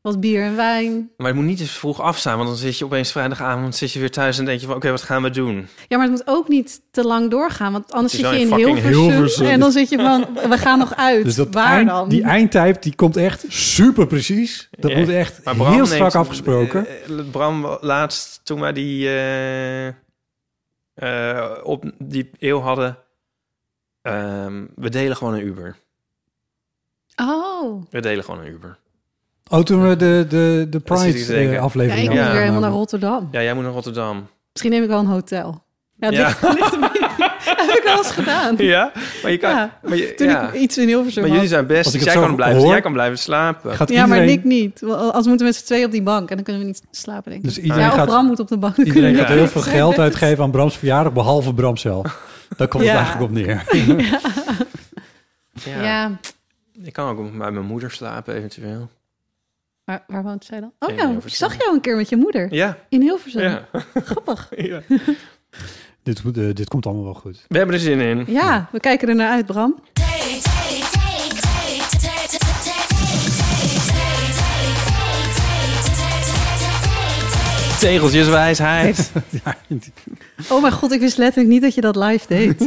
C: Wat bier en wijn.
B: Maar het moet niet eens vroeg af zijn, want dan zit je opeens vrijdagavond zit je weer thuis en denk je van oké, wat gaan we doen?
C: Ja, maar het moet ook niet te lang doorgaan. Want anders
B: Het
C: zit
B: is
C: je
B: wel in
C: in
B: fucking
C: Hilversum,
A: Hilversum.
C: En dan zit je van, we gaan nog uit.
A: Dus dat
C: Waar
A: eind-
C: dan?
A: die eindtijd die komt echt super precies. Dat
B: Ja.
A: moet echt
B: Maar Bram
A: heel strak
B: neemt-
A: afgesproken.
B: eh, eh, Bram, laatst toen wij die, eh, eh, op die eeuw hadden, ehm, we delen gewoon een Uber.
C: Oh.
B: We delen gewoon een Uber.
A: oh, toen we de, de, de
B: Dat zit
A: Pride
B: hij zeker.
A: eh,
C: Ja, ik
A: aflevering
C: moet
B: Ja.
C: weer
A: hadden.
C: helemaal naar Rotterdam.
B: Ja, jij moet naar Rotterdam.
C: Misschien neem ik wel een hotel. Ja, dat
B: Ja.
C: ligt- [LAUGHS] ligt een beetje- heb ik wel eens gedaan.
B: [LAUGHS] Ja, maar je kan.
C: Ja.
B: Maar, je-
C: Toen
B: ja.
C: ik iets in Hilversum
B: maar
C: had.
B: jullie zijn best.
A: Als ik
B: Dus
A: het
B: jij
A: zo
B: kan, blijven,
A: hoor-
B: jij kan blijven slapen.
A: Gaat
C: Ja, maar
A: iedereen-
C: Nick niet. Want Als moeten we met z'n tweeën op die bank en dan kunnen we niet slapen, denk ik.
A: Dus iedereen
C: ja, of
A: gaat-
C: Bram moet op de bank.
A: Iedereen gaat
B: Ja.
A: heel veel geld uitgeven aan Brams verjaardag, behalve Bram
C: [LAUGHS]
A: zelf. Daar komt
C: Ja.
A: het eigenlijk op neer.
C: [LAUGHS] Ja,
B: Ik kan ook bij mijn moeder slapen, eventueel.
C: Maar waar woont zij dan? Oh
B: In
C: ja, ik
B: Hilversum.
C: zag jou een keer met je moeder.
B: Ja.
C: In Hilversum.
B: ja.
C: Grappig.
B: ja.
A: dit, moet, eh, dit komt allemaal wel goed.
B: We hebben er zin in.
C: Ja, we kijken er naar uit, Bram.
B: Tegeltjeswijsheid.
C: Oh mijn god, ik wist letterlijk niet dat je dat live
B: [LAUGHS]
C: deed.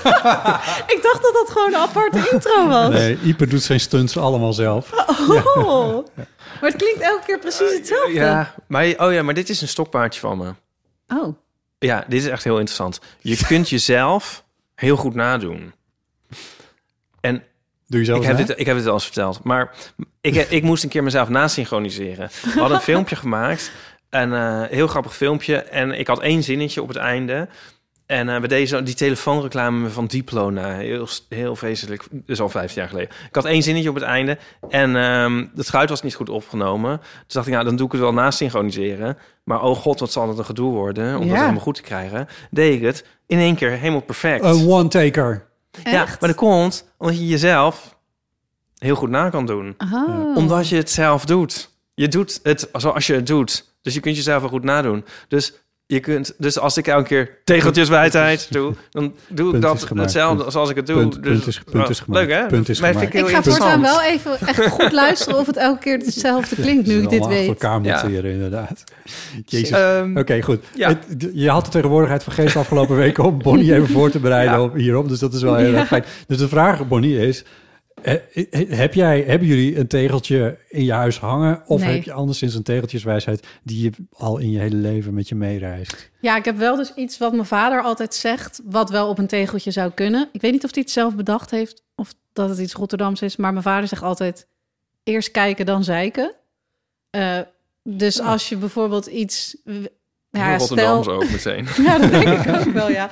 C: [LAUGHS] ik dacht dat dat gewoon een aparte intro was.
A: Nee, Ieper doet zijn stunts allemaal zelf.
C: Oh. Maar het klinkt elke keer precies
B: [LAUGHS]
C: hetzelfde.
B: ja. Maar, oh ja, maar dit is een stokpaardje van me.
C: Oh.
B: Ja, dit is echt heel interessant. Je kunt jezelf heel goed nadoen. En
A: Doe je zelf
B: ik
A: na?
B: heb, dit, ik heb dit al eens verteld. Maar ik, ik moest een keer mezelf nasynchroniseren. We hadden een filmpje gemaakt. Een eh, heel grappig filmpje. En ik had één zinnetje op het einde. En eh we deden zo die telefoonreclame van Diplo na. Heel, heel vreselijk. Dat is al 15 jaar geleden. Ik had één zinnetje op het einde. En ehm het geluid was niet goed opgenomen. Toen dacht ik, nou, dan doe ik het wel nasynchroniseren. Maar oh god, wat zal dat een gedoe worden. Om
C: Ja.
B: dat helemaal goed te krijgen. Deed ik het. In één keer helemaal perfect.
A: Een one-taker.
B: Ja,
C: Echt?
B: maar dat komt omdat je jezelf heel goed na kan doen.
C: Oh.
B: Omdat je het zelf doet. Je doet het zoals je het doet. Dus je kunt jezelf wel goed nadoen. Dus, je kunt, dus als ik elke keer tegeltjeswijsheid doe, dan doe ik
A: Punt is
B: dat
A: gemaakt.
B: hetzelfde
A: Punt-
B: zoals ik het doe.
A: punt-
B: dus,
A: punt is- punt is
B: oh,
A: gemaakt.
B: Leuk hè?
A: Punt is
B: Maar vind
A: gemaakt.
C: Ik
B: heel
C: ga voortaan
B: interessant.
C: wel even echt goed luisteren of het elke
B: [LAUGHS]
C: keer hetzelfde klinkt nu ik dit
A: Allemaal achter
C: weet.
A: elkaar
B: Ja.
A: monteren, inderdaad. Jezus.
B: Ehm,
A: Oké, goed.
B: ja.
A: Het- d- je had de tegenwoordigheid van geest afgelopen week om Bonnie
B: [LAUGHS]
A: even voor te bereiden
B: Ja.
A: op, hierop. Dus dat is wel heel erg fijn. Dus de vraag, Bonnie, is... eh, eh, Heb jij, hebben jullie een tegeltje in je huis hangen? Of
C: Nee.
A: heb je anderszins een tegeltjeswijsheid die je al in je hele leven met je meereist?
C: Ja, ik heb wel dus iets wat mijn vader altijd zegt, wat wel op een tegeltje zou kunnen. Ik weet niet of hij het zelf bedacht heeft of dat het iets Rotterdams is, maar mijn vader zegt altijd: eerst kijken, dan zeiken. Eh, dus als je bijvoorbeeld iets. Ja,
B: Heel Rotterdams
C: stel,
B: ook meteen.
C: [LAUGHS] ja, dat denk ik ook wel, ja.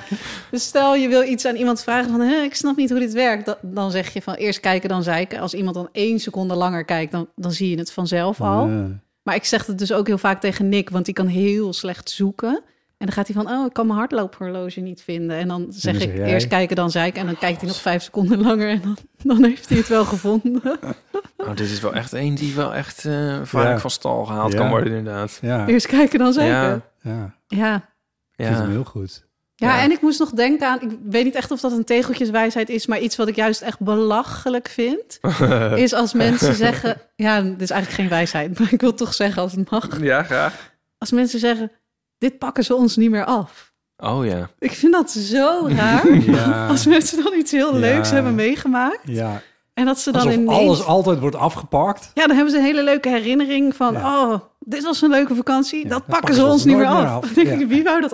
C: Dus stel je wil iets aan iemand vragen van, "Hè, ik snap niet hoe dit werkt. Da- Dan zeg je van eerst kijken, dan zeiken. Als iemand dan één seconde langer kijkt, dan, dan zie je het vanzelf al.
A: Ja.
C: Maar ik zeg het dus ook heel vaak tegen Nick, want die kan heel slecht zoeken. En dan gaat hij van, oh, ik kan mijn hardloophorloge niet vinden. En dan zeg
A: dan
C: ik
A: zeg jij-
C: eerst kijken, dan zeiken. En dan kijkt hij nog vijf seconden langer en dan, dan heeft hij het wel gevonden.
B: [LAUGHS] Oh, dit is wel echt één die wel echt eh, vaak
A: Ja.
B: van stal gehaald
A: Ja.
B: kan worden inderdaad.
A: ja, ja.
C: [LAUGHS] Eerst kijken, dan zeiken. ja.
A: Ik
B: ja.
A: vind hem
B: ja.
A: heel goed.
C: Ja,
B: Ja.
C: en ik moest nog denken aan, ik weet niet echt of dat een tegeltjeswijsheid is, maar iets wat ik juist echt belachelijk
A: [LAUGHS]
C: vind, is als mensen zeggen, ja, dit is eigenlijk geen wijsheid, maar ik wil het toch zeggen als het mag.
B: Ja, graag.
C: Als mensen zeggen, dit pakken ze ons niet meer af.
B: Oh ja.
C: Ik vind dat zo raar.
A: Ja, [LAUGHS]
C: [LAUGHS] Als mensen dan iets heel
A: Eh, Ja.
C: leuks hebben meegemaakt
A: ja.
C: En dat ze dan
A: Alsof
C: ineens...
A: alles altijd wordt afgepakt.
C: Ja, dan hebben ze een hele leuke herinnering van...
A: Ja.
C: oh, dit was een leuke vakantie.
A: Ja,
C: dat
A: dan
C: pakken ze ons niet meer
A: nooit
C: af.
A: meer af.
C: [LAUGHS] Dan denk ik,
A: Ja.
C: Wie wou dat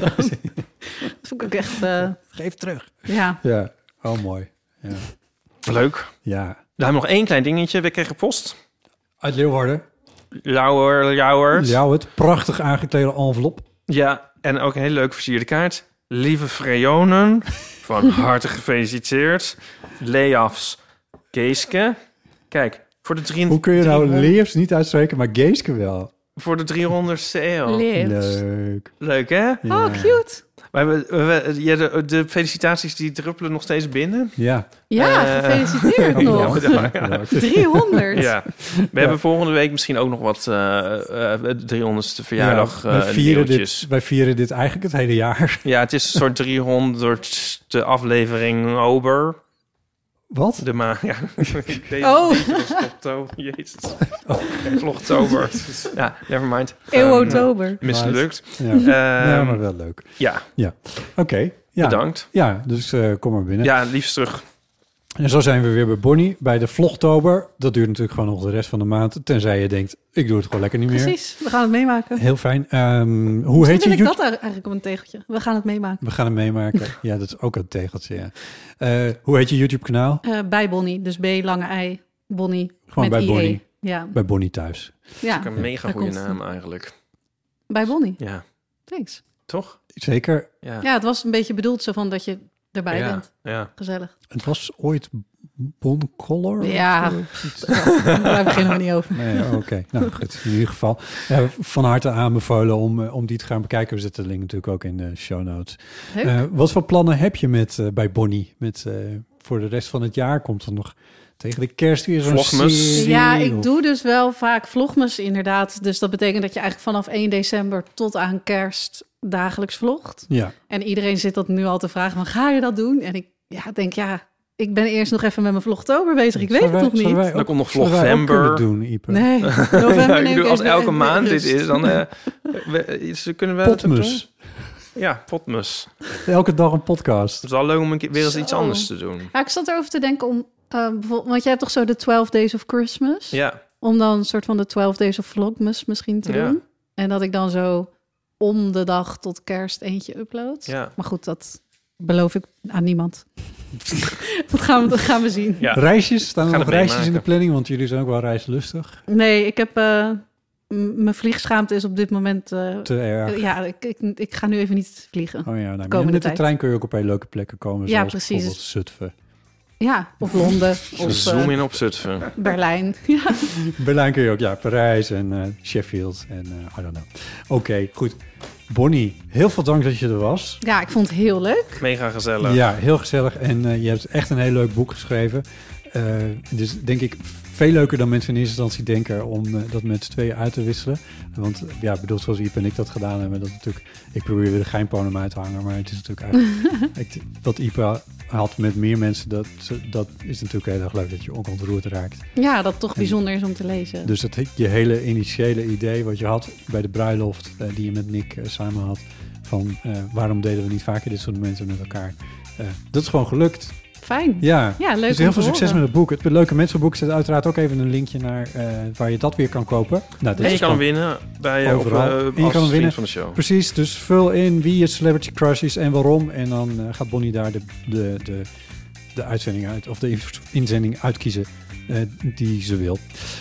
A: [LAUGHS]
C: dat vond ik ook echt... eh,
A: Geef terug.
C: ja.
A: Ja, oh mooi. Ja.
B: Leuk.
A: ja.
B: Dan nog één klein dingetje. We kregen post.
A: Uit Leeuwarden.
B: Lauwer, Lauwert.
A: Jou het prachtig aangeklede envelop.
B: Ja, en ook een hele leuk versierde kaart. Lieve Freonen,
A: [LAUGHS]
B: van harte gefeliciteerd. Leafs Geeske. Kijk, voor de, drie,
A: Hoe kun je nou
B: driehonderd-
A: Leefs niet uitspreken, maar Geeske wel?
B: voor de 300ste eeuw.
C: Lips.
A: Leuk.
B: Leuk, hè?
C: Oh, cute.
B: We hebben, we, we- ja, de, de felicitaties die druppelen nog steeds
A: [LAUGHS]
B: binnen.
A: Ja.
C: Ja,
A: [LAUGHS]
B: Eh,
C: gefeliciteerd nog.
B: Ja, ja.
C: 300.
B: Ja. We hebben volgende week misschien ook nog wat eh, eh, 300ste verjaardag
A: Ja, wij,
B: eh,
A: vieren
B: nieuwtjes.
A: dit, wij vieren dit eigenlijk het hele jaar. [LAUGHS]
B: Ja, het is een soort 300ste aflevering over.
A: Wat?
B: De ma [LAUGHS] ja. Deze-
C: Oh.
B: deze was in oktober. Jezus.
A: Oh. [LAUGHS]
B: Vlogtober. Ja, never mind. Ehm,
C: Eeuwotober.
B: mislukt.
A: Ja,
B: Ehm,
A: Ja, maar wel leuk.
B: ja,
A: Oké. Ja.
B: bedankt.
A: Ja, dus eh, kom maar binnen.
B: Ja, liefst terug.
A: En zo zijn we weer bij Bonnie, bij de vlogtober. Dat duurt natuurlijk gewoon nog de rest van de maand. Tenzij je denkt, ik doe het gewoon lekker niet meer.
C: Precies, we gaan het meemaken.
A: Heel fijn. Ehm, hoe
C: Misschien
A: heet je
C: vind ik
A: YouTube?
C: dat eigenlijk op een tegeltje. We gaan het meemaken.
A: We gaan hem meemaken. ja, dat is ook een tegeltje, ja. Eh, hoe heet je YouTube kanaal?
C: Eh, bij Bonnie, dus B, lange I, Bonnie.
A: Gewoon
C: met
A: bij
C: E. IE.
A: Bonnie.
C: Ja,
A: Bij Bonnie thuis.
C: ja.
B: Ook een mega
C: daar
B: goede
C: komt-
B: naam eigenlijk.
C: bij Bonnie.
B: Ja,
C: Dus- Thanks.
B: toch?
A: Zeker.
B: Ja.
C: Ja, het was een beetje bedoeld zo van dat je erbij
B: ja.
C: bent.
B: ja.
C: Gezellig.
A: Het was ooit Boncolor?
C: Ja, [LAUGHS] daar beginnen we niet over.
A: Nee, oké. Nou goed, in ieder geval. eh, van harte aanbevolen om, eh, om die te gaan bekijken. We zetten de link natuurlijk ook in de show notes.
C: Leuk.
A: Eh, wat voor plannen heb je met, eh, bij Bonnie? Met, eh, voor de rest van het jaar komt er nog tegen de kerst weer zo'n
B: Vlogmas.
A: serie
C: Ja,
A: of-
C: ik doe dus wel vaak vlogmas inderdaad. Dus dat betekent dat je eigenlijk vanaf 1 december tot aan kerst dagelijks vlogt.
A: Ja,
C: En iedereen zit dat nu al te vragen van ga je dat doen? En ik ja, denk ja, ik ben eerst nog even met mijn vlogtober bezig. Ik weet
A: Zouden
C: het nog
A: wij- zouden
C: niet.
A: wij
B: Dan
A: ook-
B: komt nog
A: zouden wij ook
B: Vlogvember.
A: kunnen doen, Ieper.
C: Nee,
B: [LAUGHS]
C: november
B: Ja, ik
C: neem ik
B: bedoel, als
C: even-
B: elke
C: even
B: maand dit
C: rust.
B: is, dan eh, we- ze kunnen we dat doen?
A: Potmus.
B: Ja, potmus.
A: Elke dag een podcast.
B: Het is wel leuk om een keer weer eens iets
C: Zo.
B: anders te doen.
C: [LAUGHS] Ja, ik zat erover te denken om, eh, bijvoorbeeld, want jij hebt toch zo de 12 Days of Christmas?
B: Ja,
C: Om dan een soort van de 12 Days of Vlogmas misschien te
B: Ja.
C: doen. En dat ik dan zo om de dag tot kerst eentje upload.
B: Ja.
C: Maar goed, dat beloof ik aan
B: [LAUGHS]
C: niemand. dat, gaan we, dat gaan we zien.
B: Ja.
A: Reisjes, staan
B: Ga
A: er nog
B: het
A: reisjes in de
B: meemaken.
A: planning? Want jullie zijn ook wel reislustig.
C: Nee, ik heb... eh, m- mijn vliegschaamte is op dit moment... eh,
A: Te erg.
C: ja, ik, ik, ik ga nu even niet vliegen.
A: Oh ja, nou, met
C: Komende
A: de
C: tijd.
A: trein kun je ook op hele leuke plekken komen.
C: Ja,
A: zoals
C: precies.
A: bijvoorbeeld Zutphen.
C: Ja, of Londen, of eh,
B: zoom in op Zutphen.
C: Berlijn. [LAUGHS] Ja.
A: Berlijn kun je ook, ja, Parijs en eh, Sheffield en eh I don't know. Oké, goed. Bonnie, heel veel dank dat je er was.
C: ja, ik vond het heel leuk.
B: Mega gezellig.
A: Ja, heel gezellig en eh, je hebt echt een heel leuk boek geschreven. Eh, dus denk ik veel leuker dan mensen in eerste instantie denken om eh, dat met z'n tweeën uit te wisselen. Want eh, ja, ik bedoel, zoals Iep en ik dat gedaan hebben, dat natuurlijk, ik probeer weer de geinponem uit te hangen, maar het is natuurlijk eigenlijk, ik, wat Iep had met meer mensen, dat, dat is natuurlijk heel erg leuk dat je ook ontroerd raakt.
C: Ja, dat toch bijzonder is om te lezen.
A: Dus dat, je hele initiële idee wat je had bij de bruiloft eh, die je met Nick eh, samen had, van eh, waarom deden we niet vaker dit soort momenten met elkaar, eh, dat is gewoon gelukt.
C: Fijn.
A: Ja,
C: Ja, leuk
A: dus
C: om
A: heel
C: te
A: veel succes
C: horen.
A: met het boek. Het Leuke Mensenboek zet uiteraard ook even een linkje naar eh, waar je dat weer kan kopen. Nou, dit
B: En je
A: is
B: kan
A: gewoon-
B: hem winnen bij eh, op,
A: Overal.
B: eh,
A: En je
B: als
A: kan hem
B: vriend
A: winnen.
B: van de show. [LAUGHS]
A: Precies, dus vul in wie je celebrity crush is en waarom. En dan eh, gaat Bonnie daar de, de, de, de uitzending uit, of de inv- inzending uitkiezen eh, die ze wil.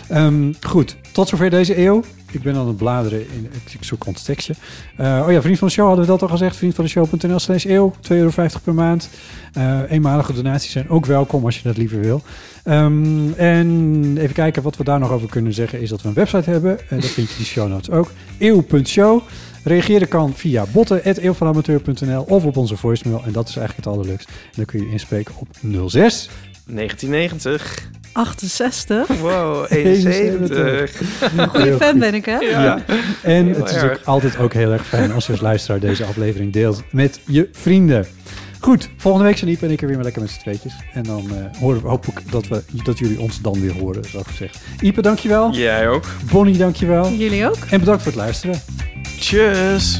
A: Ehm, goed, tot zover deze eeuw. Ik ben aan het bladeren, in, ik, ik zoek ons tekstje. Eh, oh ja, vriend van de show hadden we dat al gezegd. Vriend van de show.nl slash eeuw, 2,50 euro per maand. Eh, eenmalige donaties zijn ook welkom als je dat liever wil. Ehm, en even kijken wat we daar nog over kunnen zeggen is dat we een website hebben. En dat vind je in de show notes ook. Eeuw.show. Reageren kan via botten.eeuwvanamateur.nl of op onze voicemail. En dat is eigenlijk het allerleukst. En dan kun je inspreken op 06.
B: 1990.
C: 68.
B: Wow, 71.
C: Goede fan ben ik, hè?
A: Ja. En
B: Heel
A: het is
B: erg.
A: ook altijd ook heel erg fijn als je als luisteraar deze aflevering deelt met je vrienden. Goed, volgende week zijn Iep en ik er weer maar lekker met z'n tweetjes. En dan eh, horen we, hoop ik dat, we, dat jullie ons dan weer horen, zo gezegd. Ipe, dankjewel.
B: Jij ook.
A: Bonnie, dankjewel.
C: Jullie ook?
A: En bedankt voor het luisteren.
B: Tjus.